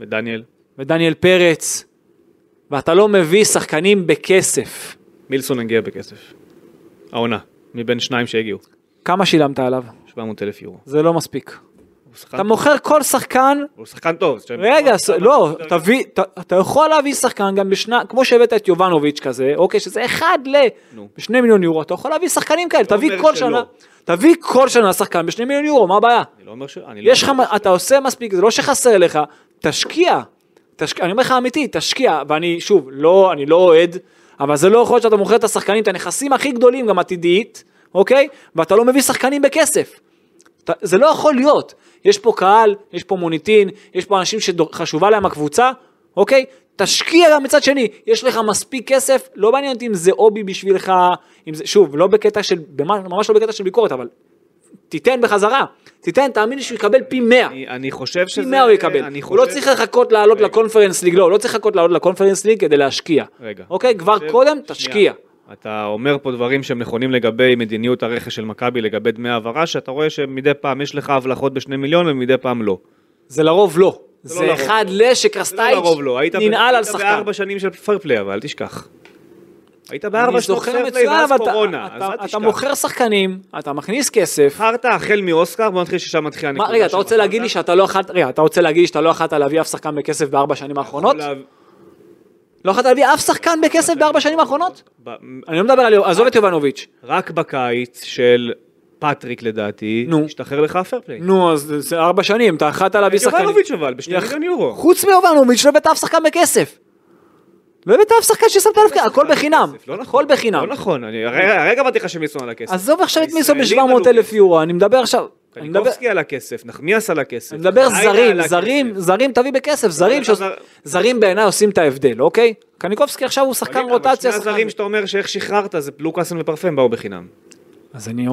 B: ודניאל?
A: ודניאל פרץ, ואתה לא מביא שחקנים בכסף.
B: מילסון הגיע בכסף. העונה, מבין שניים שהגיעו,
A: כמה שילמת עליו?
B: 700 אלף יורו.
A: זה לא מספיק.
B: הוא שחקן-
A: אתה מוכר כל שחקן,
B: הוא שחקן טוב. אז שאני-
A: רגע, ס- לא,
B: יותר-
A: תביא, ת- אתה יכול להביא שחקן גם בשנה, כמו שהבאת את יובנוביץ' כזה, אוקיי, שזה אחד ל...
B: נו.
A: בשני מיליון יורו, אתה יכול להביא שחקנים כאלה, תביא
B: אומר
A: כל
B: שלא.
A: שנה, תביא כל שנה שחקן בשני מיליון יורו, מה הבעיה?
B: אני לא אומר ש... אני לא
A: יש לך,
B: אומר-
A: אתה עושה מספיק, זה לא שחסר לך, תשקיע. תשק... אני אומר לך אמיתי, תשקיע, ואני, שוב, לא, אני לא אוהד, אבל זה לא יכול להיות שאתה מוכר את השחקנים, את הנכסים הכי גדולים, גם עתידית, אוקיי? ואתה לא מביא שחקנים בכסף. אתה, זה לא יכול להיות. יש פה קהל, יש פה מוניטין, יש פה אנשים שחשובה להם הקבוצה, אוקיי? תשקיע גם מצד שני, יש לך מספיק כסף, לא מעניין אותי אם זה הובי בשבילך, אם זה, שוב, לא בקטע של, במה- ממש לא בקטע של ביקורת, אבל תיתן בחזרה, תיתן, תאמין לי שהוא יקבל פי 100.
B: אני- אני חושב שזה...
A: פי 100 הוא יקבל.
B: אני
A: הוא לא
B: חושב-
A: צריך לחכות לעלות
B: רגע.
A: לקונפרנס ליג, לא, הוא לא צריך לחכות לעלות לקונפרנס ליג כדי להשקיע.
B: רגע.
A: אוקיי? כבר
B: חושב-
A: קודם
B: שנייה.
A: תשקיע.
B: אתה אומר פה דברים שהם נכונים לגבי מדיניות הרכש של מכבי, לגבי דמי העברה, שאתה רואה שמדי פעם יש לך הבלחות בשני מיליון ומדי פעם לא.
A: זה לרוב לא.
B: זה לא
A: זה
B: לרוב
A: אחד
B: לא.
A: ל
B: זה לא
A: שקרסטייץ'
B: לרוב לא, היית ב-
A: ננעל על
B: היית
A: שחקן.
B: בארבע שנים של פרפליי, אבל אל תשכח. היית בארבע
A: אני
B: שנות
A: זוכר
B: פרפליי
A: מצוין,
B: ואז
A: אבל אתה-
B: קורונה, אז
A: אתה-
B: אל
A: אתה
B: תשכח.
A: מוכר שחקנים, אתה מכניס כסף.
B: בחרת החל מאוסקר, בוא נתחיל ששם מתחילה
A: מה,
B: הנקודה.
A: רגע, אתה רוצה
B: שבחרת.
A: להגיד לי שאתה לא יכולת, רגע, אתה רוצה להגיד לי שאתה לא יכולת להביא אף שחקן בכסף בארבע שנים האחרונות? לא יכולת להביא אף שחקן בכסף בארבע שנים האחרונות?
B: ב-
A: אני לא מדבר על, עזוב את יובנוביץ'.
B: רק בקיץ של פטריק לדעתי,
A: נו.
B: השתחרר לך הפרפליי.
A: נו, אז זה- זה ארבע שנים, אתה יכולת להביא שחקנים.
B: יובנוביץ' אבל, בשני
A: יח-
B: מיליון יורו.
A: חוץ מיובנוביץ' לא הבאת אף שחקן בכסף. לא הבאת אף שחקן ששמת עליו כסף, הכל בחינם.
B: לא נכון.
A: הכל בחינם.
B: לא נכון, אני- הרגע הרגע אמרתי לך שמילסון על הכסף.
A: עזוב עכשיו את מיסו
B: הישראלים
A: ב-700
B: עלו
A: אלף יורו, אני מדבר עכשיו. אני מדבר-
B: קניקובסקי על הכסף, נחמיאס על הכסף.
A: אני מדבר
B: חיילה על
A: זרים,
B: הכסף.
A: זרים, זרים תביא בכסף, זרים
B: אבל-
A: שעוש-
B: אבל-
A: זרים בעיניי עושים את ההבדל, אוקיי? קניקובסקי עכשיו הוא
B: אבל
A: שחקן
B: הנה, אבל
A: רוטציה.
B: שני
A: שחקן-
B: הזרים שאתה אומר שאיך שחררת, זה לוקאסן ופרפם באו בחינם.
A: אז אני...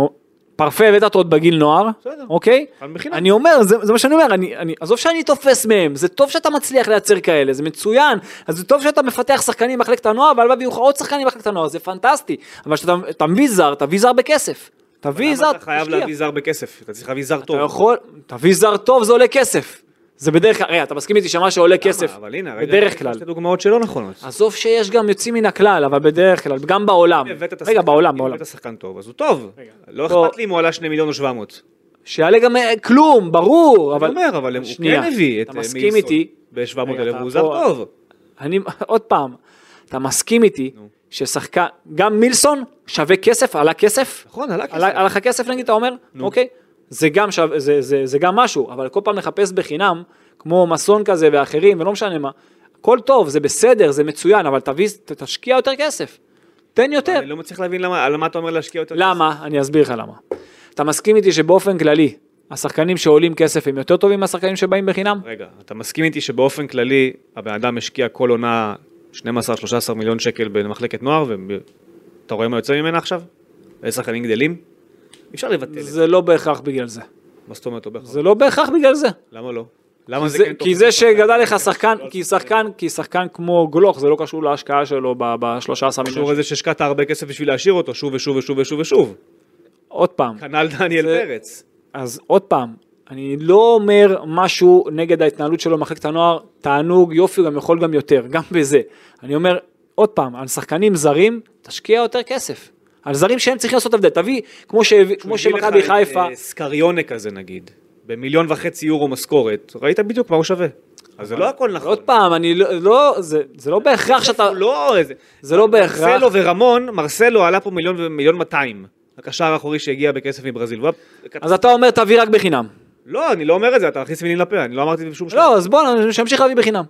A: פרפה הבאת אותו עוד בגיל נוער,
B: בסדר.
A: אוקיי?
B: אבל בחינם.
A: אני אומר, זה, זה מה שאני אומר, אני, אני, עזוב שאני תופס מהם, זה טוב שאתה מצליח לייצר כאלה, זה מצוין, אז זה טוב שאתה מפתח שחקנים במחלקת הנוער, והלוואי ויהיו לך עוד שחקנים במחלקת הנוער, זה פנטסטי, אבל כשאתה תביא זר, תביא זר בכסף, תביא
B: למה
A: זר,
B: אתה חייב
A: תשקיע.
B: להביא זר בכסף, אתה צריך להביא זר
A: אתה לא
B: טוב.
A: יכול, תביא זר טוב, זה עולה כסף. זה בדרך כלל, רגע, אתה מסכים איתי שמה שעולה כסף,
B: אבל הנה, הרגע
A: בדרך
B: יש
A: כלל.
B: שתי דוגמאות שלא נכונות.
A: עזוב שיש גם יוצאים מן הכלל, אבל בדרך כלל, גם בעולם.
B: הבאת את
A: רגע,
B: השחקן-
A: בעולם,
B: אם
A: בעולם.
B: הבאת שחקן טוב, אז הוא טוב. לא
A: בוא.
B: אכפת לי אם הוא עלה 2 מיליון או 700.
A: שיעלה גם אה, כלום, ברור,
B: אבל...
A: אבל...
B: אני אומר, אבל הם- הוא
A: שנייה,
B: כן הביא את
A: אתה
B: אה,
A: מסכים
B: מילסון
A: איתי?
B: ב-700
A: רגע,
B: אלף,
A: אתה
B: הוא זר
A: פה-
B: טוב.
A: אני, עוד פעם, אתה מסכים איתי ששחקן, גם מילסון שווה כסף, עלה כסף?
B: נכון, עלה כסף.
A: עלה עלה לך כסף נגיד, אתה אומר? אוקיי. זה גם, שו, זה, זה, זה גם משהו, אבל כל פעם לחפש בחינם, כמו מסון כזה ואחרים, ולא משנה מה, הכל טוב, זה בסדר, זה מצוין, אבל תביא, ת- תשקיע יותר כסף. תן יותר.
B: אני לא מצליח להבין למה למה אתה אומר להשקיע יותר.
A: למה? אני אסביר לך למה. אתה מסכים איתי שבאופן כללי, השחקנים שעולים כסף הם יותר טובים מהשחקנים שבאים בחינם?
B: רגע, אתה מסכים איתי שבאופן כללי הבן אדם השקיע כל עונה 12-13 מיליון שקל במחלקת נוער, ואתה רואה מה יוצא ממנה עכשיו? איזה שחקנים גדלים? אי אפשר לבטל את זה.
A: זה לא בהכרח בגלל זה.
B: מה זאת אומרת לא בהכרח?
A: זה לא בהכרח בגלל זה.
B: למה לא? למה זה
A: זה-
B: כן טוב?
A: כי זה שגדל לך שחקן, כי שחקן, כי שחקן כמו גלוך, זה לא קשור להשקעה שלו ב-13
B: קשור
A: מיליון.
B: לזה שהשקעת הרבה כסף בשביל להשאיר אותו שוב ושוב ושוב ושוב ושוב.
A: עוד פעם,
B: כנ"ל דניאל
A: זה-
B: פרץ.
A: אז עוד פעם, אני לא אומר משהו נגד ההתנהלות שלו במחלקת הנוער, תענוג, יופי, גם יכול גם יותר, גם בזה. אני אומר, עוד פעם, על שחקנים זרים, תשקיע יותר כסף. על זרים שהם צריכים לעשות הבדל, תביא, כמו שהביא- כמו
B: הביא לך
A: שמכבי
B: את,
A: חיפה,
B: אה, סקריונה כזה נגיד, במיליון וחצי יורו משכורת, ראית בדיוק מה הוא שווה. אז זה לא הכל נכון.
A: עוד פעם, אני לא- לא, זה זה לא בהכרח שאתה,
B: הוא לא איזה...
A: זה לא בהכרח,
B: מרסלו ורמון, מרסלו עלה פה מיליון ומיליון 200. הקשר האחורי שהגיע בכסף מברזיל. והוא-
A: אז אתה אומר תביא רק בחינם.
B: לא, אני לא אומר את זה, אתה מכניס מילים לפה, אני לא אמרתי את זה בשום שלב.
A: לא, אז בוא, שימשיך להביא בחינם.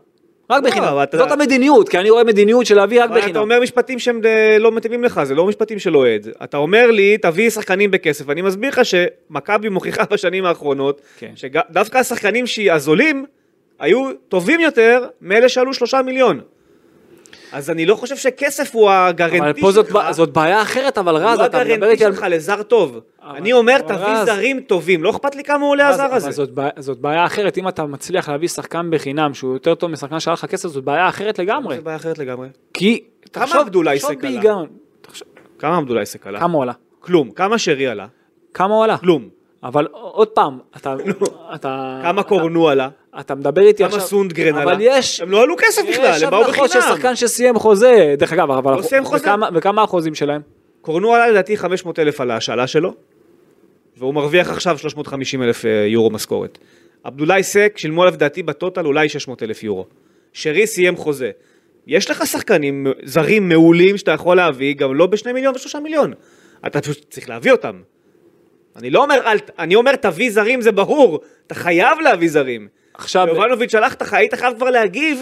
A: רק
B: לא,
A: בחינם.
B: אבל אתה-
A: זאת המדיניות, כי אני רואה מדיניות של להביא רק
B: אבל אתה
A: בחינם.
B: אומר משפטים שהם אה, לא מתאימים לך, זה לא משפטים של אוהד. אתה אומר לי, תביא שחקנים בכסף. אני מסביר לך שמכבי מוכיחה בשנים האחרונות,
A: כן.
B: שדווקא השחקנים שהיא הזולים, היו טובים יותר מאלה שעלו שלושה מיליון. אז אני לא חושב שכסף הוא
A: אבל
B: הגרנטי
A: פה זאת
B: שלך.
A: בע- זאת בעיה אחרת, אבל רז,
B: לא
A: אתה מדבר איתי
B: הגרנטי
A: על...
B: שלך לזר טוב.
A: אבל-
B: אני אומר,
A: אבל
B: תביא
A: רז-
B: זרים טובים, לא אכפת לי כמה עולה
A: רז,
B: הזר
A: אבל
B: הזה.
A: זאת בעיה- זאת בעיה אחרת, אם אתה מצליח להביא שחקן בחינם שהוא יותר טוב משחקן שהיה לך כסף, זאת בעיה אחרת לגמרי.
B: זה בעיה אחרת לגמרי.
A: כי...
B: כמה
A: תחשוב-
B: עבדולאי
A: תחשוב
B: סק עלה?
A: בהיגיון. תחשוב-
B: כמה עמדו לעסק עלה?
A: כמה הוא עלה?
B: כלום. כמה שרי עלה?
A: כמה הוא עלה?
B: כלום.
A: אבל עוד פעם, אתה... אתה-
B: כמה קורנו עלה?
A: אתה מדבר איתי
B: כמה
A: עכשיו...
B: סונדגרן עלה?
A: אבל יש...
B: הם לא עלו כסף בכלל,
A: יש
B: הם באו
A: הבלחות של
B: בחינם.
A: שחקן שסיים חוזה, דרך אגב, אבל...
B: לא סיים חוזה.
A: וכמה- וכמה החוזים שלהם?
B: קורנו עלה לדעתי 500 אלף על ההשאלה שלו. והוא מרוויח עכשיו 350 אלף אה, יורו משכורת. עבדולאי סק שילמו עליו לדעתי בטוטל אולי 600 אלף יורו. שרי סיים חוזה. יש לך שחקנים זרים מעולים שאתה יכול להביא, גם לא בשני מיליון ושלושה מיליון. אתה פשוט צריך להביא אותם. אני לא אומר, אל, ת- אני אומר תביא זרים זה ברור, אתה חייב להביא זרים.
A: עכשיו,
B: יובנוביץ' הלך, אתה היית חייב כבר להגיב,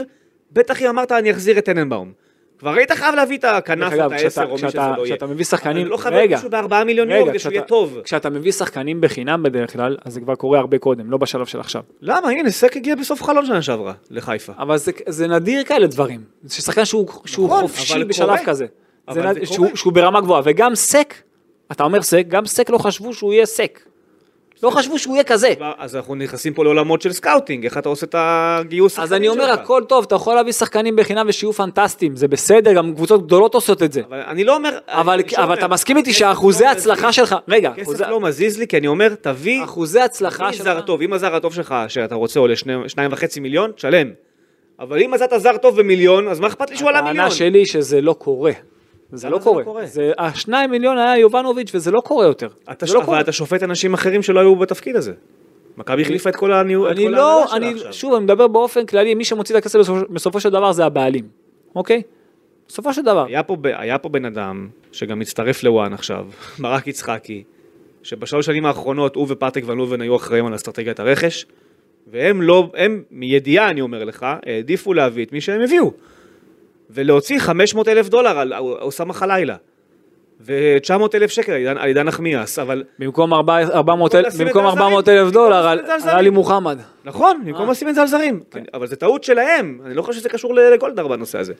B: בטח אם אמרת אני אחזיר את טננבאום. כבר היית חייב להביא את הכנף,
A: דרך
B: את
A: אגב,
B: העשר,
A: כשאתה-
B: או מי שזה
A: כשאתה-
B: לא יהיה.
A: כשאתה מביא שחקנים,
B: אבל לא חייב
A: רגע,
B: מישהו בארבעה מיליון
A: רגע,
B: יורו כדי שהוא יהיה
A: כשאתה-
B: טוב.
A: כשאתה מביא שחקנים בחינם בדרך כלל, אז זה כבר קורה הרבה קודם, לא בשלב של עכשיו.
B: למה? הנה, סק הגיע בסוף חלון שנה שעברה, לחיפה.
A: אבל זה, זה נדיר כאלה דברים. ששחקן שהוא, שהוא
B: נכון,
A: חופשי
B: אבל
A: בשלב
B: קורה.
A: כזה. זה
B: אבל
A: נד...
B: זה
A: שהוא,
B: קורה.
A: שהוא ברמה גבוהה. וגם סק, אתה אומר סק, גם סק לא חשבו שהוא יהיה סק. לא חשבו שהוא יהיה כזה.
B: כבר- אז אנחנו נכנסים פה לעולמות של סקאוטינג, איך אתה עושה את
A: אז
B: הגיוס השחקנים
A: אני אומר,
B: שלך.
A: הכל טוב, אתה יכול להביא שחקנים בחינם ושיהיו פנטסטיים, זה בסדר, גם קבוצות גדולות עושות את זה.
B: אבל אני לא אומר...
A: אבל,
B: אני
A: אבל
B: אומר,
A: אתה מסכים איתי
B: כסף
A: שאחוזי
B: לא
A: ההצלחה
B: מזיז-
A: שלך, רגע, אחוזי-
B: כסף לא מזיז לי, כי אני אומר, תביא
A: אחוזי ההצלחה
B: תביא
A: שלך,
B: זר טוב. אם הזר הטוב שלך, שאתה רוצה, עולה שני- שניים וחצי מיליון, תשלם. אבל אם מצאת זר טוב במיליון, אז מה אכפת לי שהוא עלה מיליון?
A: הטענה שלי שזה לא קורה. זה
B: למה
A: לא
B: זה לא
A: קורה.
B: קורה?
A: זה- השניים מיליון היה יובנוביץ' וזה לא קורה יותר.
B: אתה
A: זה
B: ש-
A: לא
B: אבל
A: קורה.
B: אתה שופט אנשים אחרים שלא היו בתפקיד הזה. מכבי החליפה את כל הניהול, את
A: אני
B: כל
A: לא,
B: ההנהלה
A: אני,
B: שלה עכשיו.
A: שוב, אני מדבר באופן כללי, מי שמוציא את הכסף בסופו- בסופו של דבר זה הבעלים, אוקיי? בסופו של דבר.
B: היה פה, ב- היה פה בן אדם, שגם הצטרף לוואן עכשיו, ברק יצחקי, שבשלוש שנים האחרונות הוא ופטריק ון לובן היו אחראים על אסטרטגיית הרכש, והם לא, הם, מידיעה אני אומר לך, העדיפו להביא את מי שהם הביאו. ולהוציא 500 אלף דולר על על אוסאמה חלילה. ו-900 אלף שקל על עידן- על עידן נחמיאס, אבל
A: במקום 400 אלף-
B: לשים את
A: במקום
B: הזרים.
A: 400 אלף דולר,
B: במקום
A: על
B: לשים את הזרים.
A: על עלי מוחמד.
B: נכון, במקום לשים את זה על זרים. אני- אבל זה טעות שלהם, אני לא חושב שזה קשור ל- לגולדהר בנושא הזה.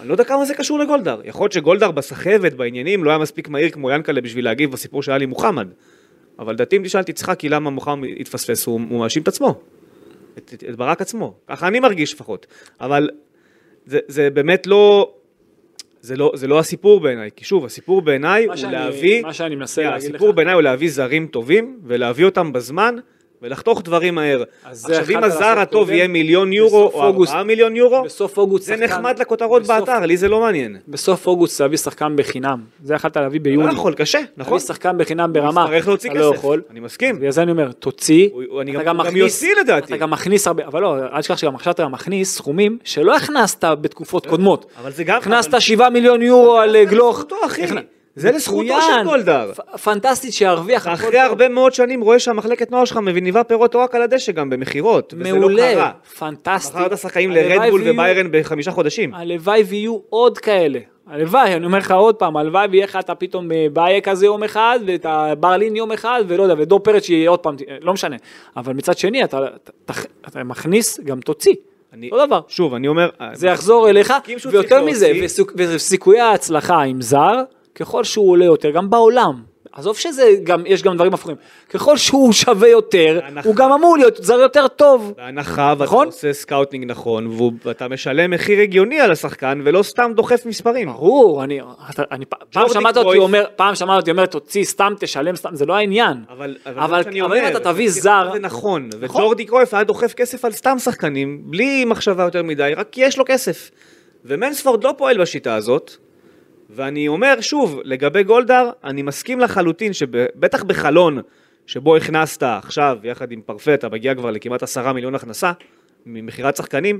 B: אני לא יודע כמה זה קשור לגולדהר. יכול להיות שגולדהר בסחבת, בעניינים, לא היה מספיק מהיר כמו ינקלה בשביל להגיב בסיפור שהיה לי מוחמד. אבל לדעתי אם תשאל את יצחקי למה מוחמד התפספס, הוא הוא מאשים את עצמו. את, את, את ברק עצמו. ככה אני מרגיש לפחות. אבל זה, זה באמת לא... זה לא, זה לא הסיפור בעיניי, כי שוב, הסיפור בעיניי
A: מה
B: הוא
A: שאני-
B: להביא...
A: מה שאני מנסה
B: שנייה,
A: להגיד לך-
B: הסיפור בעיניי הוא להביא זרים טובים, ולהביא אותם בזמן, ולחתוך דברים מהר.
A: אז זה
B: עכשיו, אם
A: יכלת
B: הזר
A: לעשות
B: הטוב
A: קודם,
B: יהיה מיליון יורו,
A: בסוף
B: או
A: אוגוסט-
B: ארבעה מיליון יורו,
A: בסוף אוגוסט
B: זה
A: שחקן-
B: נחמד לכותרות
A: בסוף-
B: באתר, לי זה לא מעניין.
A: בסוף אוגוסט תביא שחקן בחינם. זה יכלת להביא
B: לא
A: ביוני.
B: יכול, קשה, נכון?
A: תביא שחקן בחינם ברמה.
B: יצטרך להוציא
A: אתה לא
B: כסף.
A: יכול.
B: אני מסכים.
A: בגלל זה אני אומר, תוציא.
B: הוא- הוא- אני
A: אתה
B: גם- הוא גם
A: מכניס-
B: יוציא לדעתי.
A: אתה גם מכניס הרבה, אבל לא, אל תשכח שגם עכשיו אתה גם מכניס סכומים שלא הכנסת בתקופות קודמות.
B: אבל זה גם-
A: הכנסת
B: אבל-
A: 7 מיליון יורו על אה, גלוך.
B: לזכותו, אחי.
A: נכנס-
B: זה לזכותו של
A: מצוין.
B: גולדהר.
A: פ- פנטסטי שירוויח.
B: אתה
A: הכל
B: אחרי
A: טוב.
B: הרבה מאוד שנים רואה שהמחלקת נוער שלך מניבה פירות או רק על הדשא גם במכירות, וזה לא
A: מעולה,
B: קרה.
A: פנטסטי.
B: מכרת שחקנים
A: הלוואי
B: לרדבול
A: ויהיו-
B: וביירן בחמישה חודשים.
A: הלוואי ויהיו עוד כאלה. הלוואי, אני אומר לך עוד פעם, הלוואי ויהיה לך אתה פתאום אה, באיה כזה יום אחד, ואת הברלין יום אחד, ולא יודע, ודור פרץ שיהיה עוד פעם, אה, לא משנה. אבל מצד שני, אתה, אתה, אתה מכניס, גם תוציא.
B: אני-
A: אותו דבר.
B: שוב, אני אומר...
A: זה יחזור אליך,
B: מסכים שהוא
A: ויותר
B: צריך
A: מזה,
B: להוציא.
A: וסיכ- וסיכויי ההצלחה עם זר, ככל שהוא עולה יותר, גם בעולם. עזוב שזה גם, יש גם דברים הפוכים. ככל שהוא שווה יותר,
B: אנחנו-
A: הוא גם אמור להיות זר יותר טוב.
B: בהנחה ואתה
A: נכון?
B: עושה סקאוטינג נכון, והוא- ואתה משלם מחיר הגיוני על השחקן, ולא סתם דוחף מספרים.
A: ברור, אני, אתה, אני פ- פעם
B: ג'ורדי
A: שמעת אותי
B: קרויף.
A: אומר, פעם שמעת אותי אומר, תוציא סתם, תשלם סתם, זה לא העניין.
B: אבל,
A: אבל-
B: זה מה שאני
A: אבל אם
B: אומר,
A: אתה תביא
B: זה-
A: זר-
B: זה נכון,
A: נכון.
B: וג'ורדי קרויף היה דוחף כסף על סתם שחקנים, בלי מחשבה יותר מדי, רק כי יש לו כסף. ומנספורד לא פועל בשיטה הזאת, ואני אומר שוב, לגבי גולדהר, אני מסכים לחלוטין שבטח בחלון שבו הכנסת עכשיו, יחד עם פרפה, אתה מגיע כבר לכמעט עשרה מיליון הכנסה ממכירת שחקנים,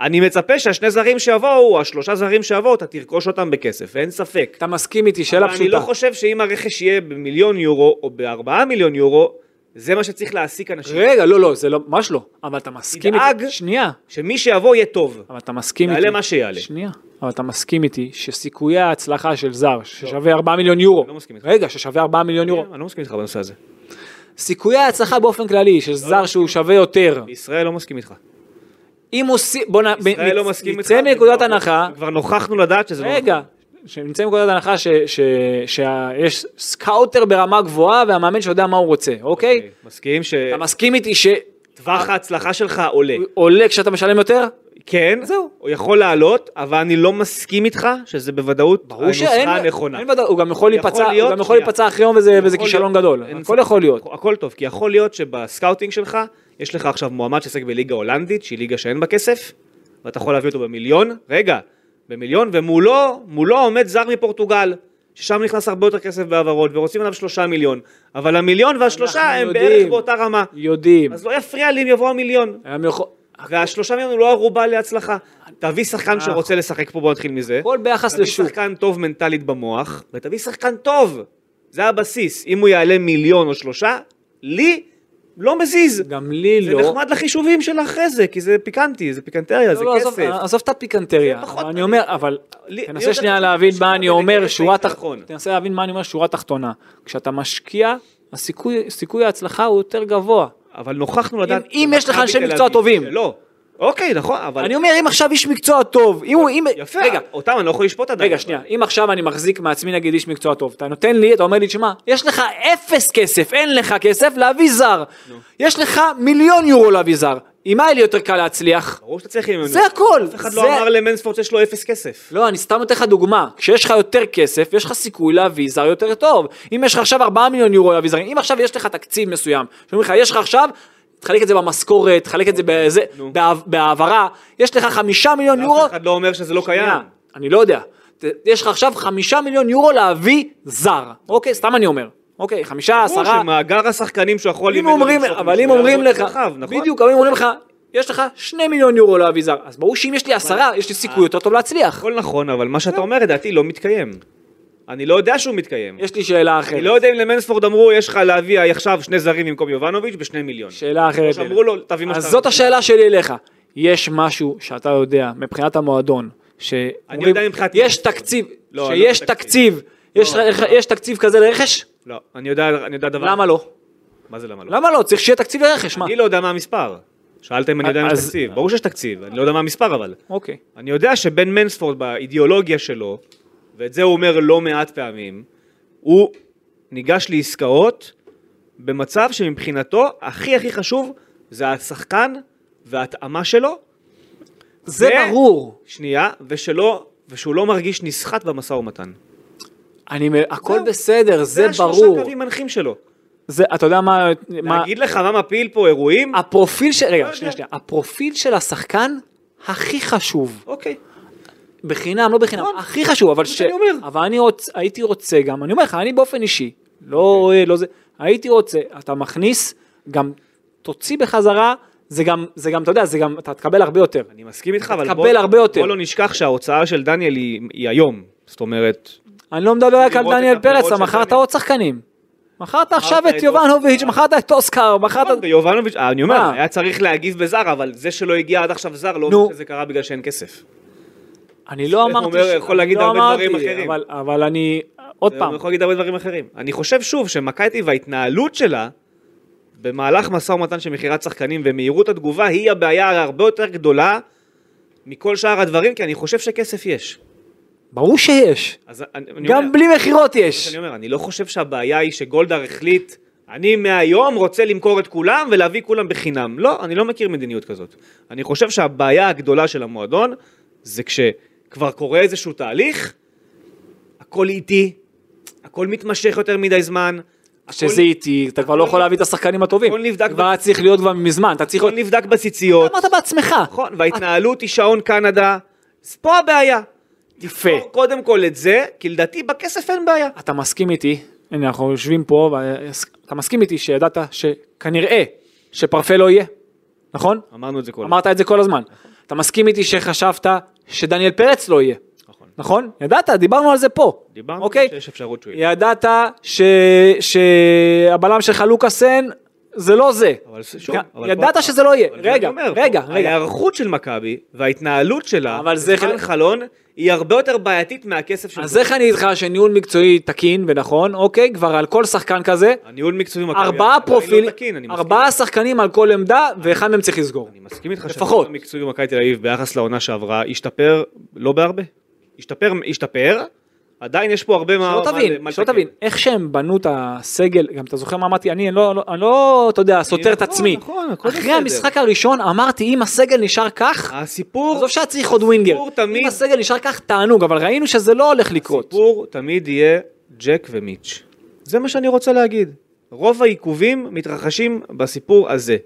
B: אני מצפה שהשני זרים שיבואו, השלושה זרים שיבואו, אתה תרכוש אותם בכסף, אין ספק.
A: אתה מסכים איתי, שאלה
B: אבל אני
A: פשוטה.
B: לא חושב שאם הרכש יהיה במיליון יורו או בארבעה מיליון יורו, זה מה שצריך להעסיק אנשים.
A: רגע, לא, לא, זה לא, ממש לא. אבל אתה מסכים
B: תדאג.
A: איתי, שנייה,
B: שמי שיבוא יהיה טוב.
A: אבל אתה מסכים
B: יעלה
A: איתי.
B: מה שיעלה.
A: שנייה, אבל אתה מסכים איתי שסיכויי ההצלחה של זר, ששווה 4 מיליון יורו.
B: לא מסכים איתך.
A: רגע, ששווה 4 מיליון יורו.
B: אני לא מסכים איתך בנושא הזה.
A: סיכויי ההצלחה באופן כללי
B: לא
A: של זר שהוא שווה יותר.
B: בישראל לא מסכים איתך.
A: אם עושים, בוא נ...
B: ישראל לא מסכים איתך.
A: נצא מנקודת
B: וכבר-
A: הנחה,
B: כבר נוכחנו לדעת שזה לא נכון.
A: רגע, שנמצאים מנקודת הנחה ש- ש- שיש סקאוטר ברמה גבוהה והמאמן שיודע מה הוא רוצה, אוקיי?
B: מסכים
A: אתה אה.
B: שטווח
A: מסכים איתי שעולה
B: ההצלחה שלך עולה.
A: כשאתה משלם יותר?
B: כן, זהו. הוא יכול לעלות, אבל אני לא מסכים איתך שזה בוודאות
A: ברור שאין,
B: הנוסחה הנכונה.
A: אין ודאות, הוא גם יכול
B: יכול
A: להיפצע, הוא
B: להיות,
A: גם יכול
B: שנייה.
A: להיפצע אחרי יום וזה
B: יכול
A: וזה
B: להיות-
A: כישלון גדול,
B: אין
A: הכל
B: ספק.
A: יכול להיות.
B: הכל טוב, כי יכול להיות שבסקאוטינג שלך, יש לך עכשיו מועמד שעסק בליגה הולנדית, שהיא ליגה שאין בה כסף, ואתה יכול להביא אותו במיליון, רגע, במיליון, ומולו מולו עומד זר מפורטוגל, ששם נכנס הרבה יותר כסף בהעברות, ורוצים עליו שלושה מיליון, אבל המיליון והשלושה
A: אנחנו
B: הם
A: יודעים.
B: בערך באותה רמה.
A: יודעים.
B: אז לא יפריע לי אם יבוא המיליון.
A: היה מיכול-
B: והשלושה מיליון הוא לא ערובה להצלחה. תביא שחקן שרוצה לשחק פה, בוא נתחיל מזה.
A: אה. הכל ביחס
B: תביא
A: לשוק.
B: שחקן טוב מנטלית במוח, ותביא שחקן טוב. זה הבסיס. אם הוא יעלה מיליון או שלושה, לי לא מזיז.
A: גם לי
B: זה
A: לא.
B: נחמד לחישובים של אחרי זה, כי זה פיקנטי, זה פיקנטריה, זה
A: לא, לא, עזוב-
B: כסף.
A: עזוב את הפיקנטריה,
B: זה פחות-
A: אבל אני אומר, אבל
B: לי- לי
A: תנסה
B: יותר
A: שנייה
B: חשוב
A: להבין
B: לשמור
A: מה
B: את
A: אני
B: זה
A: אומר,
B: כקטע
A: שורה
B: נכון.
A: תחתונה, תנסה להבין מה אני אומר, שורה תחתונה, כשאתה משקיע, הסיכוי, סיכוי ההצלחה הוא יותר גבוה.
B: אבל נוכחנו לדעת...
A: אם- אם יש לך
B: שמכבי
A: אנשי
B: תל אביב
A: מקצוע טובים.
B: שלא. אוקיי, נכון, אבל...
A: אני אומר, אם עכשיו איש מקצוע טוב, אם הוא, אם...
B: יפה,
A: רגע,
B: אותם אני לא יכול לשפוט עדיין.
A: רגע,
B: אבל.
A: שנייה, אם עכשיו אני מחזיק מעצמי נגיד איש מקצוע טוב, אתה נותן לי, אתה אומר לי, תשמע, יש לך אפס כסף, אין לך כסף להביא זר, יש לך מיליון יורו להביא זר, עם מה היה לי יותר קל להצליח?
B: ברור שאתה צריך למנות.
A: זה הכל.
B: אף אחד
A: זה-
B: לא אמר למנספורט שיש לו אפס כסף.
A: לא, אני סתם נותן לך דוגמה. כשיש לך יותר כסף, יש לך סיכוי להביא זר יותר טוב. אם יש לך עכשיו 4 מיליון יורו להביא זרים, אם עכשיו יש לך תקציב מסוים, שאומרים לך, יש לך עכשיו, תחלק את זה במשכורת, תחלק את זה בזה,
B: נו.
A: בהע- בהעברה, יש לך 5 מיליון יורו,
B: אף אחד לא אומר שזה לא קיים.
A: שנייה, אני לא יודע. ת- יש לך עכשיו 5 מיליון יורו להביא זר. אוקיי, סתם אני אומר. אוקיי, חמישה,
B: ברור
A: עשרה,
B: שמאגר השחקנים שהוא יכול...
A: אם
B: ממנו
A: אומרים,
B: למשוך
A: אבל אם
B: משהו,
A: אומרים
B: הוא
A: לך,
B: רחב, נכון?
A: בדיוק, אבל אם אומרים לך, יש לך 2 מיליון יורו להביא זר, אז ברור שאם יש לי עשרה, יש לי סיכוי יותר טוב להצליח.
B: הכל נכון, אבל מה
A: כן.
B: שאתה אומר לדעתי לא מתקיים. אני לא יודע שהוא מתקיים.
A: יש לי שאלה אחרת.
B: אני לא יודע אם למנספורד אמרו, יש לך להביא עכשיו שני זרים במקום יובנוביץ' בשני מיליון.
A: שאלה אחרת.
B: אז אמרו לו, תביא מה
A: אז
B: שאתה
A: זאת
B: רוצה.
A: השאלה שלי אליך. יש משהו שאתה יודע מבחינת המועדון, שאומרים,
B: יודע מבחינת
A: יש
B: מנספורד.
A: תקציב,
B: לא, אני לא
A: שיש
B: יודע
A: תקציב, יש רכ- יש תקציב כזה לרכש?
B: לא, אני יודע אני יודע דבר.
A: למה לא?
B: מה זה למה לא?
A: למה לא? צריך שיהיה תקציב לרכש, מה?
B: אני לא יודע מה המספר. שאלת אם אני יודע אם יש
A: אז-
B: תקציב. ברור שיש תקציב, אני לא יודע מה המספר אבל.
A: אוקיי.
B: אני יודע שבן מנספורד באידיאולוגיה שלו, ואת זה הוא אומר לא מעט פעמים, הוא ניגש לעסקאות במצב שמבחינתו הכי הכי חשוב זה השחקן וההתאמה שלו,
A: זה
B: זה-
A: ברור.
B: שנייה, ושלא, ושהוא לא מרגיש נסחט במשא ומתן.
A: אני, מ- הכל
B: זהו.
A: בסדר, זה
B: זה
A: ברור.
B: השלושה קווים מנחים שלו.
A: זה, אתה יודע מה, מה,
B: להגיד לך מה מפיל פה אירועים?
A: הפרופיל של, רגע,
B: יודע.
A: שנייה, שנייה, הפרופיל של השחקן הכי חשוב.
B: אוקיי.
A: בחינם, לא בחינם,
B: נכון.
A: הכי חשוב, אבל ש...
B: שאני אומר.
A: אבל אני רוצ... הייתי רוצה גם, אני אומר לך, אני באופן אישי, לא,
B: אוקיי.
A: אה, לא זה, הייתי רוצה, אתה מכניס, גם תוציא בחזרה, זה גם, זה גם, אתה יודע, זה גם, אתה תקבל הרבה יותר.
B: אני מסכים איתך, אבל
A: תקבל הרבה יותר.
B: בוא לא נשכח שההוצאה של דניאל היא, היא היום. זאת אומרת,
A: אני לא מדבר רק על
B: לראות את
A: דניאל
B: הבחירות
A: פרץ,
B: של
A: אתה מכרת
B: דניאל. לא-
A: עוד שחקנים. מכרת עכשיו
B: מכרת
A: את
B: את
A: יובנוביץ',
B: אוסקר.
A: מכרת את אוסקר, מכרת...
B: ויובנוביץ', אה, אני אומר,
A: לא. מה?
B: היה צריך להגיב בזר, אבל זה שלא הגיע עד עכשיו זר, לא
A: נו.
B: אומר שזה קרה בגלל שאין כסף.
A: אני לא
B: אומר,
A: אמרתי... ש-
B: יכול
A: אני
B: להגיד
A: לא
B: הרבה דברים
A: אמרתי,
B: אחרים. נכון.
A: אבל- אבל אני, עוד
B: אני
A: פעם,
B: יכול להגיד הרבה דברים אחרים. אני חושב שוב שמכבי וההתנהלות שלה, במהלך משא ומתן של מכירת שחקנים ומהירות התגובה, היא הבעיה הרבה יותר גדולה מכל שאר הדברים, כי אני חושב שכסף יש.
A: ברור שיש.
B: אז אני, אני אומר,
A: גם בלי מכירות יש.
B: אני אומר, אני לא חושב שהבעיה היא שגולדהר החליט, אני מהיום רוצה למכור את כולם ולהביא כולם בחינם. לא, אני לא מכיר מדיניות כזאת. אני חושב שהבעיה הגדולה של המועדון, זה כשכבר קורה איזשהו תהליך, הכל איטי, הכל מתמשך יותר מדי זמן. הכל-
A: שזה איטי, אתה כבר לא יכול להביא את השחקנים הטובים.
B: הכל נבדק
A: כבר היה צריך להיות כבר מזמן, אתה צריך...
B: הכל
A: להיות-
B: נבדק בציציות.
A: אמרת בעצמך.
B: נכון, וההתנהלות היא שעון קנדה. אז פה הבעיה.
A: יפה.
B: קודם כל את זה, כי לדעתי בכסף אין בעיה.
A: אתה מסכים איתי, הנה אנחנו יושבים פה, ו- אתה מסכים איתי שידעת שכנראה שפרפה לא יהיה, נכון?
B: אמרנו את זה כל הזמן.
A: אמרת את זה כל הזמן. אתה מסכים איתי שחשבת שדניאל פרץ לא יהיה,
B: נכון.
A: נכון? ידעת, דיברנו על זה פה.
B: דיברנו
A: אוקיי?
B: שיש אפשרות שהוא יהיה.
A: ידעת ש- שהבלם שלך לוקאסן זה לא זה.
B: אבל שוב, אבל פה-
A: ידעת שזה לא יהיה.
B: אבל זה
A: רגע,
B: אני אומר,
A: רגע,
B: פה,
A: רגע.
B: ההיערכות של מכבי וההתנהלות שלה,
A: אבל זה
B: בזמן
A: חלק-
B: חלון, היא הרבה יותר בעייתית מהכסף של...
A: אז איך אני איתך שניהול מקצועי תקין ונכון, אוי כבר על כל שחקן כזה,
B: הניהול מקצועי במכבי...
A: ארבעה
B: עדיין לא
A: פרופילים,
B: תקין, לא אני מסכים-
A: ארבעה שחקנים על כל עמדה, ואחד מהם צריך לסגור.
B: אני מסכים איתך
A: לפחות.
B: המקצועי במכבי תל אביב ביחס לעונה שעברה השתפר לא בהרבה. השתפר, השתפר, עדיין יש פה הרבה מה...
A: שלא
B: מה-
A: תבין,
B: אה, מה כן?
A: שלא
B: לתקן.
A: תבין, איך שהם בנו את הסגל, גם אתה זוכר מה אמרתי, אני לא, לא- אני לא, אתה יודע, סותר את
B: נכון,
A: עצמי.
B: נכון, הכל
A: אחרי
B: בסדר.
A: המשחק הראשון אמרתי, אם הסגל נשאר כך,
B: הסיפור...
A: עזוב שהיה צריך עוד ווינגר,
B: הסיפור תמיד-
A: אם הסגל נשאר כך, תענוג, אבל ראינו שזה לא הולך לקרות.
B: הסיפור תמיד יהיה ג'ק ומיץ'. זה מה שאני רוצה להגיד. רוב העיכובים מתרחשים בסיפור הזה.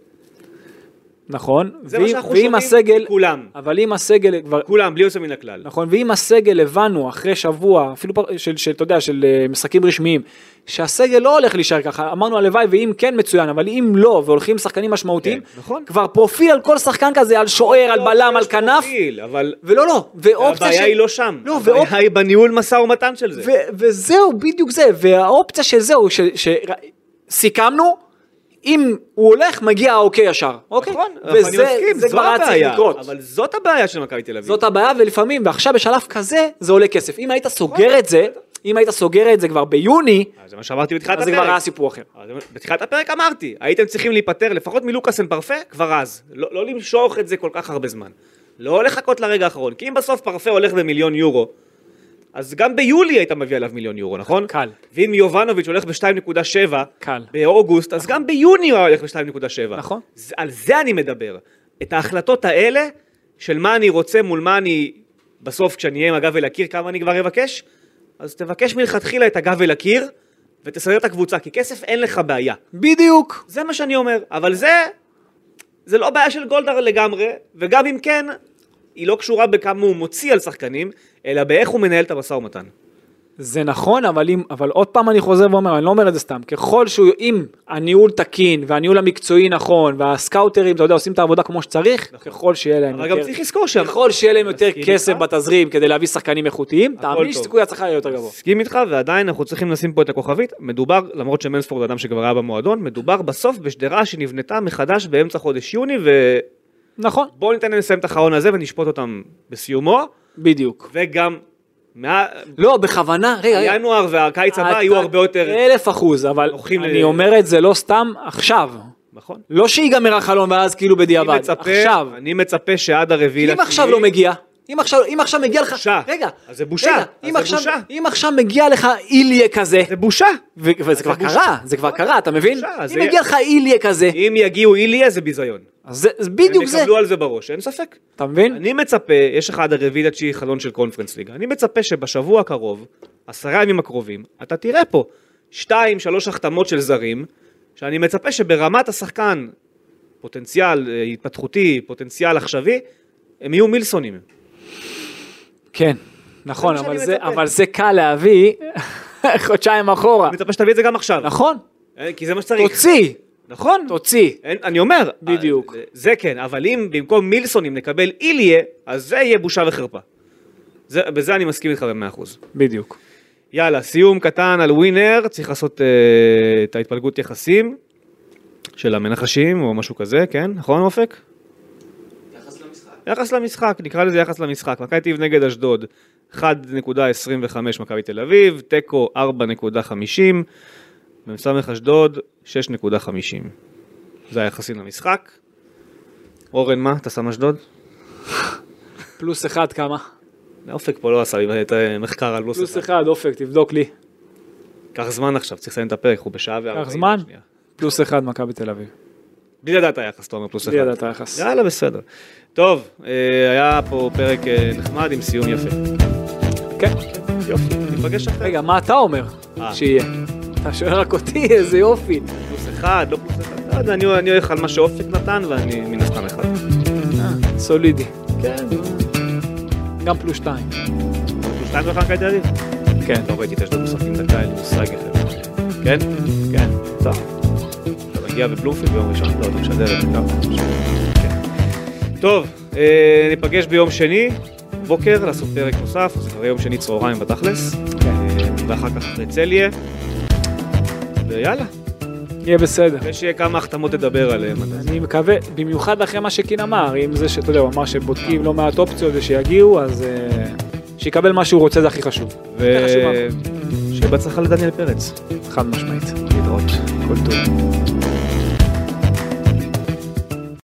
A: נכון.
B: זה מה
A: ואם-
B: שאנחנו
A: ואם
B: שומעים
A: הסגל,
B: כולם.
A: אבל אם הסגל כבר...
B: כולם, בלי יוצא מן הכלל.
A: נכון, ואם הסגל הבנו אחרי שבוע, אפילו פר- של, של, אתה יודע, של אה, משחקים רשמיים, שהסגל לא הולך להישאר ככה, אמרנו הלוואי ואם כן מצוין, אבל אם לא, והולכים עם שחקנים משמעותיים,
B: כן, נכון. לא,
A: כבר פרופיל על כל שחקן כזה, על שוער, על בלם, על
B: יש
A: כנף,
B: פרופיל, אבל
A: ולא, לא, ואופציה
B: הבעיה
A: של-
B: היא לא שם.
A: לא, ואופ-
B: הבעיה היא בניהול משא ומתן של זה.
A: ו- וזהו, בדיוק זה, והאופציה של זהו, שסיכמנו, אם הוא הולך, מגיע האוקיי ישר, אוקיי?
B: נכון, אני
A: וזה
B: מסכים,
A: זה
B: זו
A: כבר היה צריך
B: הבעיה,
A: לקרות.
B: אבל זאת הבעיה של מכבי תל אביב.
A: זאת הבעיה, ולפעמים, ועכשיו בשלב כזה, זה עולה כסף. אם היית סוגר את זה, אם היית סוגר את זה כבר ביוני,
B: אה, זה מה שאמרתי בתחילת
A: אז
B: הפרק.
A: זה כבר היה סיפור אחר.
B: אבל זה- בתחילת הפרק אמרתי, הייתם צריכים להיפטר לפחות מלוקאסן פרפה כבר אז. לא, לא למשוך את זה כל כך הרבה זמן. לא לחכות לרגע האחרון, כי אם בסוף פרפה הולך במיליון יורו, אז גם ביולי היית מביא עליו מיליון יורו, נכון?
A: קל.
B: ואם יובנוביץ' הולך ב-2.7,
A: קל.
B: באוגוסט, אז גם ביוני הוא היה הולך ב-2.7.
A: נכון.
B: זה- על זה אני מדבר. את ההחלטות האלה, של מה אני רוצה מול מה אני, בסוף כשאני אהיה עם הגב אל הקיר, כמה אני כבר אבקש, אז תבקש מלכתחילה את הגב אל הקיר, ותסדר את הקבוצה, כי כסף אין לך בעיה.
A: בדיוק.
B: זה מה שאני אומר, אבל זה, זה לא בעיה של גולדהר לגמרי, וגם אם כן, היא לא קשורה בכמה הוא מוציא על שחקנים, אלא באיך הוא מנהל את המשא ומתן.
A: זה נכון, אבל, אם, אבל עוד פעם אני חוזר ואומר, אני לא אומר את זה סתם, ככל שהוא, אם הניהול תקין, והניהול המקצועי נכון, והסקאוטרים, אתה יודע, עושים את העבודה כמו שצריך, ככל שיהיה להם
B: נכון. אבל גם
A: יותר,
B: צריך לזכור שם.
A: ככל שיהיה להם יותר
B: מסכים
A: כסף
B: איתך.
A: בתזרים כדי להביא שחקנים איכותיים, תאמין לי
B: טוב.
A: שסיכוי ההצלחה יהיה יותר גבוה.
B: מסכים איתך, ועדיין אנחנו צריכים לשים פה את הכוכבית. מדובר, למרות שמנספורד הוא אדם שכבר היה במועדון, מדובר בסוף בשדרה שנבנתה מחדש באמצע חודש יוני, ובואו
A: נכון,
B: ניתן להם לסיים את החרון הזה ונשפוט אותם בסיומו,
A: בדיוק.
B: וגם מה...
A: לא, בכוונה, רגע, רגע.
B: ינואר והקיץ הבא
A: אתה-
B: יהיו הרבה יותר...
A: אלף אחוז, אבל
B: הולכים
A: אני
B: ל-
A: אומר את זה לא סתם עכשיו.
B: נכון?
A: לא שיגמר החלום ואז כאילו
B: אני
A: בדיעבד,
B: מצפה-
A: עכשיו.
B: אני מצפה שעד הרביעי...
A: אם עכשיו לא מגיע, אם עכשיו, אם עכשיו מגיע לך,
B: בושה.
A: רגע,
B: אז זה בושה.
A: רגע,
B: אז
A: אם
B: זה
A: עכשיו-
B: בושה.
A: אם עכשיו מגיע לך איליה כזה,
B: זה בושה.
A: ו- וזה כבר
B: בושה.
A: קרה, זה כבר קרה, אתה מבין?
B: בושה, אז
A: אם
B: זה-
A: מגיע לך איליה כזה,
B: אם יגיעו איליה זה ביזיון.
A: אז זה זה בדיוק
B: הם
A: זה,
B: יקבלו על זה בראש, אין ספק.
A: אתה מבין?
B: אני מצפה, יש לך עד הרביעי לתשיעי חלון של קונפרנס ליגה, אני מצפה שבשבוע הקרוב, עשרה ימים הקרובים, אתה תראה פה שתיים, שלוש החתמות של זרים, שאני מצפה שברמת השחקן, פוטנציאל אה, התפתחותי, פוטנציאל עכשווי, הם יהיו מילסונים.
A: כן, נכון,
B: זה מה
A: אבל
B: שאני
A: זה-
B: מצפה.
A: אבל זה קל להביא חודשיים אחורה,
B: אני מצפה שתביא את זה גם עכשיו,
A: נכון?
B: אה, כי זה מה שצריך.
A: תוציא,
B: נכון.
A: תוציא.
B: אין, אני אומר.
A: בדיוק.
B: אה, זה כן, אבל אם במקום מילסונים נקבל איליה, אז זה יהיה בושה וחרפה. זה, בזה אני מסכים איתך במאה אחוז.
A: בדיוק.
B: יאללה, סיום קטן על ווינר, צריך לעשות אה, את ההתפלגות יחסים של המנחשים או משהו כזה, כן? נכון אופק? יחס למשחק, נקרא לזה יחס למשחק. מכבי תל אביב נגד אשדוד, 1.25 מכבי תל אביב, תיקו 4.50, מ"ס אשדוד 6.50. זה היחסים למשחק. אורן, מה? אתה שם אשדוד?
A: פלוס אחד כמה?
B: אופק פה לא עשה לי את המחקר על
A: פלוס
B: לוסר.
A: אחד, אופק, תבדוק לי.
B: קח זמן עכשיו, צריך לסיים את הפרק, הוא בשעה וארבעים.
A: זמן?
B: שנייה.
A: פלוס אחד, מכבי תל אביב.
B: בלי לדעת היחס, אתה אומר פלוס אחד.
A: בלי לדעת היחס.
B: יאללה, בסדר. טוב, אה, היה פה פרק אה, נחמד עם סיום יפה.
A: כן.
B: יופי, ניפגש אחרי.
A: רגע, מה אתה אומר
B: אה.
A: שיהיה? אתה שואל רק אותי, איזה יופי.
B: פלוס אחד, לא פלוס אחד. לא יודע, אני- אני הולך על מה שאופק נתן, ואני מן הסתם אחד.
A: אה, סולידי. גם פלוס שתיים.
B: פלוס שתיים ואחד כאלה תל אביב?
A: כן.
B: לא ראיתי את אשדוד משחקים דקה, אין לי מושג אחר. כן? כן. טוב. אתה מגיע בבלומפילד ביום ראשון? לא, אתה משדר את זה. טוב. כן. טוב, אה, ניפגש ביום שני, בוקר, לעשות פרק נוסף, זה כבר יום שני צהריים בתכלס, אה, ואחר כך אחרי צליה, ויאללה,
A: יהיה בסדר.
B: יש אה, כמה החתמות לדבר עליהן. עד אז.
A: אני מקווה, במיוחד אחרי מה שקין אמר, עם זה שאתה יודע, הוא אמר שבודקים לא מעט אופציות ושיגיעו, אז אה, שיקבל מה שהוא רוצה זה הכי חשוב.
B: ו...
A: חשוב
B: שיהיה בהצלחה לדניאל פרץ.
A: חד משמעית.
B: להתראות. כל טוב.